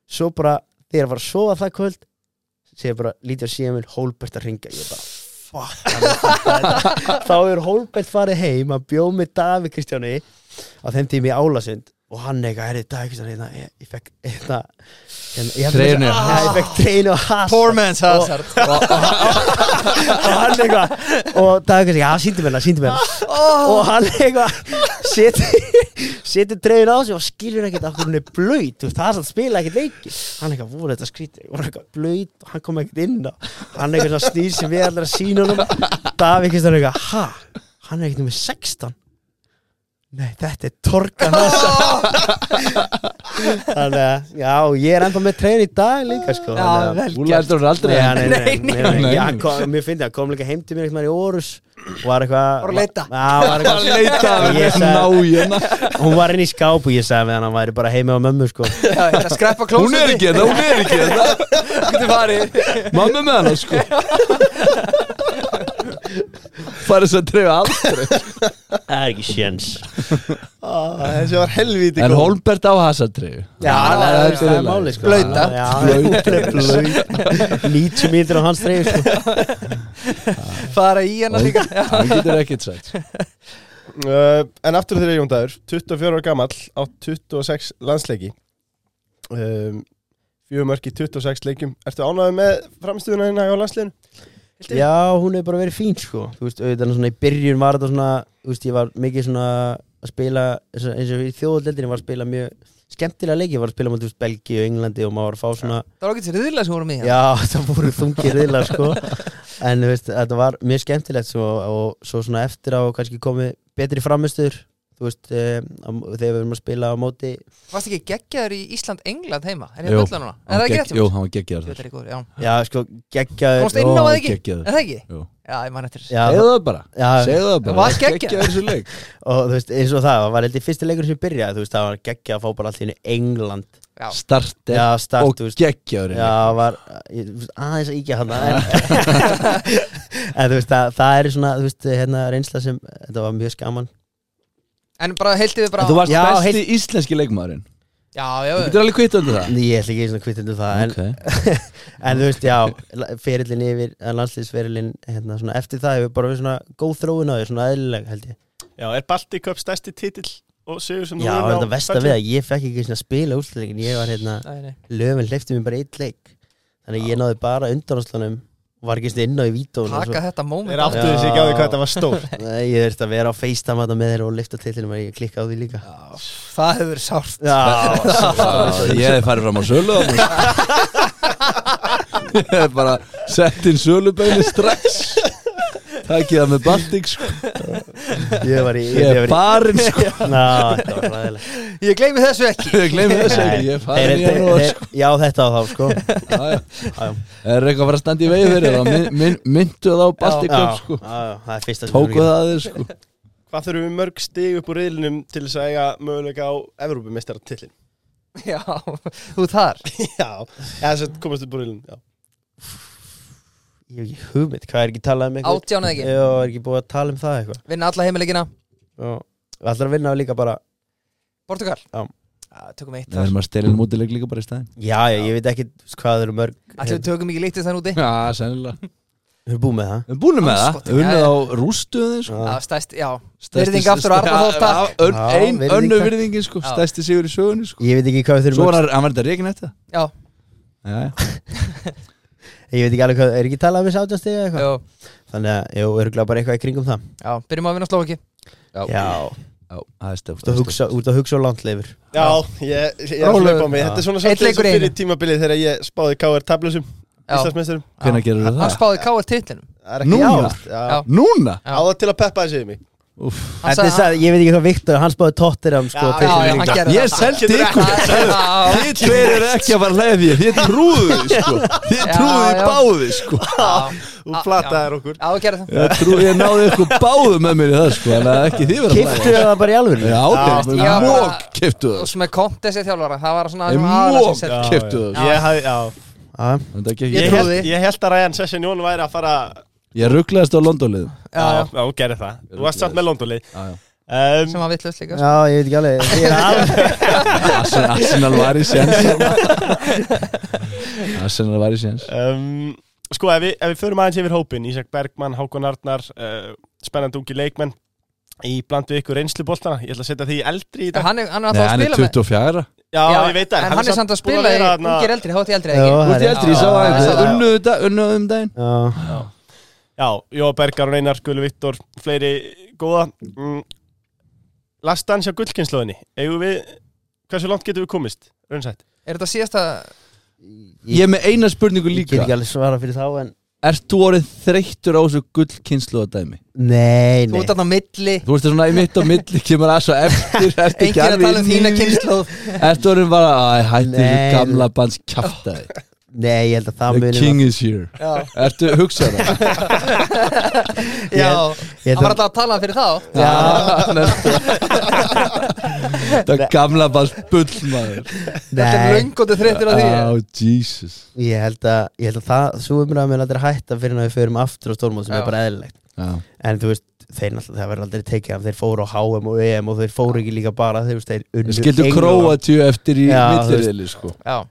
S4: svo bara þegar ég var að sofa það kvöld segir bara lítið á síðan minn Hólbert að ringa ég bara fuck hann er fattað þetta. þá er Hólbert farið heim að bjóð með Davi Kristjáni á þeim tími í Álasund og hann eitthvað, herri Davi Kristjáni hérna, ég, ég fekk hérna, hérna, ég, held að-
S2: Treyjunni.
S4: Ah, ég fekk treynu og hasa
S1: Poor man's Hazard
S4: og hann eitthvað og Dagur kannski, já, síndi mér hana, síndi mér hana og hann eitthvað setur seti trefin á sig og skilur ekkert af hvernig hún er blöyt, þú veist, það er samt spila ekkert leiki hann eitthvað, voru þetta skrítið, voru eitthvað blöyt og hann kom ekkert inn á hann eitthvað svona snýr sem við allir að sína honum Davík Kristján eitthvað, ha, hann er ekkert nummer 16 Nei, þetta er torkan þessa Þannig að, já, ég er ennþá með treyjun í dag líka, sko þannig að-
S1: Já, vel
S2: Þú
S1: gert
S2: lætur hann aldrei
S4: Nei, nei,
S1: Nei,
S4: nei, nei, nei,
S2: nei.
S4: nei. Já, kom, Mér finnir að kom líka heim til mér eitthvað í Órus var eitthvað
S1: Var að leita.
S4: Já, var eitthvað
S2: Leita
S4: Ég sagði-
S2: Ná hérna
S4: Hún var inn í skáp og ég sagði við hann að hann væri bara heima á mömmu sko
S1: Já, ég er að skræpa klósið
S2: Hún er ekki hérna, hún er ekki hérna
S1: Getur farið
S2: Mamma með hana sko Farið svo að dreifa aldrei
S4: Það er ekki sjens
S3: Eh, Þessi var helvíti
S2: Ah. En
S3: góð.
S2: Holmbert á hasardreifu
S1: Já,
S4: það
S2: það
S4: er-
S2: er
S4: það
S2: í
S4: er máli
S2: lagi.
S4: sko
S1: Blauta.
S4: Já, blöyta 90 mítr á hans dreif sko
S1: Fara í hana Hérna líka
S2: Hann getur sko. ekkert sagt
S3: uh, En aftur þegar Jón Dagur 24 ára gamall á 26 landsleiki um, Fjögur mörg í 26 leikjum Ertu ánægður með framstöðuna hérna á landsleginu?
S4: Já, hún hefur bara verið fín sko Þú veist, auðvitað svona í byrjun var þetta svona Þú veist, ég var mikið svona að spila eins og- eins og í þjóðleldinni var að spila mjög skemmtilega leiki, ég var að spila mútið Belgi og Englandi og maður var að fá svona
S1: Það var ekki til riðilega sem vorum í hérna.
S4: Já, það voru þungir riðlar sko En þú veist, þetta var mjög skemmtilegt svo, og svo svona eftir á kannski komið betri framistur þú veist, eh, á- þegar við erum að spila á móti
S1: Varst ekki geggjaður í Ísland-England heima? Er
S2: Jú.
S1: ég fulla núna? Er það ekki rétt? hjá
S2: Jú,
S1: mér?
S2: hann var geggjaður
S1: Jú,
S2: þar
S1: þetta er í góður, já
S4: Já, sko, geggjaður
S1: Komst inn á
S2: Ó,
S1: það ekki?
S2: geggjaður.
S1: Er það ekki?
S2: Jú.
S1: Já, ég man eftir
S4: Já,
S2: Segðu það bara
S4: Já.
S2: Segðu það bara
S1: Var
S2: Geggjaður
S1: geggjaður.
S2: þessu leik
S4: og þú veist, eins og það, það var heldur fyrsti leikur sem byrjaði, þú veist, það var geggja að fá bara allir í England
S1: Já.
S2: Starter
S4: Já, start,
S2: Og
S4: þú veist
S2: geggjaður hérna. í leik.
S4: Já, var, ég, þú veist, aðeins að íkja hann en, en þú veist, það, það er svona, þú veist, hérna reynsla sem, þetta var mjög skaman
S1: En bara heiltið við bara
S2: En Þú varst
S4: Já,
S2: besti íslenski leikmaðurinn
S1: Já, já,
S2: Þú getur alveg kvitt undir það
S4: Ég ætla ekki svona kvittindu það, en,
S2: Ok.
S4: en þú veist, já, ferillin yfir, landslýsferillin, hérna, svona, eftir það hefur bara verið svona góð þróun á því, svona eðlileg, held ég.
S3: Já, er Baltic Cup stærsti titill og sigur sem
S4: Já,
S3: þú
S4: en
S3: hefur náð
S4: það vest að
S3: ferli?
S4: við að ég fekk ekki svona spila úsleikin, ég var hérna,
S1: Nei, nei.
S4: löfum hleyfti mér bara eitt leik, þannig að ég náði bara undanáslanum, var ekki svona inn á í vítónu.
S1: Taka þetta moment
S3: Þeir áttuðu sig ekki á því hvað þetta var stór
S4: Nei, ég þurfti að vera á FaceTime þarna með þeirra og lifta til þeirra og ég klikka á því líka
S1: Það hefur verið sárt
S4: Já,
S2: Já, Ég hef farið fram á sölu þarna. Ég hef bara sett inn sölubeinu strax Takið það með Baltic sko.
S4: ég var í
S2: Ég er barinn sko.
S4: Ná, þetta var hlæðileg
S1: Ég gleymi þessu ekki
S2: Ég gleymi þessu ekki, ég er farin í janúar sko.
S4: Já, þetta á þá, sko
S2: Já, já.
S4: já.
S2: Er eitthvað að fara að standa í vegi fyrir það Myn- myn- Myndu það á Baltic
S4: Já,
S2: Cup
S4: já,
S2: sko.
S4: það er fyrsta sem
S2: Tóku
S4: við
S2: það að þér sko.
S3: Hvað þurfum við mörg stig upp úr riðlinum til þess að eiga möguleika á Evrópumeistartillin?
S1: Já, þú þar
S3: Já, eða þess að komast upp úr riðlinum, já
S4: gerum. Ég hef ekki hugmynd, hvað er ekki talað um eitthvað?
S1: Átján eða ekki
S4: Já, er ekki búið að tala um það eitthvað
S1: Vinna alla heimileikina
S4: Já. Við ætlum að vinna líka bara
S1: Portugal
S4: Já.
S1: Tökum eitt
S2: Það
S1: þar
S2: er maður styrinn mútileik um líka bara í stæðin
S4: Já, já, ég veit ekki hvað þau eru mörg
S1: Ætli við
S4: Við
S1: tökum ekki lítið þann úti
S2: Já, sennilega
S4: erum búið með það
S2: Við búnum með það,
S1: Andskotinn,
S2: við unnið
S1: já, já.
S2: á rústuðin sko.
S1: Já, stæst, já
S2: Stærsti-
S1: Virðing aftur og Arnar Þór, takk.
S2: Já, ön-
S4: Já,
S2: Ein
S4: virðing,
S2: önnu
S4: takk.
S2: virðingin sko,
S1: Já.
S2: stæsti sigur í sögunni sko.
S4: Ég veit ekki hvað þau eru
S2: Svo
S4: mörg
S2: var hann- hann verður reikin eftir
S1: Já,
S2: það Já, já
S4: Ég veit ekki alveg hvað, er ekki talað um þessi átjánstegi eitthvað
S1: já,
S4: Þannig að, jú, örgulega bara eitthvað í kringum það
S1: já Byrjum að vinna Slovaki
S4: Já,
S2: Já, það er stöfn
S4: þú ert að hugsa- þú ert að hugsa á landleifur
S3: Já, ég, ég er að
S1: Rólegur.
S3: hlaupa á mig Þetta er svona svolítið eins
S1: leikur í
S3: og
S1: einu.
S3: fyrir tímabilið þegar ég spáði KR tablusum Íslandsmeisturum
S2: Hvenær gerðirðu það?
S1: Hann spáði K.R. titlinum
S3: Það er ekki
S2: Núna?
S3: jáast Já,
S1: Já.
S2: Núna?
S1: Já.
S3: á það til að peppa þessu yfir mig
S2: Úff.
S1: Hann
S4: Þetta er
S1: sagði-
S4: það, ég veit ekki hvað Viktor, hann spáði Tottenham sko,
S1: Já,
S4: titlinum
S1: já,
S4: líka.
S1: hann gerði
S2: Ég
S1: það
S2: seldi ykkur
S1: Já,
S2: Þið tveir eru ekki að fara að leiða því Þið trúðu því sko Þið
S1: Já,
S2: trúðu því
S1: já.
S2: báði sko
S1: já,
S3: Þú flataðir okkur
S1: já, þú gerði það
S2: Ég, trú, ég náði ykkur báðu með mér í það sko En það er ekki því verið að
S4: Kiftu það bara í alvöru
S2: Já, þeir
S1: Já,
S2: bara
S1: bara-
S2: mók kiftu
S1: Og
S2: það sko.
S1: sem er kontið sér þjálfara Það var svona
S2: Þeir
S1: svona aðra sem
S2: mók
S1: seldi.
S2: kiftu það sko.
S3: Ég hafði, já
S4: Já,
S2: Þetta gekk
S1: Ég
S3: Ég
S2: ekki
S3: held,
S1: trúði.
S3: ég held að Ryan Session Jón væri að fara
S2: Ég rugglaðist á Londonlið
S1: Já, já,
S3: já, hún gerir það Þú varst samt með Londonlið
S2: Arsenal
S3: um,
S1: sem var vittlust líka
S4: Já, ég veit ekki alveg Ég er alveg
S2: Arsenal var í séns Arsenal var í séns
S3: um, Sko, ef við, ef við förum aðeins yfir hópin Ísak Bergmann, Hákon Arnar uh, Spennandi ungi leikmenn Í blandu ykkur reynsluboltana Ég ætla að setja því í eldri í
S1: Já,
S3: dag
S1: Hann er hann er
S2: Nei,
S1: alltaf að spila
S2: hann er
S1: með
S2: 24
S3: Já, ég veit það
S1: En hann er samt að
S3: búinn
S1: spila í
S3: vera þarna-
S1: ungir eldri, hátti eldri eða
S4: Já,
S1: ekki
S2: Þú ert í eldri, ég sá
S1: Já,
S2: aðeins
S1: já, já.
S2: Unnuðu dag- unnuðu um daginn
S4: Já,
S3: Já, Jóa Bergar og Einar, Gullu Viktor, fleiri góða. Mm. Lastan sjá gullkynnslóðinni. Eigum við, hversu langt getum við komist? Raunsætt.
S1: Er þetta síðasta
S2: Ég er með eina spurningu
S4: ég get
S2: líka
S4: ekki alveg svara fyrir þá en
S2: Ert þú orðið þreyttur á þessu gullkynslu að dæmi?
S4: Nei,
S1: Þú
S4: nei
S1: ert þarna á milli
S2: Þú veist það svona í mitt og milli kemur að svo eftir Ert ekki
S1: Engin að
S2: alveg
S1: tala um
S2: inn í
S1: þína
S2: því?
S1: kynnslóð
S2: Ert þú orðið bara að hætti þessu
S4: Nei.
S2: gamla bands kjaftaði
S4: Nei, ég held að það
S2: The
S4: muni
S2: king is here
S1: Já,
S2: Ertu hugsað það?
S1: já
S4: ég
S1: hann
S4: held
S1: var
S4: að,
S1: alltaf að tala um fyrir þá
S2: Já Það gamla bara bull maður
S1: Þetta er
S4: nei,
S1: löngotu þreyttur á því
S2: Oh Jesus
S4: ég held að, ég held að það, svo umræðum er aldrei hætta fyrir en að við förum aftur á stórmóð sem
S1: Já.
S4: er bara eðlilegt
S2: Já
S4: en þú veist, þeir náttúrulega, það verður aldrei tekið af þeir fóru á HM og EM og þeir fóru ekki líka bara þeir, þeir unnu
S2: Við skildum
S4: England.
S2: Króatíu eftir í
S4: Já, þú veist.
S2: millirðili sko
S1: Já,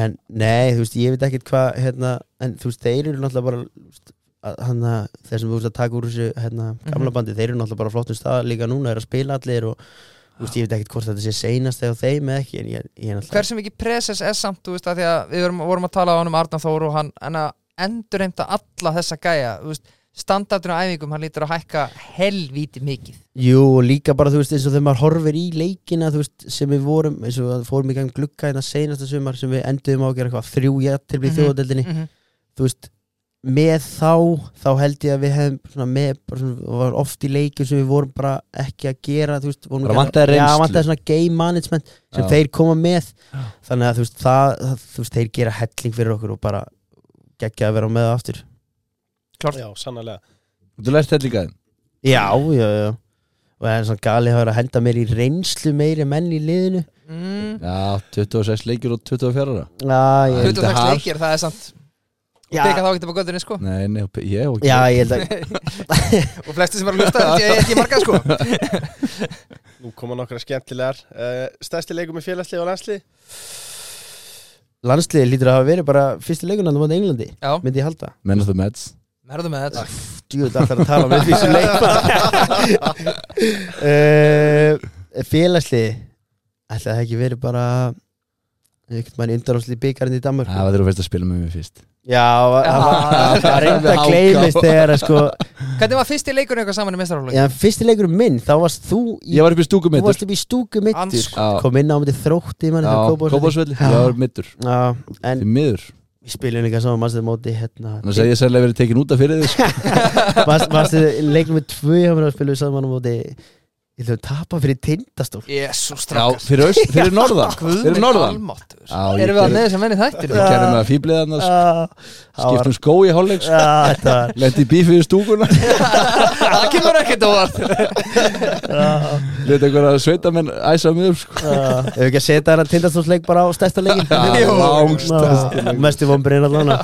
S4: en nei, þú veist, ég veit ekkert hvað hérna, en þú veist, þeir eru náttúrulega bara þú veist, að- hann að þeir sem þú veist að taka úr þessu hérna, gamla
S1: Mhm.
S4: bandi, þeir eru náttúrulega bara á flottum stað líka núna, er að spila allir og þú veist, ég veit ekkert hvort þetta sé seinast eða þeim eða ekki, en ég, ég er náttúrulega
S1: hversu mikið presens er samt þú veist að því að við vorum, vorum að tala á hann um Arnar Þór og hann en að endurheimta alla þessa gæja þú veist, standardin á æfingum hann lítur að hækka helvíti mikið
S4: Jú, og líka bara, þú veist, eins og þegar maður horfir í leikina, þú veveist, sem við vorum eins og að fórum í gang glugga hérna seinasta sumar sem við enduðum á að gera eitthvað þrjú
S1: Mhm.
S4: jættilblíð mm -hmm. þjóðadeldinni
S1: Mhm.
S4: þú veist með þá, þá held ég að við hefum svona með, bara svona, var oft í leikjum sem við vorum bara ekki að gera þú veist, vorum
S2: Bara
S4: ekki að-
S2: vantaði reynslu.
S4: Já, vantaði svona game management sem
S2: Já.
S4: þeir koma með þannig að þú veist, það, það, þú veist, þeir gera helling fyrir okkur og bara geggja að vera með það aftur
S3: Já, sannlega
S2: Þú lærst þetta líka þeim
S4: Já, já, já og það er svona gali að vera að henda mér í reynslu meiri menn í liðinu
S1: mm.
S2: Já, 26 leikir og 24 ára
S4: Já,
S2: ég-
S4: ég,
S1: 26
S2: hard.
S1: leikir, það er samt og
S4: Já.
S1: peka þá ekki upp á göttunni sko
S2: Nei, nei, ég og
S4: já, ég held að
S1: og flesti sem er að hlusta, þetta er ekki marga sko
S3: Nú koma nokkra skemmtilegar uh, Stærsti leikum með félagslið og landslið
S4: landsliði lítur að hafa verið bara fyrsti leikunandi á móti Englandi,
S1: Já.
S4: myndi ég halda
S2: Men of the Mets
S1: Merðu með þetta
S4: djúið alltaf að tala um með því sem leikmann félagsliði ætla Eh, það ekki verið bara einhvern mann undaráslið byggarinn í Danmark
S2: Það var þú fyrst að spila með mér fyrst
S4: já, það
S1: Já.
S4: var- það reynda að gleymist þegar að sko,
S1: Hvernig var fyrsti leikurinn eitthvað saman í mestaraflöku?
S4: já, fyrsti leikur minn þá varst þú í,
S2: Ég var upp í stúku
S4: þú
S2: mittur
S4: varst upp í stúku mittur
S1: Andsk-
S2: Já,
S4: kom inn á myndi þrótti mann
S2: já Kópásvelli Ég var mittur
S4: Já, en
S2: Því miður
S4: við spilum líka saman mannstuð móti hérna
S2: Þannig að ég sérlega verið tekin út af fyrir þig sko.
S4: mannstuð leiknum með tvö hjá mér og spilum við saman á móti ég ætlum að tapa fyrir tindastól
S1: Jésús,
S2: Já,
S1: strákar
S2: fyrir, öst, fyrir norðan Fyrir norðan
S1: almáttur
S2: Já, ég
S1: Erum við að
S2: gerði-
S1: neða sem menni þættir?
S2: Ég gerði með að fýblið hann
S4: Ah, það var-
S2: Skiptum skó í hálfleik sko.
S4: Já, þetta var
S2: Lendi í bífið í stúkuna
S1: Það kemur ekkert á vart
S2: Leti einhverja sveitamenn æsa mig upp sko.
S4: Ef ah. við ekki að setja þennan tindastólsleik bara á stærsta leikin
S2: Já, langstærsta
S4: Mestu vombrinn allan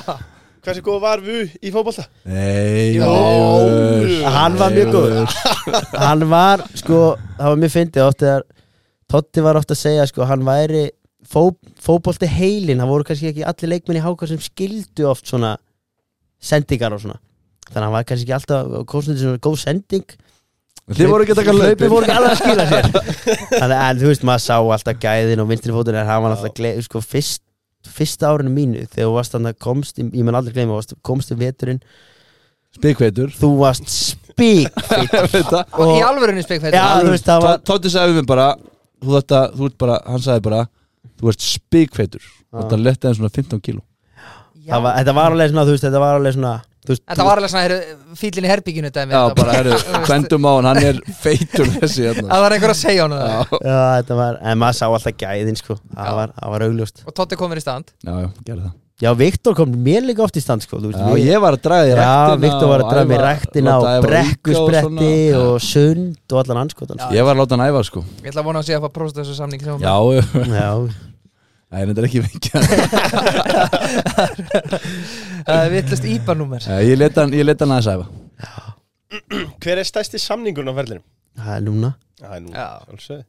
S3: Hversu góð var Vu í fótbolta?
S2: Nei
S3: Jó.
S2: Leifur,
S4: Hann var mjög góður.
S2: Leifur.
S4: Hann var, sko, það var mjög fyndið oft þegar Totti var oft að segja, sko, hann væri fó, fótbolti heilin, það voru kannski ekki allir leikmenn í háka sem skildu oft svona sendingar og svona Þannig að hann var kannski ekki alltaf kosnandi sem góð sending
S2: Þið voru ekki að taka
S4: Hlaupin
S2: hlaupið
S4: voru ekki alveg að skila sér Þannig, En þú veist, maður sá alltaf gæðin og vinstri fótun En hann var alltaf gleð, sko, fyrst Fyrsta árinu mínu, þegar þú varst þannig að komst Ég mun aldrei gleyma, þú varst, komst í veturinn
S2: Spikveitur
S4: Þú varst spík
S2: Þetta
S1: Í
S4: Og,
S1: alvörunni spekfættir
S4: já, þú veist, það var
S2: Tótti sagði við mér bara Þú þetta, þú ert bara, hann sagði bara Þú ert spikveitur Þú ert að letta þeim svona 15 kíló
S4: það var- Þetta var alveg svona, þú veist, þetta var alveg svona Þú veist,
S1: Þetta var alveg svona, heyrðu, fílinn í herbygginu dæmi
S2: Já,
S1: þetta
S2: bara, herru,
S1: Þú veist,
S2: bendum á hann, hann er feitur þessi
S1: að
S2: hérna
S1: Það var einhver að segja honum það
S2: Já,
S4: já, þetta var En maður sá alltaf gæðin, sko
S1: Já.
S4: Það var, það var augljóst
S1: Og Totti komur í stand
S2: já, já, gerðu það
S4: Já, Viktor kom mér líka oft í stand, sko þú veist,
S2: Já,
S4: við-
S2: ég var að draga því
S4: Já,
S2: ræktina
S4: Viktor var að
S2: og
S4: draga mér
S2: æfa-
S4: ræktina
S2: láta
S4: og
S2: æfa líka og svona.
S4: brekkusbretti og sund og allan anskotan sko.
S2: Ég var að láta hann æfa, sko
S1: Ég ætla að vona að sé að fá prósta þessu samning sem hún-
S2: Já, já.
S4: Já,
S2: Nei, þetta er ekki vekja
S1: Það er vittlust íbarnúmer
S2: Eh, Ég leta hann, ég leta hann aðeins æfa
S3: Hver er stærsti samningun á verðinum?
S4: það er núna
S3: Það er nú
S1: Já,
S3: sjálfsögð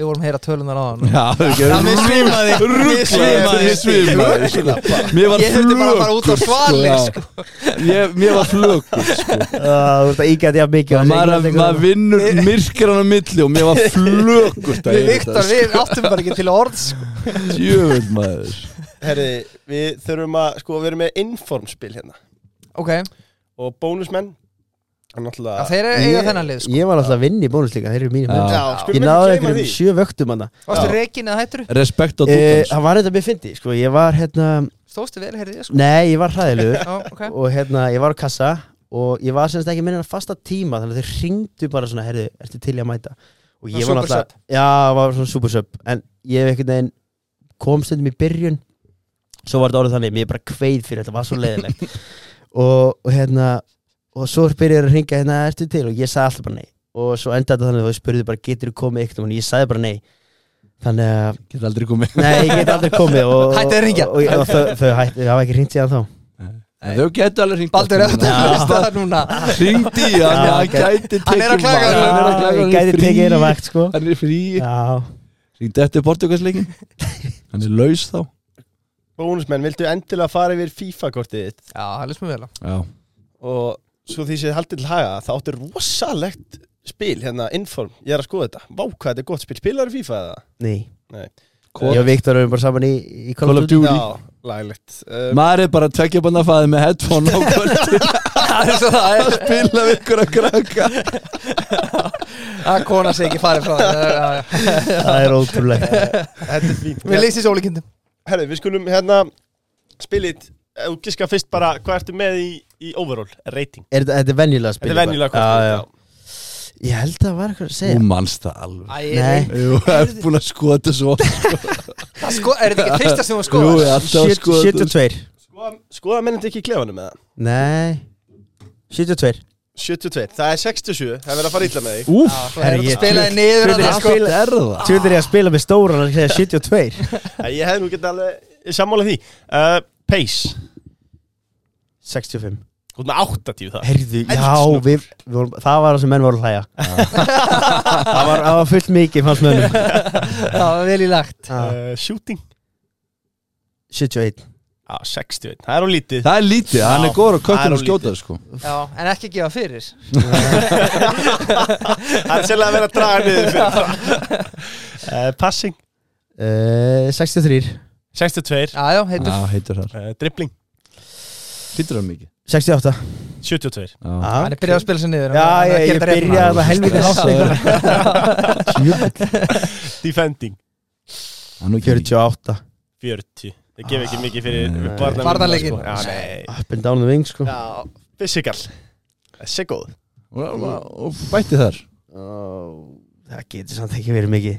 S1: við vorum að heyra tölunar á hann
S2: Já, þú gerðu
S1: Mér svimaði Mér
S2: Mér svimaði, sko. Mér var
S1: Ég þurfti bara að fara út á
S2: flökur,
S1: svalir,
S2: sko. Já. Ég- Mér var flökur sko.
S4: Þú veist að ígæti að mikið
S2: Já, maður, maður vinnur myrkran á milli og mér var flökur
S1: Við Viktor, við áttum bara ekki til orð sko.
S2: Jöfn maður
S3: Herri, við þurfum að, sko, við erum með informspil hérna
S1: Ok, já,
S3: Og bónusmenn Það er náttúrulega
S1: þeir eru eiga þennan lið sko.
S4: Ég var alltaf að vinna í bónus líka, þeir eru mínir
S2: Já.
S4: menn
S3: Já,
S4: Ég
S3: skulum
S4: náði
S3: ekki gleyma
S4: einhverjum
S3: því
S4: sjö vöktum hann
S1: Varstu
S2: Já.
S1: reikin eða hættur?
S2: Respekt á
S4: Eh,
S2: dúkans
S4: Það var þetta mér fyndi, sko, ég var hérna
S1: Stóðstu vel, heyrði ég sko
S4: Nei, ég var hræðilegur
S1: Já, ok
S4: og hérna, ég var á kassa og ég var semst ekki minna fasta tíma þannig að þeir ringdu bara svona, herðu, ertu til í að mæta og ég
S3: Svona
S4: var náttúrulega Já, var svona supersub en ég hef einhvern veginn kom stundum í byrjun svo var þetta orðið þannig, mér er bara kveið fyrir þetta var svo leiðilegt og, og hérna, og svo byrjar að ringa hérna, ertu til og ég sagði alltaf bara nei og svo endaði þetta þannig að þú spurði bara, getur þú komið eitt og ég sagði bara nei þannig að,
S2: Getur aldrei komið
S4: nei, ég get aldrei komið og,
S1: Hættu að hringja.
S4: og, og, og, þau, þau hættu, þau hafa ekki ringt síðan þá
S2: En Þau getur alveg hringt
S1: Baldur er
S2: aftur
S1: að
S2: núna.
S1: tala það núna
S2: Hringdi í hann,
S4: Já,
S2: hann
S4: ok.
S2: gæti tekið
S1: Hann er að klaga
S2: mál.
S1: núna.
S2: Hann er að klaga,
S4: ég
S2: hann er
S4: gæti tekið eina
S2: frí.
S4: vakt sko
S2: Hann er frí
S4: já,
S2: Hringdi eftir Portugalsleikin Hann er laus þá
S3: Bónusmenn, vildu endilega fara yfir FIFA-kortið þitt?
S1: Já, það lýst mér vel á
S2: Já,
S3: og svo því sem ég haldið til haga þá áttu rosalegt spil hérna, Inform, ég er að skoða þetta Vá, hvað þetta er gott spil, spilar í FIFA eða?
S4: ný
S2: Hvor-
S4: ég og Viktor erum bara saman í, í
S2: Call of Duty
S3: Já, lagilegt um,
S2: Maður er bara að tvekja bann að fæði með headphone á kvöldi
S1: Það er svo það
S2: að
S1: er
S2: spila við ykkur að krakka
S1: að kona sé ekki farið frá það Já, já, já.
S4: það er ótrúlegt
S3: Þetta er fínt
S1: Mér lýst þessi ólíkindum
S3: Herru, við skulum hérna spilit, ef þú giska fyrst bara hvað ertu með í, í overall, rating
S4: er, þetta- þetta er venjulega spil
S3: Þetta er venjulega
S4: já,
S3: kortið
S4: já. ég held að það var eitthvað að segja
S2: Þú manst það alveg
S1: Æ,
S4: Nei.
S1: er-
S2: Jú, ég er búin að skoða þetta svo oft.
S1: það sko- er þetta ekki fyrsta sem þú
S2: Jú, ég
S1: skoðar?
S2: er alltaf að
S4: sko-
S2: skoða þetta
S4: 72
S3: Skoða, skoða mennum ekki í klefanum með það
S4: Nei 72
S3: 72, það er 67, það er verið að fara illa með þig
S2: Úf,
S1: Já, svo er
S4: herri,
S1: þetta
S4: ég-
S1: spilaði niður að
S4: Tjöfull
S1: það
S4: er
S1: sko
S2: hvað er það?
S4: Tjóður ég að spila með stóran og segja 72
S3: Æ, Ég hefði nú getað alveg sammála því uh, Pace,
S4: 65
S3: út með 80 það
S4: Herðu, já,
S3: Eldsnöggur.
S4: við, við vorum, það var það sem menn voru að hlæja það, var, það var fullt mikið fannst mönnum
S1: Það var vel í lagt
S4: Ah,
S3: uh, Shooting,
S4: 71
S3: á 61, það er á lítið
S2: Það er lítið, hann er
S3: Já,
S2: góður að
S3: það er
S2: kökkunum
S3: of
S2: skjóta sko.
S1: Já, en ekki gefa fyrir
S3: Það er sérlega að vera að draga niður fyrir það uh, Passing
S4: uh, 63
S3: 62
S1: Já, já, heitur
S2: Já, heitur þar
S3: uh, Dribbling
S2: Hittur hann mikið
S4: 68
S3: 72
S2: Já.
S1: Hann
S4: ah,
S1: er byrjað að spila sér niður
S4: Já,
S1: hann er að
S4: ég,
S1: gera
S4: ég
S1: þetta rétt.
S4: byrjaði það helviti hátt einhvern veginn. Djöfull.
S3: Defending
S2: Hann er ekki
S4: 48
S3: 40 Það gefur ekki mikið fyrir
S2: Nei.
S3: barnamönnum,
S1: Varnarleikinn.
S3: sko. Já, nei
S4: Up and down the wing sko
S3: Já, Physical Þessi er góð
S2: Og bætti þar
S4: Ó, Það getur samt ekki verið mikið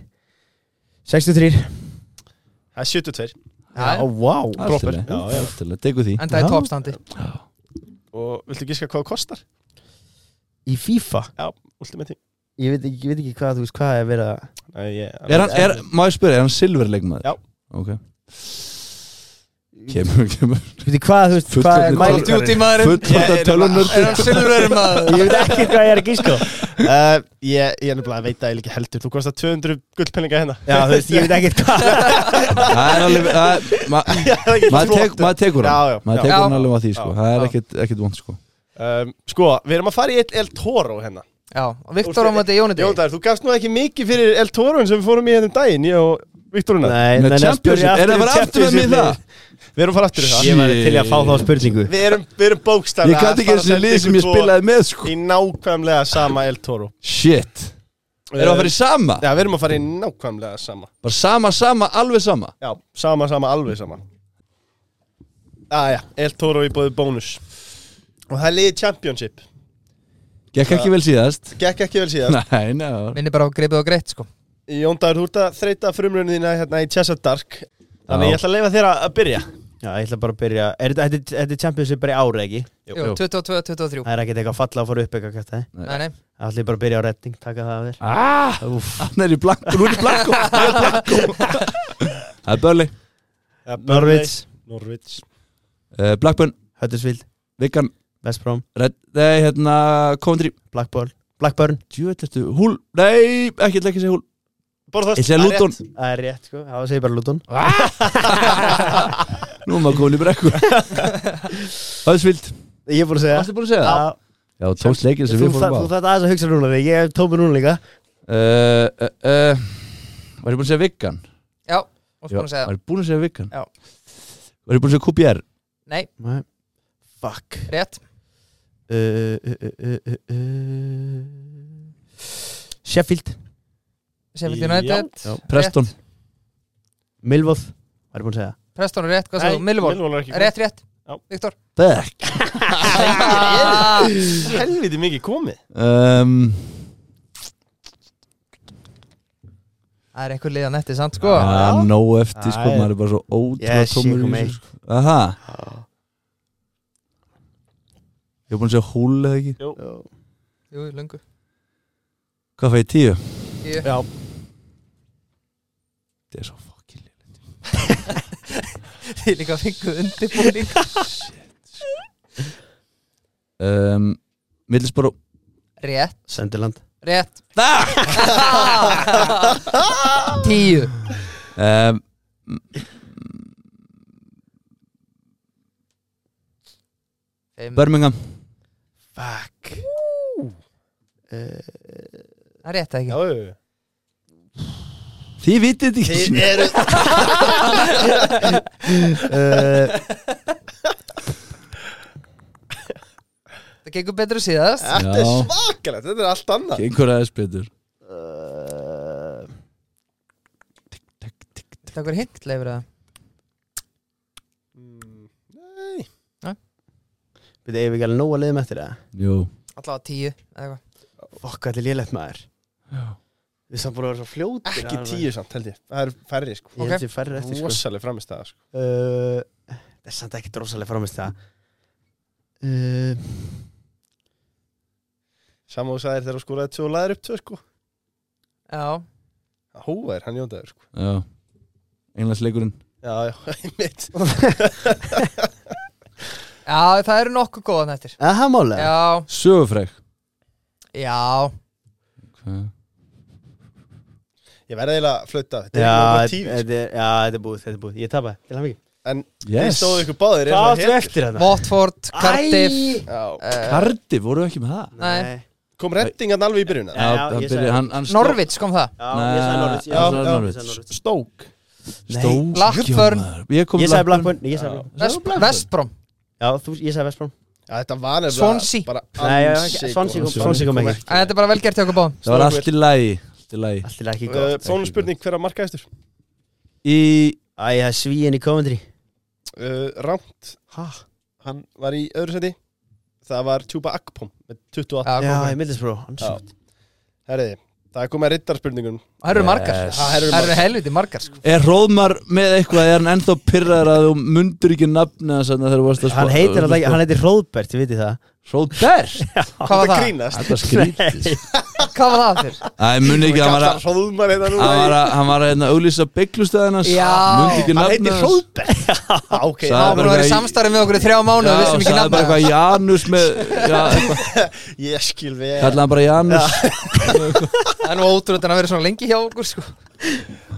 S4: 63
S3: Það er 72
S1: Já, já.
S4: Ó, vá
S3: Proper.
S2: Alltilega,
S3: Já, já.
S2: alltilega, tegur því
S1: Endaði í topstandi
S3: Og viltu giska hvað það kostar?
S4: Í FIFA
S3: Ultimate Team
S4: Ég veit ekki, ég veit ekki hvað, þú veist hvað er verið að
S3: Nei, ég
S2: Er hann, er, má ég spyrja, er hann silverleikmaður?
S3: Já.
S2: Ok Kemur, kemur
S4: Ég veit ekki hvað, þú veist hvað er
S1: Call of
S2: Fullorðnir
S4: mæli
S1: Duty maðurinn
S2: Fullvalda tölunur
S1: Er hann silfurur maður?
S4: Ég veit ekki hvað ég er að gíska á.
S3: uh, Ég, ég er nefnilega að veita eiginlega ekki heldur Þú kostar 200 gullpenninga hérna
S4: Já, þú veist, ég veit ekki hvað
S2: Það er alveg það er- ma-
S3: Það er ekki
S2: Maður tek-
S3: þvottur.
S2: maður tekur hann
S3: Já, já,
S2: Maður
S3: já.
S2: tekur hann
S1: Já.
S2: alveg á því sko
S3: Já,
S2: Það er
S3: já.
S2: ekkit, ekkit vond sko
S3: Um, Sko, við erum að fara í El, El Toro hérna
S1: Já, og Viktor á mæti Jónati
S3: Jón Dær, þú gafst nú ekki mikið fyrir El Toro sem við fórum í hérna um daginn, ég og Viktoruna
S4: Nei,
S2: Með Champions League, er það bara aftur með mér það?
S3: Við erum að fara aftur í það
S4: Ég var til í að fá þá spurningu
S3: Við erum, við erum bókstæðlega
S2: Ég gæti ekki þessi lið sem ég spilaði með sko
S3: Í nákvæmlega sama El Toro
S2: Shit Erum við að fara í sama?
S3: Já, við erum að fara í nákvæmlega sama
S2: Bara sama, sama, alveg sama
S3: Já, sama, sama, alveg sama Æja, El Toro í bóði bónus Og það er liðið Championship
S2: Gekk ekki vel síðast
S3: Gekk ekki vel síðan
S2: Nei, neða
S1: Minni bara á greipið og greitt sko
S3: Jón Dær, þú ert að þreita frumrunni þína hérna í Chessa Dark Þannig
S2: Já.
S3: ég ætla að leifa þér að að byrja
S4: Já, ég ætla bara að byrja Er þetta- Þetta er- þetta er Champions League bara í ára, ekki?
S1: Jú, 22, 23
S4: Það er ekkert eitthvað falla að fara upp eitthvað kæft, það
S1: Nei, nei
S4: Allir bara að byrja á redding, taka það að þér
S2: Ah, hann er í blanko, hún er í blanko Hún er í blanko Það er Börli,
S3: Ja, Burnley,
S4: Norvits,
S3: Norwich
S2: uh, Blackburn,
S4: Huddersfield,
S2: Vikan
S4: West Brom,
S2: Red, Nei, hérna, Coventry
S4: Blackburn Blackburn,
S2: Djúvöldastu, húl, nei, ekki ætla ekki að segja húl
S3: Borðast,
S2: Ég segja Luton
S4: það er rétt sko, það segir bara Luton
S2: Nú er maður komin í brekku Höðsvild,
S4: Ég er búin að segja
S2: varstu búin að segja það?
S4: Já,
S2: Já, tókst leikin sem
S4: Þú
S2: við
S4: þarf
S2: fórum á
S4: aðeins að hugsa núna því Ég er tómi núna líka
S2: uh, uh, uh, Var ég búin að segja Vikan?
S1: Já, og
S2: Já,
S1: spúin að segja
S2: Var ég búin að segja Vikan?
S1: Já.
S2: Var ég búin að segja QPR?
S1: Nei,
S4: Nei. Fuck
S1: rétt
S4: uh, uh, uh, uh, uh. Sheffield
S1: Sheffield
S3: Já.
S1: United
S4: Já.
S2: Preston
S4: Milvoð Var ég búin að segja
S1: Preston er rétt, hvað
S3: Nei,
S1: sagði þú? Millwall
S3: Millwall er ekki
S1: Rétt, rétt
S3: Já.
S1: Viktor
S2: Back
S3: Helviti mikið komið
S2: um,
S1: Það er einhver liðan eftir samt sko
S2: Það er nóg eftir sko,
S4: Já, já.
S2: maður er bara svo ótrúlega
S4: Yes,
S2: tómur
S4: ég kom
S2: í
S4: eitt.
S2: þessu sko. Aha,
S4: Já.
S2: ég er búin að segja húl eða ekki
S1: Jú, löngu
S2: Hvað fæði tíu?
S1: Tíu.
S2: Já Þetta er svo fucking lið
S1: Þið líka fengu undirbúning
S2: um, Millis bara
S1: Rétt,
S4: Sendiland
S1: rétt Tíu
S2: um,
S1: Fimm.
S2: Birmingham
S4: Fuck Uh,
S1: Það er rétt eða ekki
S3: Já, já, já.
S2: Þið vitið þetta ekki
S4: Þeir
S2: einu sinni.
S4: eru uh,
S1: Það gengur betur síðast
S3: Þetta er
S2: Já.
S3: svakalegt, þetta er allt annað
S2: Gengur aðeins betur
S4: uh,
S1: Það er hint leifur það
S3: Mm,
S4: Við eigum við ekki alveg nóg að leiðum eftir það
S2: Jú
S1: Allavega tíu eða eitthvað.
S4: Fokk, allir lélegt maður Við samt búin að vera svo fljótir
S3: Ekki tíu samt, held ég Það er færri, sko
S4: Ég held ég færri eftir sko
S3: Rosaleg framistæða, sko
S4: uh, Það er samt ekkert rosalega framist það uh,
S3: Samá sagðir þegar þú skoraði tvö og laðir upp tvö, sko
S1: Já,
S3: Hóvar, hann jóndaður, sko
S2: Já Englandsleikurinn
S3: Já, já, einmitt
S1: Já, það eru nokkuð góðan eftir
S4: Aha, málega
S1: Já,
S2: Sögufreg
S1: já
S2: Hvað?
S3: Ég verði eiginlega að flöta Þetta er
S4: Já,
S3: eiginlega bara tíu, sko
S4: þetta er- já, þetta er búið, þetta er búið Ég tapa, til hann mikið
S3: Þið
S2: Yes
S3: stóðu ykkur báðir
S4: Hvað
S3: eins og
S4: áttu
S3: hér.
S4: eftir þetta?
S1: Watford, Cardiff
S3: Já,
S1: uh,
S2: Kardi, voru ekki með það?
S1: Nei.
S3: kom reddingan alveg í byrjun eða?
S4: Já,
S2: það
S4: ég sagði
S2: byrja-
S4: það.
S2: hann- hann stó-
S1: Norvits kom það
S4: Já, ég sagði Norvits
S2: Já, já.
S4: Norvits
S3: Stók
S2: Stó
S4: Nei.
S1: Blackburn.
S2: Jú, maður. Ég kom
S4: Ég sagði
S2: Blackburn.
S4: Blackburn, ég sagði Blackburn
S1: Vest- Vestbrom
S4: Já, þú, ég sagði Vestbrom
S3: Já, þetta var nefnilega
S1: Swansea.
S3: bara
S4: Nei, já,
S3: ansi
S4: ekki- Swansea kom-
S3: gott.
S4: Swansea kom ekki.
S1: Æ, Þetta er bara vel gert hjá okkur báðum
S2: Það var allt í lagi Allt í lagi
S4: Allt er ekki
S3: Uh,
S4: gott
S3: Bónusspurning, hver að marka eftir?
S2: Í
S4: Æ, það er svíin í Coventry
S3: Uh, Rámt,
S4: Hæ?
S3: hann var í öðru seti Það var Tjúba Akpom með 28
S1: Já,
S4: Já,
S1: góð.
S4: ég myndist bró Hann svo
S3: Herriði, það er komið að riddarspurningum
S1: Það eru margar
S2: Yes.
S1: Það eru helviti margar sko.
S2: Er Róðmar með eitthvað Er hann ennþá pyrraður að þú mundur ekki nafna þess að þegar þú varst að
S4: Hann heitir alltaf, hann heitir Hróðbert, ég viti það
S2: Róðbert
S1: Hvað var
S3: Þetta
S1: það?
S3: grínast
S2: Þetta skrítið
S1: Hvað var það fyrr?
S2: Æ, muni ekki Hann var að
S3: Hróðmar hérna
S2: Hann var
S3: núna
S2: að, hann var að hérna, auglýsa bygglustöðinans
S1: Já.
S2: Mundi ekki
S3: Hann
S2: nafna
S3: heitir Hróðberg Já, Ah, ok
S2: Sa-
S1: Það
S2: Það er
S1: var bara að
S2: bara
S1: vera
S2: eitthvað í-
S1: samstarfið með okkur í þrjá mánu og við sem ekki
S2: sagði bara
S1: nafna
S2: eitthvað Janus með já, eitthvað,
S3: Ég skil við
S2: Kallaði hann bara Janus
S1: Það er nú ótrúlega að vera svona lengi hjá okkur sko.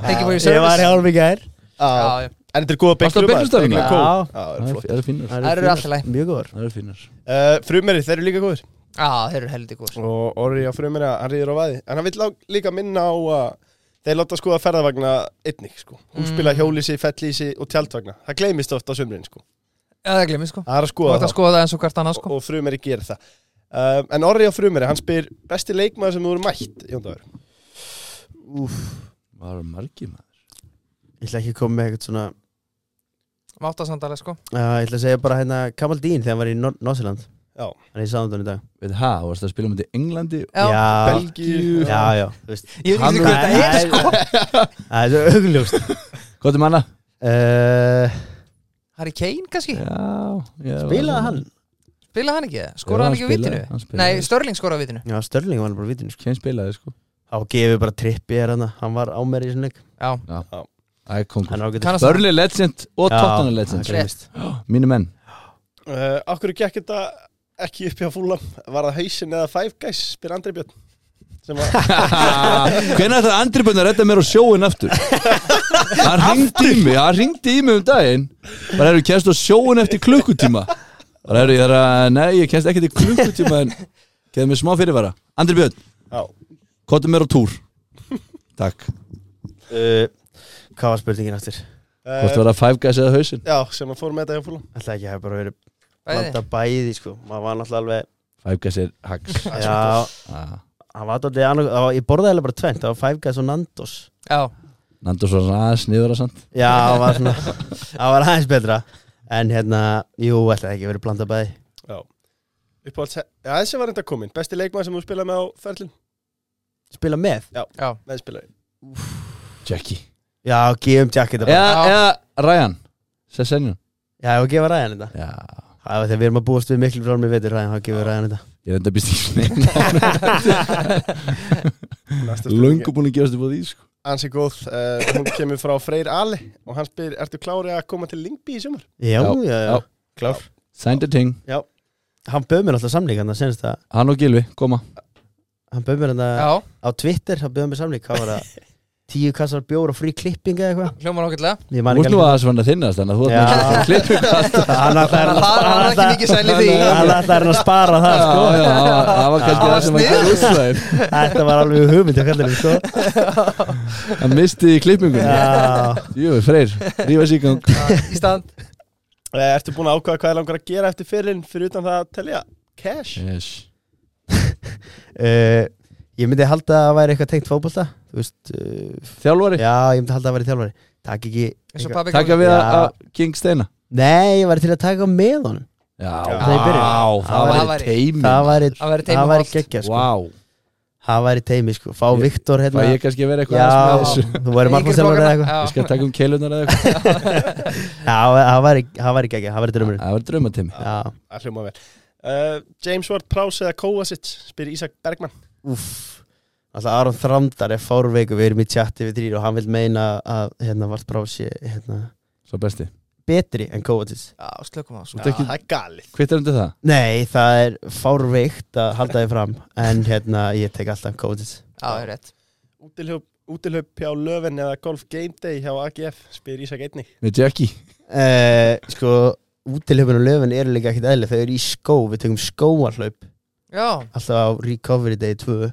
S1: Ekki búin í
S4: Ég var
S1: service
S4: hálf í gær
S3: Já,
S1: Já, já.
S3: Ah. En þetta er góða
S2: Varstu á
S3: bygglum
S2: bygglustæðinu?
S3: Já,
S4: Já.
S2: Það
S3: það er
S2: er-
S3: flott
S2: það eru fínar
S1: Þær eru
S4: fínar.
S1: allt í lagi.
S4: Mjög góður
S2: Það eru fínar
S3: Uh, Frumeri, þeir eru líka góðir
S1: Já, þeir eru heldig góð
S3: Og Orri á frumeri, hann rýður á vaði En hann vill lá- líka minna á að Þeir láta skoða ferðavagna einnig sko.
S1: Mm.
S3: Húspila hjólísi, fellísi og tjaldvagna Það gleymist ofta sömurinn sko.
S1: Já, það glemir sko
S3: Það er að
S1: Þú ætti
S3: skoða
S1: að
S3: þá
S1: skoða það eins og hvert annars sko
S3: Og frumeri gerir það um, En Orri á frumeri, hann spyr Besti leikmaður sem þú eru mætt Jóndagur
S2: Var margir maður
S4: Ég ætla ekki að koma með eitthvað svona
S1: Máttasamdalega sko
S4: uh, Ég ætla að segja bara hérna Kamal Dín þegar hann var í Nor- Norðsjöland
S3: Já.
S4: Hann er í Sáðandun í dag
S2: Veit það, þú varst að spila um þetta í Englandi
S1: Já,
S4: Já,
S3: Belgíu
S4: já, já Þú veist
S1: ég veit
S2: Hann-
S1: ekki hvað þetta er sko
S4: Það er svo augljóst
S2: Hvað er manna?
S4: uh,
S1: Harry Kane kannski,
S2: Já ég var-
S4: Bilaði hann
S1: spilaði hann ekki
S2: Já,
S1: Skoraði hann ekki á
S2: spilaði,
S1: vitinu
S2: hann spilaði.
S1: Nei, Störling skoraði á vitinu
S4: Já, Störling var hann bara vitinu
S2: Kane spilaði sko
S4: Þá gefið bara trippi er hann Hann var á mér í sinni leik
S1: Já,
S2: Æ, kongur
S4: Hann ágættur
S1: kannast
S2: Börli legend og Tottenham legend
S1: hann-
S2: Mínu menn
S3: Uh, Akkur gekk þetta ekki upp hjá fúlam Var það hausin eða Five Guys spyr Andri Björn sem uh, að
S2: Hvernig ætlaði Andri Bönn að redda mér á sjóin aftur? Hann ringdi í mig, hann ringdi í mig um daginn Bara erum við kæst á sjóin eftir klukkutíma Bara erum ég þar að, nei ég kæst ekki til klukkutíma En kæði mér smá fyrirvara Andri Björn,
S3: Já,
S2: kottu mér á túr Takk
S4: uh, Hvað var spurningin aftur?
S2: Hvort
S3: uh,
S2: var það Five Guys eða hausinn?
S3: já sem að fór með þetta hjá fúlam
S4: Ætla ekki að hafa bara verið
S1: bæði
S4: Blanda bæði sko Maður var náttúrulega
S2: Five Guys er hags
S4: alveg Já
S2: ah,
S4: Hann var dálítið annað það var- Ég borðaði eiginlega bara tvent Það var Five Guys og Nandos
S1: Já,
S2: Nandur svo aðeins niður að sand
S4: Já, það var svona Það var aðeins betra En hérna, jú, ætla ekki verið blanda bæði
S3: Uppáhalds, já þessi var enda komin Besti leikmaður sem þú spilaði með á ferlin
S4: Spila með
S1: já
S3: Meðspilari
S2: Jackie
S4: Já, gefum jacket bara.
S2: Eða, eða Ryan Sessenjón
S4: Já, og gefa ræðan þetta
S2: Já
S4: Það var þegar við erum að búast við miklu frá mér veitur ræðan, þá gefum við ræðan þetta
S2: Ég reynda að býst í snefn Lungu búin að gefast upp á því sko
S3: Ansi góð, uh, hún kemur frá Freyr Ali og hann spyr, ertu klári að koma til Lingby í sumar?
S4: Já,
S2: Já,
S4: já, já,
S2: já.
S4: klár
S2: Sænda ting
S4: Hann bauð mér alltaf samlík, hann að senast að
S2: Hann og Gilvi, koma
S4: Hann bauð mér hann að,
S1: Já,
S4: á Twitter, hann bauð mér samlík Hvað var það? Tíu kassar bjór og frí klipping eða eitthvað
S1: hljómar ákveðlega
S4: Ég
S2: Þú
S4: man
S2: ert
S4: ekki
S2: nú aðeins vann að þinnast Þannig að þú
S4: Já.
S2: ert með að klippu kast
S4: Hann ætlar
S1: Það var ekki mikið sæl í því
S4: Hann ætlar hann að spara það
S2: Já,
S4: sko.
S2: já, það var- það var kannski
S1: Já,
S2: það sem að gera úslæðin
S4: Þetta var alveg hugmynd hjá kallinum sko.
S2: Hann misti í klippingunni
S4: Já.
S2: Jú, freyr, rífa sig í gang
S1: Í stand
S3: Uh, ertu búin að ákvaða hvað er langar að gera eftir fyririnn fyrir utan það að telja cash?
S2: Yes
S4: Uh, Ég myndi halda að það væri eitthvað tengt fótbolta Þú veist uh,
S2: Þjálfari,
S4: Já, ég myndi halda að það væri þjálfari Takk ekki
S1: Eins og
S4: eitthvað-
S1: pabbi
S2: taka við
S4: Já.
S2: að að King Steina
S4: Nei, ég væri til að taka með honum
S2: Já,
S4: Það í byrjun.
S2: það
S1: Það
S2: var
S1: væri-
S2: teimi
S4: Það væri,
S1: Það væri teimi
S4: það væri
S1: hollt.
S4: geggja sko.
S2: Vá,
S4: Það væri teimi sko Fá
S2: Ég-
S4: Viktor
S2: fæ
S4: hérna
S2: ég kannski að vera eitthvað
S4: Já,
S2: aðeins með þessu
S4: þú væri margum þjálfari eða eitthvað
S2: Ég skal taka um keilunar eða eitthvað
S4: Já, það væri, það væri geggja, það væri drömmurinn
S2: Það var draumateimi
S4: Já,
S3: Það hljóma vel. Uh, James Ward Prowse eða Kovacic spyr Ísak Bergmann.
S4: úff Alltaf Aron Þramdar er fárveiku Við erum í chatti við þrýr og hann vil meina að hérna vart brá sé hérna,
S2: Svo besti
S4: betri en Kovacic
S1: Já, slökum á svo
S2: Þú ert ekki
S3: Ah, Það er galið.
S2: Hvittar undir það?
S4: Nei, það er fárveikt að halda þið fram en hérna ég tek alltaf Kovacic
S1: Já, það er rétt
S3: Útilhaup, útilhaup hjá Löfven eða Golf Game Day hjá AGF spyr Ísak einnig.
S2: Með Jackie
S4: Eh, sko, útilöfun og löfun eru líka ekkit eðli, þau eru í skó, við tökum skóarhlaup
S1: Já,
S4: alltaf á Recovery Day 2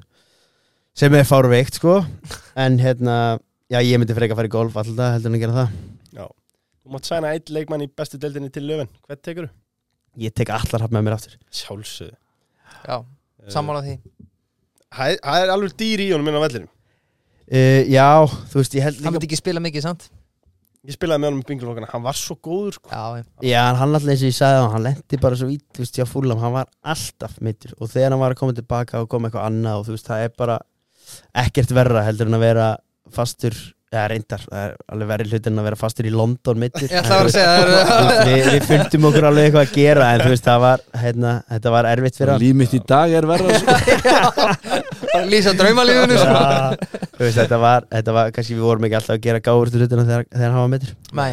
S4: sem er fárveikt sko en hérna, já ég myndi freka að fara í golf alltaf heldur en að gera það
S3: Þú mátt sæna einn leikmann í bestu deildinni til Löfven. Hvert tekur þú?
S4: ég tek allar hafn með mér aftur
S3: Sjálfsögðu.
S1: já, sammála því
S3: Eh, Það er- það er alveg dýr í honum minn á vellinum.
S4: uh, Já, þú veist ég held
S1: Hann
S4: líka
S1: myndi ekki spila mikið, sant?
S3: Ég spilaði með honum í bingulokana. Hann var svo góður sko.
S1: Já, já.
S4: Já, en hann alltaf eins og ég sagði hann, hann lendi bara svo ít, þú veist, já fúlam, hann var alltaf mittur og þegar hann var að koma tilbaka og koma eitthvað annað og þú veist, það er bara ekkert verra heldur en að vera fastur, eða reyndar, það er alveg verri hlut en að vera fastur í London mittur
S1: Ég ætla að vera að segja það eru-
S4: við, við fundum okkur alveg eitthvað að gera en þú veist, það var, hérna, þetta var erfitt fyrir hann
S2: Líf mitt í dag er verra sko.
S1: Bara Lýsa draumalífinu, sko
S4: Já, þú veist, þetta var, þetta var, kannski við vorum ekki alltaf að gera gáður til hlutina þegar, þegar hann var mittur
S1: Nei,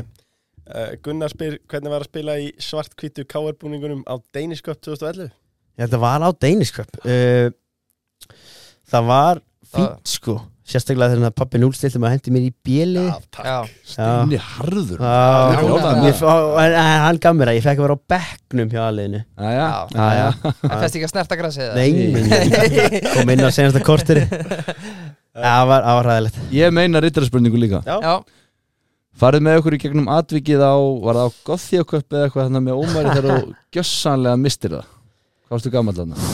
S3: Uh, Gunnar spyr hvernig var að spila í svart-hvítu KR-búningunum á Danish Cup 2011.
S4: Já, Þetta var á Daniskjöp uh, Það var fínt sko Sérstaklega þegar pappi núlstiltum að hendi mér í bjeli
S3: Já, takk.
S1: já,
S4: Já.
S2: Inni harður
S4: Já,
S2: Já, já.
S4: Ég f- á- en- en Hann gaf mér að ég fekk að vera á bekknum hjá aðliðinu
S2: Æja,
S1: Já.
S2: æja
S1: hann fæst ekki að snerta grasið eða?
S4: Nei, nei, hérna. kom inn á senasta kortir Það var það var hræðilegt
S2: Ég meina rittarspurningu líka
S1: Já,
S2: Farið með okkur í gegnum atvikið á Var það á Gothíaköpp eða eitthvað Þannig með ómæri þegar þú gjössanlega mistir það Hvað varstu gammal þarna?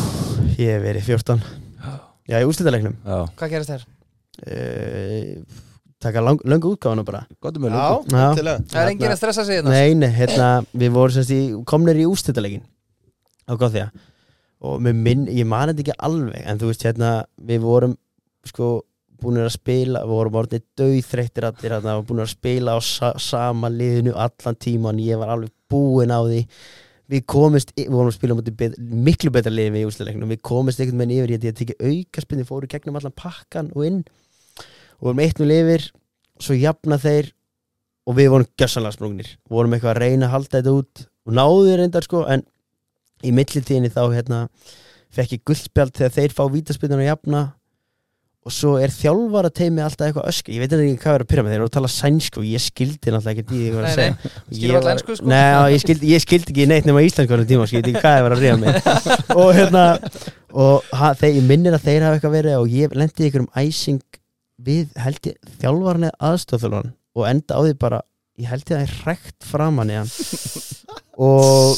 S4: Ég hef verið 14 Já, í úrslitaleiknum
S2: Já,
S1: hvað gerist þér?
S4: uh, Taka lang, löngu útgáfuna bara
S2: gott um með lögum
S4: Já.
S3: til að.
S1: Það er enginn að stressa sig hérna
S4: Nei, nei, hérna, við vorum semst í komnir í ústættalegin á Gothia og með minn, ég man þetta ekki alveg en þú veist, hérna, við vorum sko búinir að spila við vorum orðinir dauðþreyttir allir hérna, og búinir að spila á sa sama liðinu allan tíman, ég var alveg búinn á því við komist, í- við vorum að spila á móti bet miklu betra liðin við í ústættaleginum við komist einhvern veginn yfir, ég held ég að tekið aukaspinni fóru í gegnum allan pakkan og inn og vorum eitt nú yfir svo jafna þeir og við vorum gjössanlega sprungnir vorum eitthvað að reyna að halda þetta út og náðu reyndar sko en í millitíðinni þá hérna fekk ég guldspjald þegar þeir fá vítaspilnuna jafna og svo er þjálfara teimi alltaf eitthvað ösku ég veit ekki hvað er að pyrra með þeir eru að tala sænsku og ég skildi náttúrulega ekki því ég var
S1: Nei,
S4: að segja
S1: nei. Skilur
S4: Ég
S1: varla
S4: var-
S1: ensku, sko.
S4: Nei, já, ég, skildi, ég skildi ekki neitt nema íslensku á þeim tíma, skildi ekki hvað ég var að reyða mig og hérna og ha, þeir, ég minnir að þeir hafa eitthvað verið og ég lendi í einhverjum æsing við held ég þjálfarni aðstofþjálfarn og enda á því bara ég held ég að ég rekt framan í hann og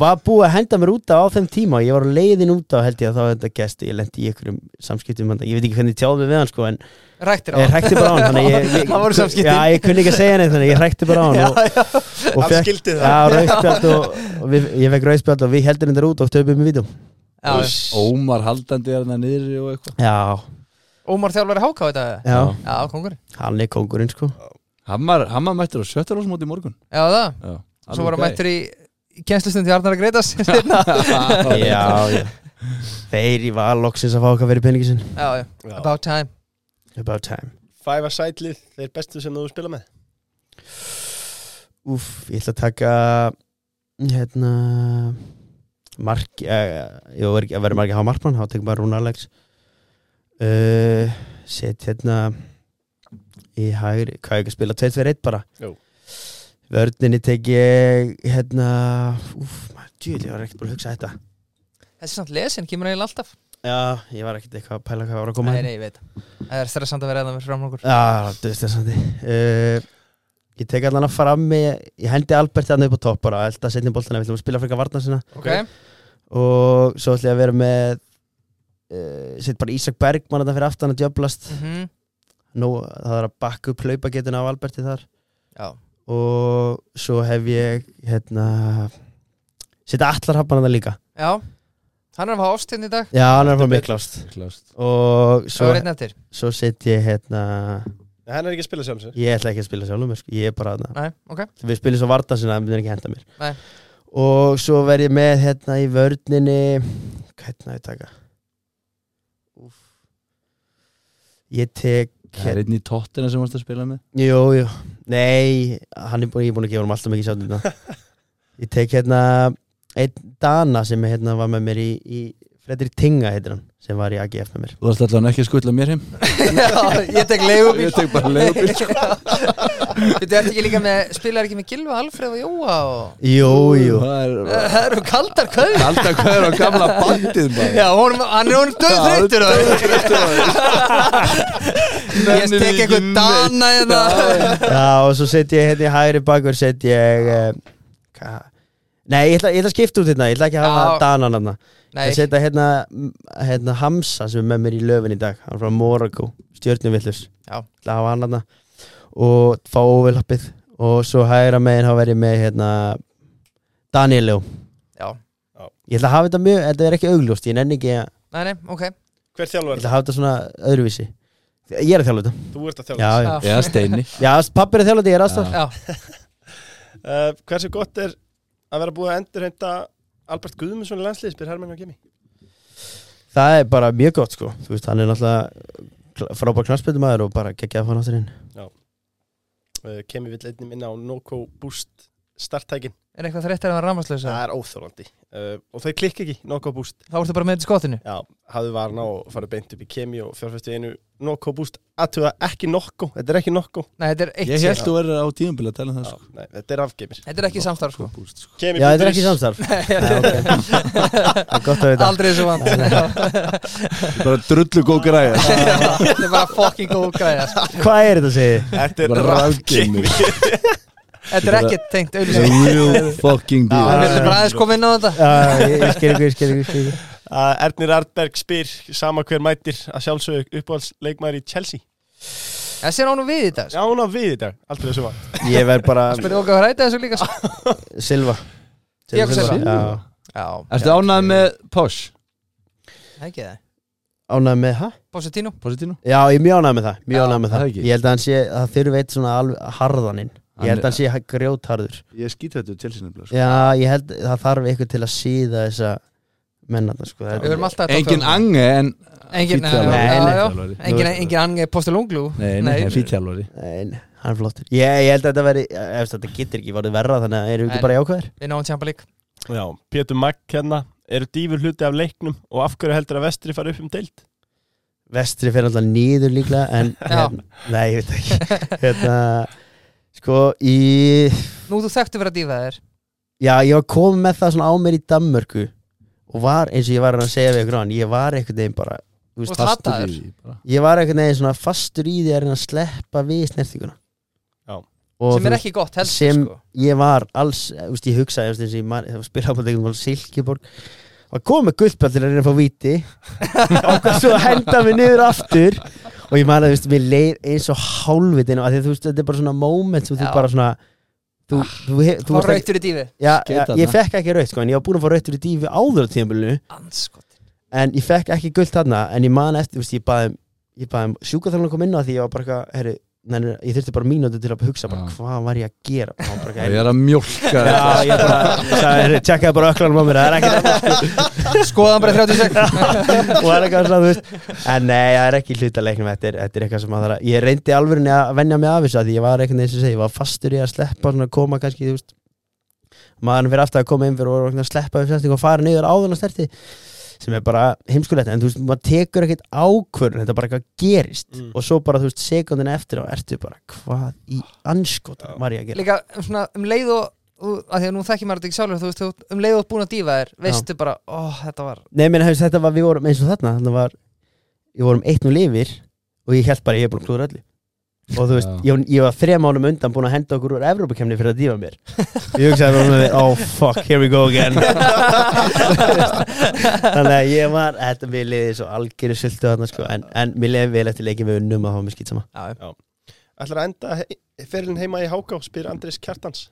S4: var búið að henda mér út af á þeim tíma ég var á leiðin út af held ég að þá þetta gesti ég lendi í einhverjum samskiptum með hann. ég veit ekki hvernig ég tjáði mig við hann sko en
S1: Ræktir á
S4: ég rekti bara á hann þannig að ég, ég,
S1: Það voru samskiptin.
S4: já, ég kunni ekki að segja neitt þannig að ég rekti bara á hann og, og
S3: Hann
S4: fekk-
S3: skildi það.
S4: Já, rauðspjald og, og við, ég fekk rauðspjald og við
S3: Hérna,
S4: heldur hendur út og töpum í vítum
S1: Já,
S2: Ómar haldandi er hann niður og eitthvað
S4: Já,
S1: Ómar þjálfari háká þetta eða?
S4: Já,
S1: Já, kongur
S4: hann er kongurinn sko
S2: Hammar, hammar mættur á sjöttarásmóti í morgun
S1: Já, það
S2: Já,
S1: Svo var hann mættur í kjenslustundi Arnar að greitas Já,
S2: mættur
S4: Já, já Þeir í val loksins að fá okkar fyrir peningi sinn
S1: já, about time
S4: About time
S3: Five a sætlið, þeir bestu sem þú spila með
S4: Úff, ég ætla að taka hérna mark eh, ég verður ekki að vera mark að hafa markmann, þá tekum bara Rún Alex uh, set hérna í hægri, hvað er ekki að spila 2-2-1 bara
S3: Jú.
S4: vörninni tek ég hérna úff, maður djúli, ég var ekkert búin að hugsa þetta
S1: Þessi samt lesin kemur eiginlega alltaf
S4: já, ég var ekkert eitthvað að pæla hvað var að koma hérna.
S1: Nei, nei, ég veit Það er stressant að vera eða með framlokur
S4: Já, döðstessandi uh, Ég tek allan að fram með, ég hendi Albert þarna upp á topp bara, elda setni boltana, við ætlum að spila frekar varna sinna
S1: Ok,
S4: og svo ætlum ég að vera með uh, set bara Ísak Bergmann þetta fyrir aftan að djöblast
S1: Mhm.
S4: Nú, það er að bakka upp hlaupagetina á Alberti þar
S1: Já.
S4: og svo hef ég hérna setja allar hafmann þarna líka
S1: já Hann er að hafa ást hérna í dag
S4: Já, hann er að fá miklast og
S1: Svo
S4: svo,
S1: er einn eftir
S4: svo set ég hérna
S3: Nei, Hann er ekki að spila sjálf sér
S4: ég ætla ekki að spila sjálfum mér, sko. ég er bara þarna
S1: Nei, ok
S4: við spilum svo varta sinna, það myndir ekki henda mér
S1: Nei.
S4: og svo verð ég með hérna í vörninni hvernig á ég að taka Úf. ég tek hérna-
S2: Það er einn í tóttina sem varst að spila með
S4: jú, jú, nei hann er búin, ég er búin að gefa hann alltaf mikið sjálfnina ég tek hérna einn Dana sem er hérna var með mér í, í Fredrik Tinga heitir hann sem var í AGF með mér
S2: Þú varst allan ekki að skutla mér heim
S1: Já, Ég tek leigubíl
S2: Ég tek bara leigubíl,
S1: sko Þú ert ekki líka með Spilar ekki með Gilva, Alfreð og Jóa og
S4: jú, jú,
S2: Það er
S1: Það eru kaldar köður
S2: alltaf hvað er á gamla bandið maður
S1: Já, sko. honum, hann er honum döð þreytur Ég
S2: Nennir
S1: tek
S2: ekki
S1: eitthvað
S2: neitt.
S1: dana hérna
S4: já og svo set ég hérna í hægri bakverð set ég eh, hvað- nei, ég ætla, ég ætla að skipta út hérna ég ætla ekki að hafa
S1: Já.
S4: Dana hann
S1: Nei,
S4: Ég setja hérna, hérna Hamsa sem er með mér í löfin í dag Hann er frá Morago, stjörnumvillus
S1: Já.
S4: Það hafa hann hérna Og fá óvilappið Og svo hægra megin hafa verið með hérna Danielu
S1: Já.
S3: Já.
S4: Ég ætla að hafa þetta mjög, þetta er ekki augljóst Ég nenni ekki að,
S1: nei, nei, ok
S3: Hver
S4: ég
S3: þjálfur?
S4: ætla að hafa þetta svona öðruvísi Ég er að þjálfa þetta
S3: Þú ert að
S4: Já,
S3: þjálfa
S4: já,
S1: Já.
S2: Eða Steini
S4: já pappi er að þjálfa þetta, ég er aðstaf
S1: Já,
S3: uh, Hversu gott er að vera búið að endurhenda Albert Guðmundsson í landslið spyr Hermann og Kimi
S4: Það er bara mjög gott sko Þú veist, hann er náttúrulega kla- frábær knarspildumæður og bara geggja að fá hann áttur inn
S3: uh, Kimi vill einnig minna á Noco Boost starttækin
S1: er eitthvað þreyttir að vera rámaslösa
S3: Það er óþólandi uh, Og þau klikka ekki, Noco Boost
S1: Þá ertu bara með þetta í skottinu
S3: Já, hafðu varna og farið beint upp í Kimi og fjárfæstu einu Noco Boost Aðtuga ekki Noco, þetta er ekki Noco
S1: Nei, þetta er eitt
S2: Ég
S1: sér
S2: held þú verður á tíðanbila að tala um það
S3: Já,
S2: sko.
S3: nei, þetta er afgeimir
S1: Þetta er ekki samstarf sko
S2: Búst, sko.
S3: Kimi
S4: Já, þetta
S3: punktur is.
S4: er ekki samstarf Já, ok. Það er Gott að vita
S1: Aldrei þessu vant
S2: Þetta er Bara drullu góð græja
S1: Þetta er bara fucking góð græða sko.
S4: Hvað er þetta segið?
S3: Þetta er
S2: Rafgeimur
S1: Þetta er ekki tengt auðvitað
S2: Real fucking
S1: Við
S2: deal
S1: viljum bara aðeins koma inn á þetta
S4: Já, ég, ég skil ykkur, ég skil ykkur, ég skil ykkur
S3: að Ernir Arnberg spyr sama hver mætir að sjálfsög uppáhaldsleikmæri í Chelsea
S1: Þessi er ánum við í dag sko.
S3: Já, hún á við í dag, aldrei þessu var
S4: Ég verð bara
S1: Spyrir okkar að ræta þessu líka sko.
S4: Silva
S1: Thiago Silva.
S4: Já,
S1: Já,
S2: Ertu ánægð með Posh?
S1: ekki það
S4: ánægð með það?
S1: Positino
S2: Positino?
S4: Já, ég er mjög ánægð með það,
S1: Já,
S4: mjög ánægð með
S2: það
S4: það
S2: ekki.
S4: Ég held að hann sé, það þurfi eitt svona alveg harðaninn Ég held að hann sé grjótharður
S2: Ég skýt þetta til sko. sinni
S4: Já, ég held, það þarf eitthvað til að síða þessa mennarna, sko
S1: Við verðum alltaf að toppa
S2: Engin
S1: það.
S2: ange en
S1: Engin, eh,
S2: Fínn þjálfari.
S1: já, já, já.
S2: Þjálfari.
S1: Engin, engin angi postilunglu
S2: Nei, nei, nei. fítjálfari
S4: Nein, hann er flottur Ég, ég held að þetta veri, ef þetta getur ekki varðið verra Þannig að erum við
S1: En-
S4: ekki bara jákvæðir
S1: Við náum tjampa lík
S3: Já, Pétur Magg hérna eru dýfur hluti af leiknum og af hverju heldur að vestri fara upp um deild?
S4: Vestri fyrir alltaf nýður líklega En,
S1: Já.
S4: en nei, ég veit það ekki Hérna, sko, í
S1: Nú þú þekktu vera dýfa þér
S4: Já, ég var komið með það svona á mér í Danmörku og var, eins og ég var að segja við ykkur hann ég var einhvern veginn bara
S1: Og
S4: þú veist,
S1: það-
S2: Fastur
S1: Hataður.
S2: í því bara.
S4: ég var einhvern veginn svona fastur í því að reyna að sleppa við snertinguna
S3: Já.
S4: og
S1: Sem
S4: þú
S1: er
S4: veist,
S1: ekki gott helst
S4: sem
S1: sko.
S4: ég var alls eh, þú veist, ég hugsaði, þú veist, eins og ég man- þegar spilaði á móti einhvern veginn Silkeborg var komið með guðspjall til að reyna að fá víti og hvað svo að henda mig niður aftur og ég man að, þú veist, mér leir eins og hálfitin og að því, að, þú veist, þetta er bara svona moment sem þú
S1: Já.
S4: bara svona þú,
S2: Ah,
S4: þú, þú, þú
S1: Þú
S4: varst ekki-
S1: rautur í dýfi
S4: Já,
S2: Skeita
S4: já, ég
S2: þarna.
S4: fekk ekki rautt sko, en ég var búin að fá rautt fyrir dífi áður á tímabilinu
S1: Anskot
S4: en ég fekk ekki gult þarna en ég man eftir, þú veist, ég baði ég baði um sjúkaþjálfan að koma inn á því ég var bara eitthvað, herri, nein, ég þurfti bara mínúti til að hugsa bara,
S2: Já.
S4: hvað var ég að gera og hann bara,
S2: Ég
S4: eitthvað,
S2: er að mjólka þetta.
S4: "Herri, já, ég bara sagði, herri, tjekkaði bara öklanum á mér, það er ekki það
S1: Skoðan bara 36
S4: og það er eitthvað svona, þú veist en nei, það er ekki hluta leiknum, þetta er, þetta er eitthvað sem maður þarf að ég reyndi alvörinni að venja mig af þessu af því ég var eitthvað eins og segi, ég var fastur í að sleppa svona koma kannski, þú veist maðurinn fyrir aftur að koma inn fyrir og var að sleppa við fjasting og fara niður áðun og snerti sem er bara heimskulegt, en þú veist, maður tekur ekkert ákvörðun, þetta er bara eitthvað gerist
S3: Mm.
S4: og svo bara, þú veist, sekundin eftir og ertu bara, hvað í anskotan var ég að gera
S1: Líka svona um leið og og- af því að nú þekki maður þetta ekki sjálfur þú veist, þú- um leið og þú ert búin að dífa þér veistu bara, ó, þetta var
S4: Nei, meni, hefst, þetta var, við vorum eins og þarna þannig var, við vorum eitt nú lifir og ég held bara, ég er búin að klúra öllu og þú veist,
S2: Já.
S4: ég, ég var þrejum mánum undan búin að henda okkur úr Evrópakemni fyrir að dífa mér ég hugsaði bara með mér, oh fuck, here we go again þannig að ég var, þetta mér liði svo algjöru sultu þarna sko, en, en mér liði vel eftir leikin við unnum að hafa mér skýt sama
S3: Ætlar að enda he ferilin heima í Háká, spyr Andrés Kjartans.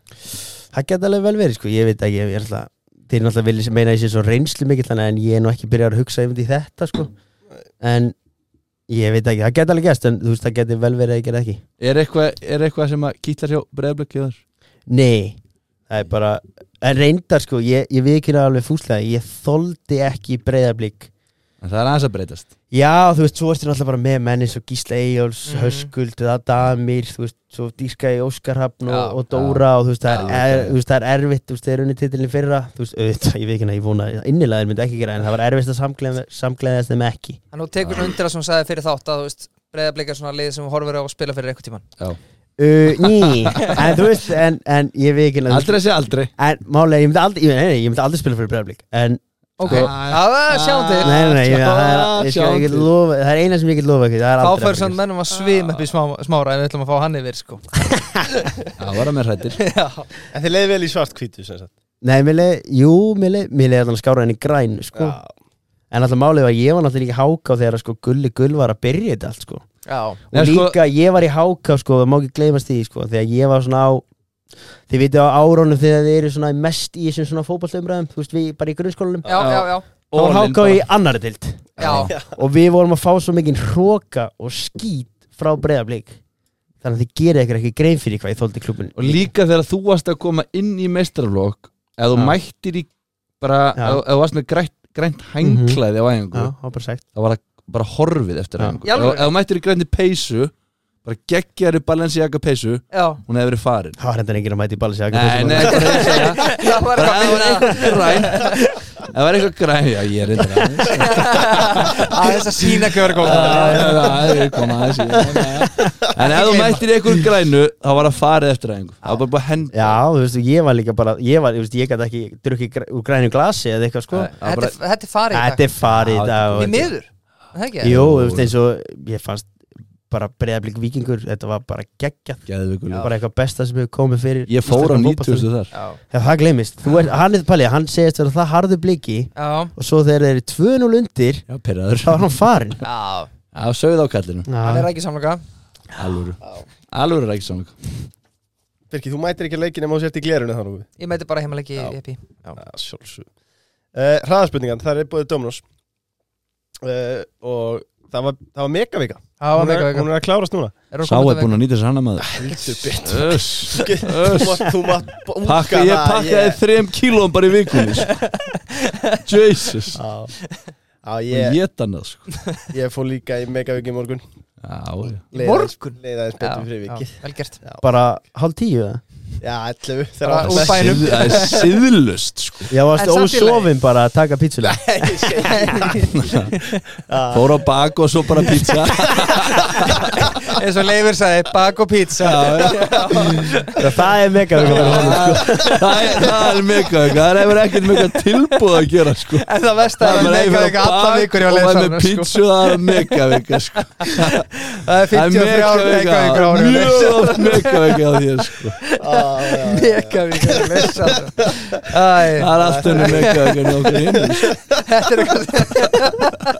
S4: það geta alveg vel verið, sko, ég veit ekki ég er alltaf, þeir náttúrulega vilja meina að ég sé svo reynslu mikill þannig en ég er nú ekki byrjar að hugsa yfir í þetta, sko en ég veit ekki, það geta alveg gæst en þú veist, það geti vel verið að ég gera ekki
S2: Er eitthvað, er eitthvað sem að kýtlar hjá breyðblökk í þar?
S4: Nei, það er bara en reyndar, sko, ég, ég vikina alveg fúslega ég þoldi ekki breyðablík
S2: En það er aðeins að breytast
S4: Já, þú veist, svo ertu náttúrulega bara með menni svo Gísla Eyjóls,
S1: Mhm.
S4: Höskuld, það Damir, þú veist, svo Díska í Óskarhafn og,
S1: Já,
S4: og Dóra og þú veist, það
S2: Já,
S4: er, er,
S2: ok.
S4: þú veist, það er erfitt, þú veist, þeir unni titilin fyrra, þú veist, auðvitað, ég veit ekki hana, ég vona, innilega þeir myndi ekki gera, en það var erfitt að samgleða- samgleðast þeim ekki.
S1: en þú tekur svona undir að svona sagði fyrir þátt að þú veist breyðablika svona lið sem þú horfir á að spila fyrir einhvern tíman
S4: Uh, ný, en þú veist, en, en ég veit ekki hana,
S2: Aldrei að segja aldrei
S4: en málega, ég myndi aldrei, ég, nei, nei, ég myndi aldrei spila fyrir breyðablík, en,
S1: ok,
S2: Æ.
S1: að sjáum til
S4: nei, nei, nei, ég,
S2: Ah,
S4: það, er, ég, skal, ég
S2: sjáum
S4: get lofa, það er eina sem ég get lofa ekki, það er
S1: þá
S4: aldrei. að
S1: fyrir
S4: fara
S1: svona mennum að svim upp í smá, smára en við ætlum að fá hann yfir sko
S2: Það var að mér hrættir
S1: Já.
S3: En þið leiði vel í svart kvítu, sem sagt.
S4: Nei, mér leið, jú, mér leið, mér leið allan skára henni græn, sko En alltaf málið var að ég var náttúrulega ekki í háká þegar að, sko gulli gull var að byrja þetta allt, sko Og
S1: já,
S2: Nei, sko-
S4: líka, ég var í háká, sko, það má ekki gleymast því, sko Þegar ég var svona á, þið vitið á árónum þegar þið eru svona mest í þessum svona fótballtöfumræðum Þú veist, við bara í grunnskólanum
S1: já, já, já,
S4: Og var
S2: Orðin
S4: háká
S2: bara.
S4: í annari dild
S1: já.
S4: Og við vorum að fá svo mikinn hróka og skít frá breyðablík Þannig að þið gerið ykkur ekki grein fyrir hvað ég þóldi klubun
S2: Og líka þegar þú varst að koma inn í meistrarflokk Ef þú
S4: Já.
S2: mættir í bara
S4: Já. Mhm.
S2: Ef ef þú varst með grænt, grænt hængklæði á æfingu
S4: Já, það var bara sagt
S2: þá var það bara horfið eftir
S4: Já.
S2: æfingu
S1: Í
S2: Ef
S1: alvöru?
S2: ef þú mættir í grænti peysu Bara geggjari balensiaka peysu
S1: já.
S2: Hún hefði verið farin
S4: Það var hendan enginn að mæta í balsi
S2: Nei, nei, bara ég segja
S1: það var
S2: Bara ef það var
S1: eitthvað
S2: eitthvað græn Ef það var eitthvað græn Já, ég er reyndar aðeins
S1: að þess að sína ekki verið góð
S2: Það er koma aðeins í það. En ef þú mættir í einhverjum grænu þá var það farið eftir æfingu Það var bara búið að henda
S4: Já, þú veist, ég var líka bara Ég var, þú veist, ég gæti ekki drukkið gr- úr grænum glasi eða eitthvað, sko
S2: Nei, það var
S1: þetta,
S2: bara-
S1: þetta er farið í dag. Því
S2: Já,
S4: Þetta er farið í dag og-
S1: miður, er það ekki?
S4: Jú, þú veist, eins og ég fannst bara breyðablík vikingur, þetta var bara geggjað
S2: Geðveikur leikur.
S4: bara eitthvað besta sem hefur komið fyrir
S2: Ég fór á
S4: íslenskan fótbolta.
S2: 90 þar
S1: Já,
S4: Já, það glemist, þú er, hann er palið, hann segist vera það harðu bliki
S1: já,
S4: og svo þegar þeir eru 2-0 undir
S2: Já, pyrraður
S4: þá er hann farin
S1: já
S2: Já, sögð á kallinu
S1: Hann er
S4: Já,
S1: ekki samloka
S2: Alvöru Alvöru er ekki samlega
S3: Birki, þú mætir ekki leikin ef þú sért í glerunni þá nú.
S1: Ég mæti bara heimaleiki
S3: Já.
S1: í epi
S3: Já, sjálfsög. Uh, Hraðarspurningan, það er búið Dominos. Uh, og það var, það var megavika.
S1: Það var
S3: Hún er-
S1: mega veika
S3: Hún er að klárast núna.
S2: Sá er búin að nýta sér hana maður
S3: Heldur bit.
S2: Öss
S3: Þú mátt, þú mátt bóka
S2: Pakka, ég pakkaði þrem kílóum bara í vikunni sko. Jesus
S3: Já,
S2: Ég
S3: ég,
S2: get hann það sko
S3: ég fór líka í megaviki í morgun.
S2: Já, já
S3: Leið aðeins-
S1: Morgun?
S3: Leið aðeins betur fyrir vikið.
S1: Vel gert
S4: bara hálf tíu það
S3: Já, 11
S1: Bara
S3: þegar
S1: úr
S3: var
S1: bænum.
S2: Síð- Það er siðlust sko
S4: Já, varst
S1: En samt í
S4: ósofin bara að taka pítsulega
S2: Fór á bak og svo bara pizza
S1: eins og Leifur sagði, bak og pizza
S4: Það er mega
S1: sko.
S2: Það er- það er mega Það hefur ekkert mega tilbúð að gera sko
S1: En það vest að það er
S2: maður hefur
S1: mega veika
S2: á
S1: alla
S2: bak
S1: vikur hjá sko.
S2: og maður
S1: Leifsson
S2: með pizzu það er mega vika sko.
S1: Það er
S2: það er
S1: 53 ára mega vikur ára
S2: mjög oft mega vika á þér sko.
S3: Ah,
S1: Mega vikur hjá Leifsson Æ,
S2: það er allt henni mega vika en okkur hinn
S1: þetta er eitthvað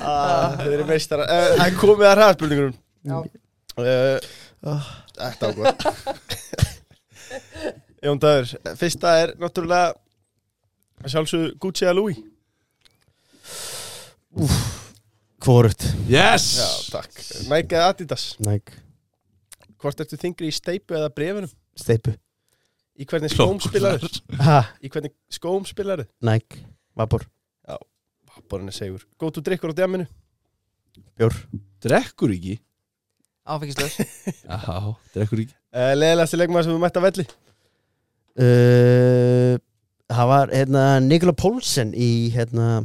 S3: Ah, Þeir eru meistara Eh, Það er komið að hraðspurningunum
S1: Já.
S3: Eh, Þetta á gott Jón Dagur, fyrsta er náttúrulega að sjálfsög Gucci að Louis
S4: Hvorugt
S2: Yes!
S3: Já, takk Nike eða Adidas
S4: Næk
S3: Hvort ertu þingri í steipu eða brefinum?
S4: Steipu
S3: Í hvernig skóm spilaru?
S4: Ha
S3: Í hvernig skóm spilaru?
S4: Næk Vapor
S3: Borðin er segur Góð þú drikkur á djaminu?
S4: Bjór
S2: Drekkur ekki
S1: Áfengislaus
S2: Já, drekkur ekki
S3: Uh, Leðilegasti leikmaður sem þú mætt að velli?
S4: uh, Það var hérna Nikola Pólsen í hérna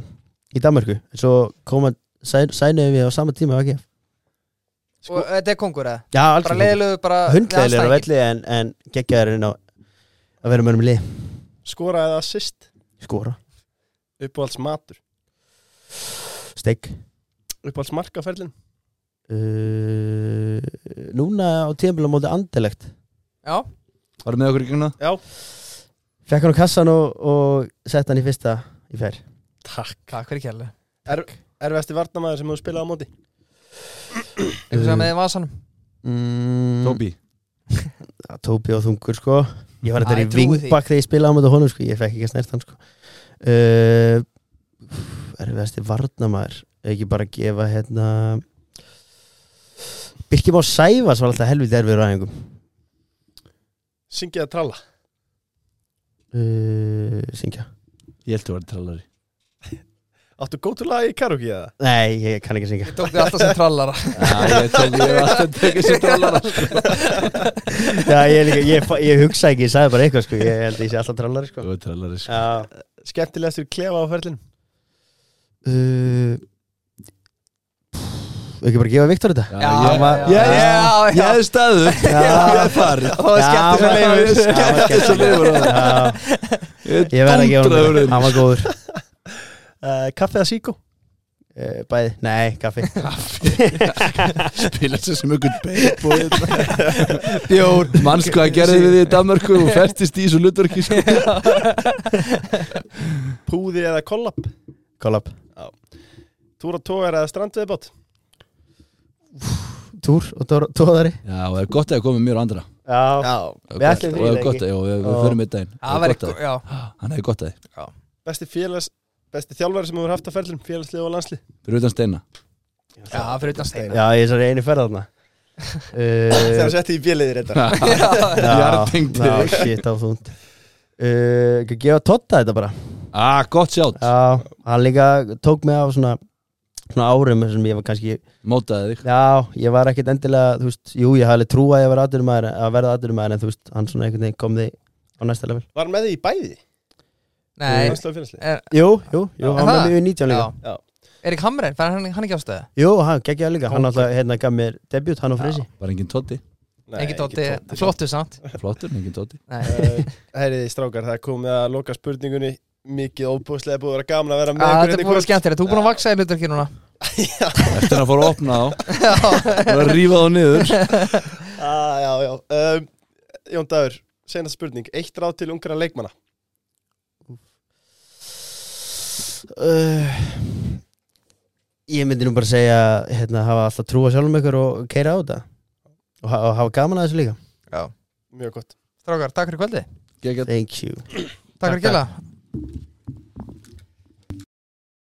S4: Í Danmarku Svo kom að sæ, sænuðum við á sama tíma ekki?
S3: Sko-
S1: Og þetta er kongur eða?
S4: Já, alls
S1: Bara leiðilegu bara
S4: Hundlegilegur á
S1: andstæðinginn.
S4: velli en, en geggjaður inn á Að vera mörgum lið
S3: Skora eða assist?
S4: Skora
S3: Uppáhalds matur?
S4: Steik
S3: Uppáhalds markaferlin?
S4: uh, Núna á tímabila móti andelegt
S1: Já,
S2: Varum með okkur í gangna?
S4: Fekk hann á kassan og, og sett hann í fyrsta í fær
S3: Takk
S1: takk fyrir kjærlega
S3: Erfæsti varnamaður sem þú spilaði á móti?
S1: Einhvers veginn með í vasanum
S4: mm,
S2: Tóbi
S4: Já, Tóbi og þungur sko Ég var þetta
S1: Ah,
S4: í
S1: ég trúi því.
S4: vingbak þegar ég spilaði á móti honum sko Ég fekk ekki að snert hann sko uh, Erfiðasti varnamaður Ekki bara að gefa hérna Birkjum á Sæfas var alltaf helviti erfiður á æfingum
S3: Syngja eða tralla?
S4: uh, Syngja
S2: Ég held að vera trallari
S3: Áttu góð þú lagi í karaoke eða?
S4: Nei, ég kann ekki að syngja
S1: Tók þið alltaf sem trallara
S2: Já, ég tók ég hef alltaf tekið sér trallara sko.
S4: Já, ég, líka, ég, fa- ég hugsa ekki, ég sagði bara eitthvað sko Ég held að ég sé alltaf trallari sko
S2: Þú er trallari sko.
S4: Já
S3: Skemmtilegastur klefa á ferlin?
S4: uh, ekki bara gefa Viktor þetta
S1: Já,
S2: ég-
S1: já, já.
S2: ég-
S1: Já, já.
S2: Ég hef staðu Ég hef farið
S1: Og skemmt þessu
S4: Já,
S1: leifur
S4: já,
S2: Skemmt
S4: já,
S2: þessu leifur á það.
S4: Já,
S2: Ég
S4: ég verð að gefa
S2: dúndraði úr þeim.
S4: hann þetta. hann var góður
S3: Uh, kaffe eða síkó?
S4: uh, bæði, nei, kaffi
S2: spila sér sem einhvern beip og hérna. bjór manns hvað gerði við því í Danmarku og festist í svo hlutverki sko.
S3: Púði eða kollab?
S4: kollab,
S3: Túra tógar eða strandveðbót?
S4: túr og tó- tóðari
S2: já og það er gott að koma með mér og andra
S4: já,
S3: Já.
S2: Það er
S4: Við
S2: gott-
S4: ætlum
S2: og það
S4: því
S2: er
S4: leiki.
S2: gott að, og við, við
S4: Já.
S2: förum einn daginn
S1: Það
S2: Það er
S1: var
S2: gott að-
S1: eitthvað, já
S2: hann hefði gott að þið
S3: Besti félags... Besti þjálfari sem þú hefur haft á ferlin? Félagslið og landslið?
S2: fyrir utan steina
S1: Já, fyrir utan steina
S4: já, ég er svo einu ferð þarna
S3: Þegar hann
S4: uh,
S3: setti í bjöliðir þetta
S2: jarðtengdi
S4: já,
S2: þig.
S4: shit á þúnd uh, ekki gefa Totta þetta bara
S2: ah gott sjátt
S4: já, hann líka tók mig á svona svona árum sem ég var kannski
S2: mótaði þig
S4: Já, ég var ekkert endilega, þú veist, jú, ég hafði alveg trú að ég var aðurumæður, að verða aðurumæður en þú veist, hann svona einhvern veginn kom þig á næsta level
S3: Var hann með því í bæði?
S1: Nei,
S3: Landslið og félagslið?
S1: er,
S4: Jú, jú, jú,
S1: Er
S4: hann var
S1: það?
S4: með mjög 19 líka
S1: já Erik Hamren, fær hann, hann ekki ástöðu?
S4: Jú, hann geggjaði líka, hann alltaf, hérna, gaf mér debut, hann og Freysi
S2: var engin tótti
S3: Nei,
S1: Engi tótti,
S3: Totti.
S1: flottu samt
S2: flottur engin tótti
S1: Nei,
S3: Eh, Heyriði strákar, það er komið að loka spurningunni Mikið óbúslega búið að vera gaman að vera með
S1: Ah, þetta
S3: ykkur
S1: er
S3: hérna í
S1: búin
S3: kvöld.
S1: skemmtilegt, þú er búin að vaksa í hlutverki núna
S2: eftir að fóra að opna þá og að rífa þá niður
S3: ah, Já, já um, Jón Dagur, senast spurning Eitt ráð til ungra leikmanna
S4: uh, Ég myndi nú bara segja, hérna, hafa alltaf trú að sjálfum ykkur og keira á þetta og, ha- og hafa gaman að þessu líka
S3: Mjög gott
S1: Strákar, takk fyrir kvöldi
S2: Geggjað.
S4: Thank you
S1: Takk fyrir kjæla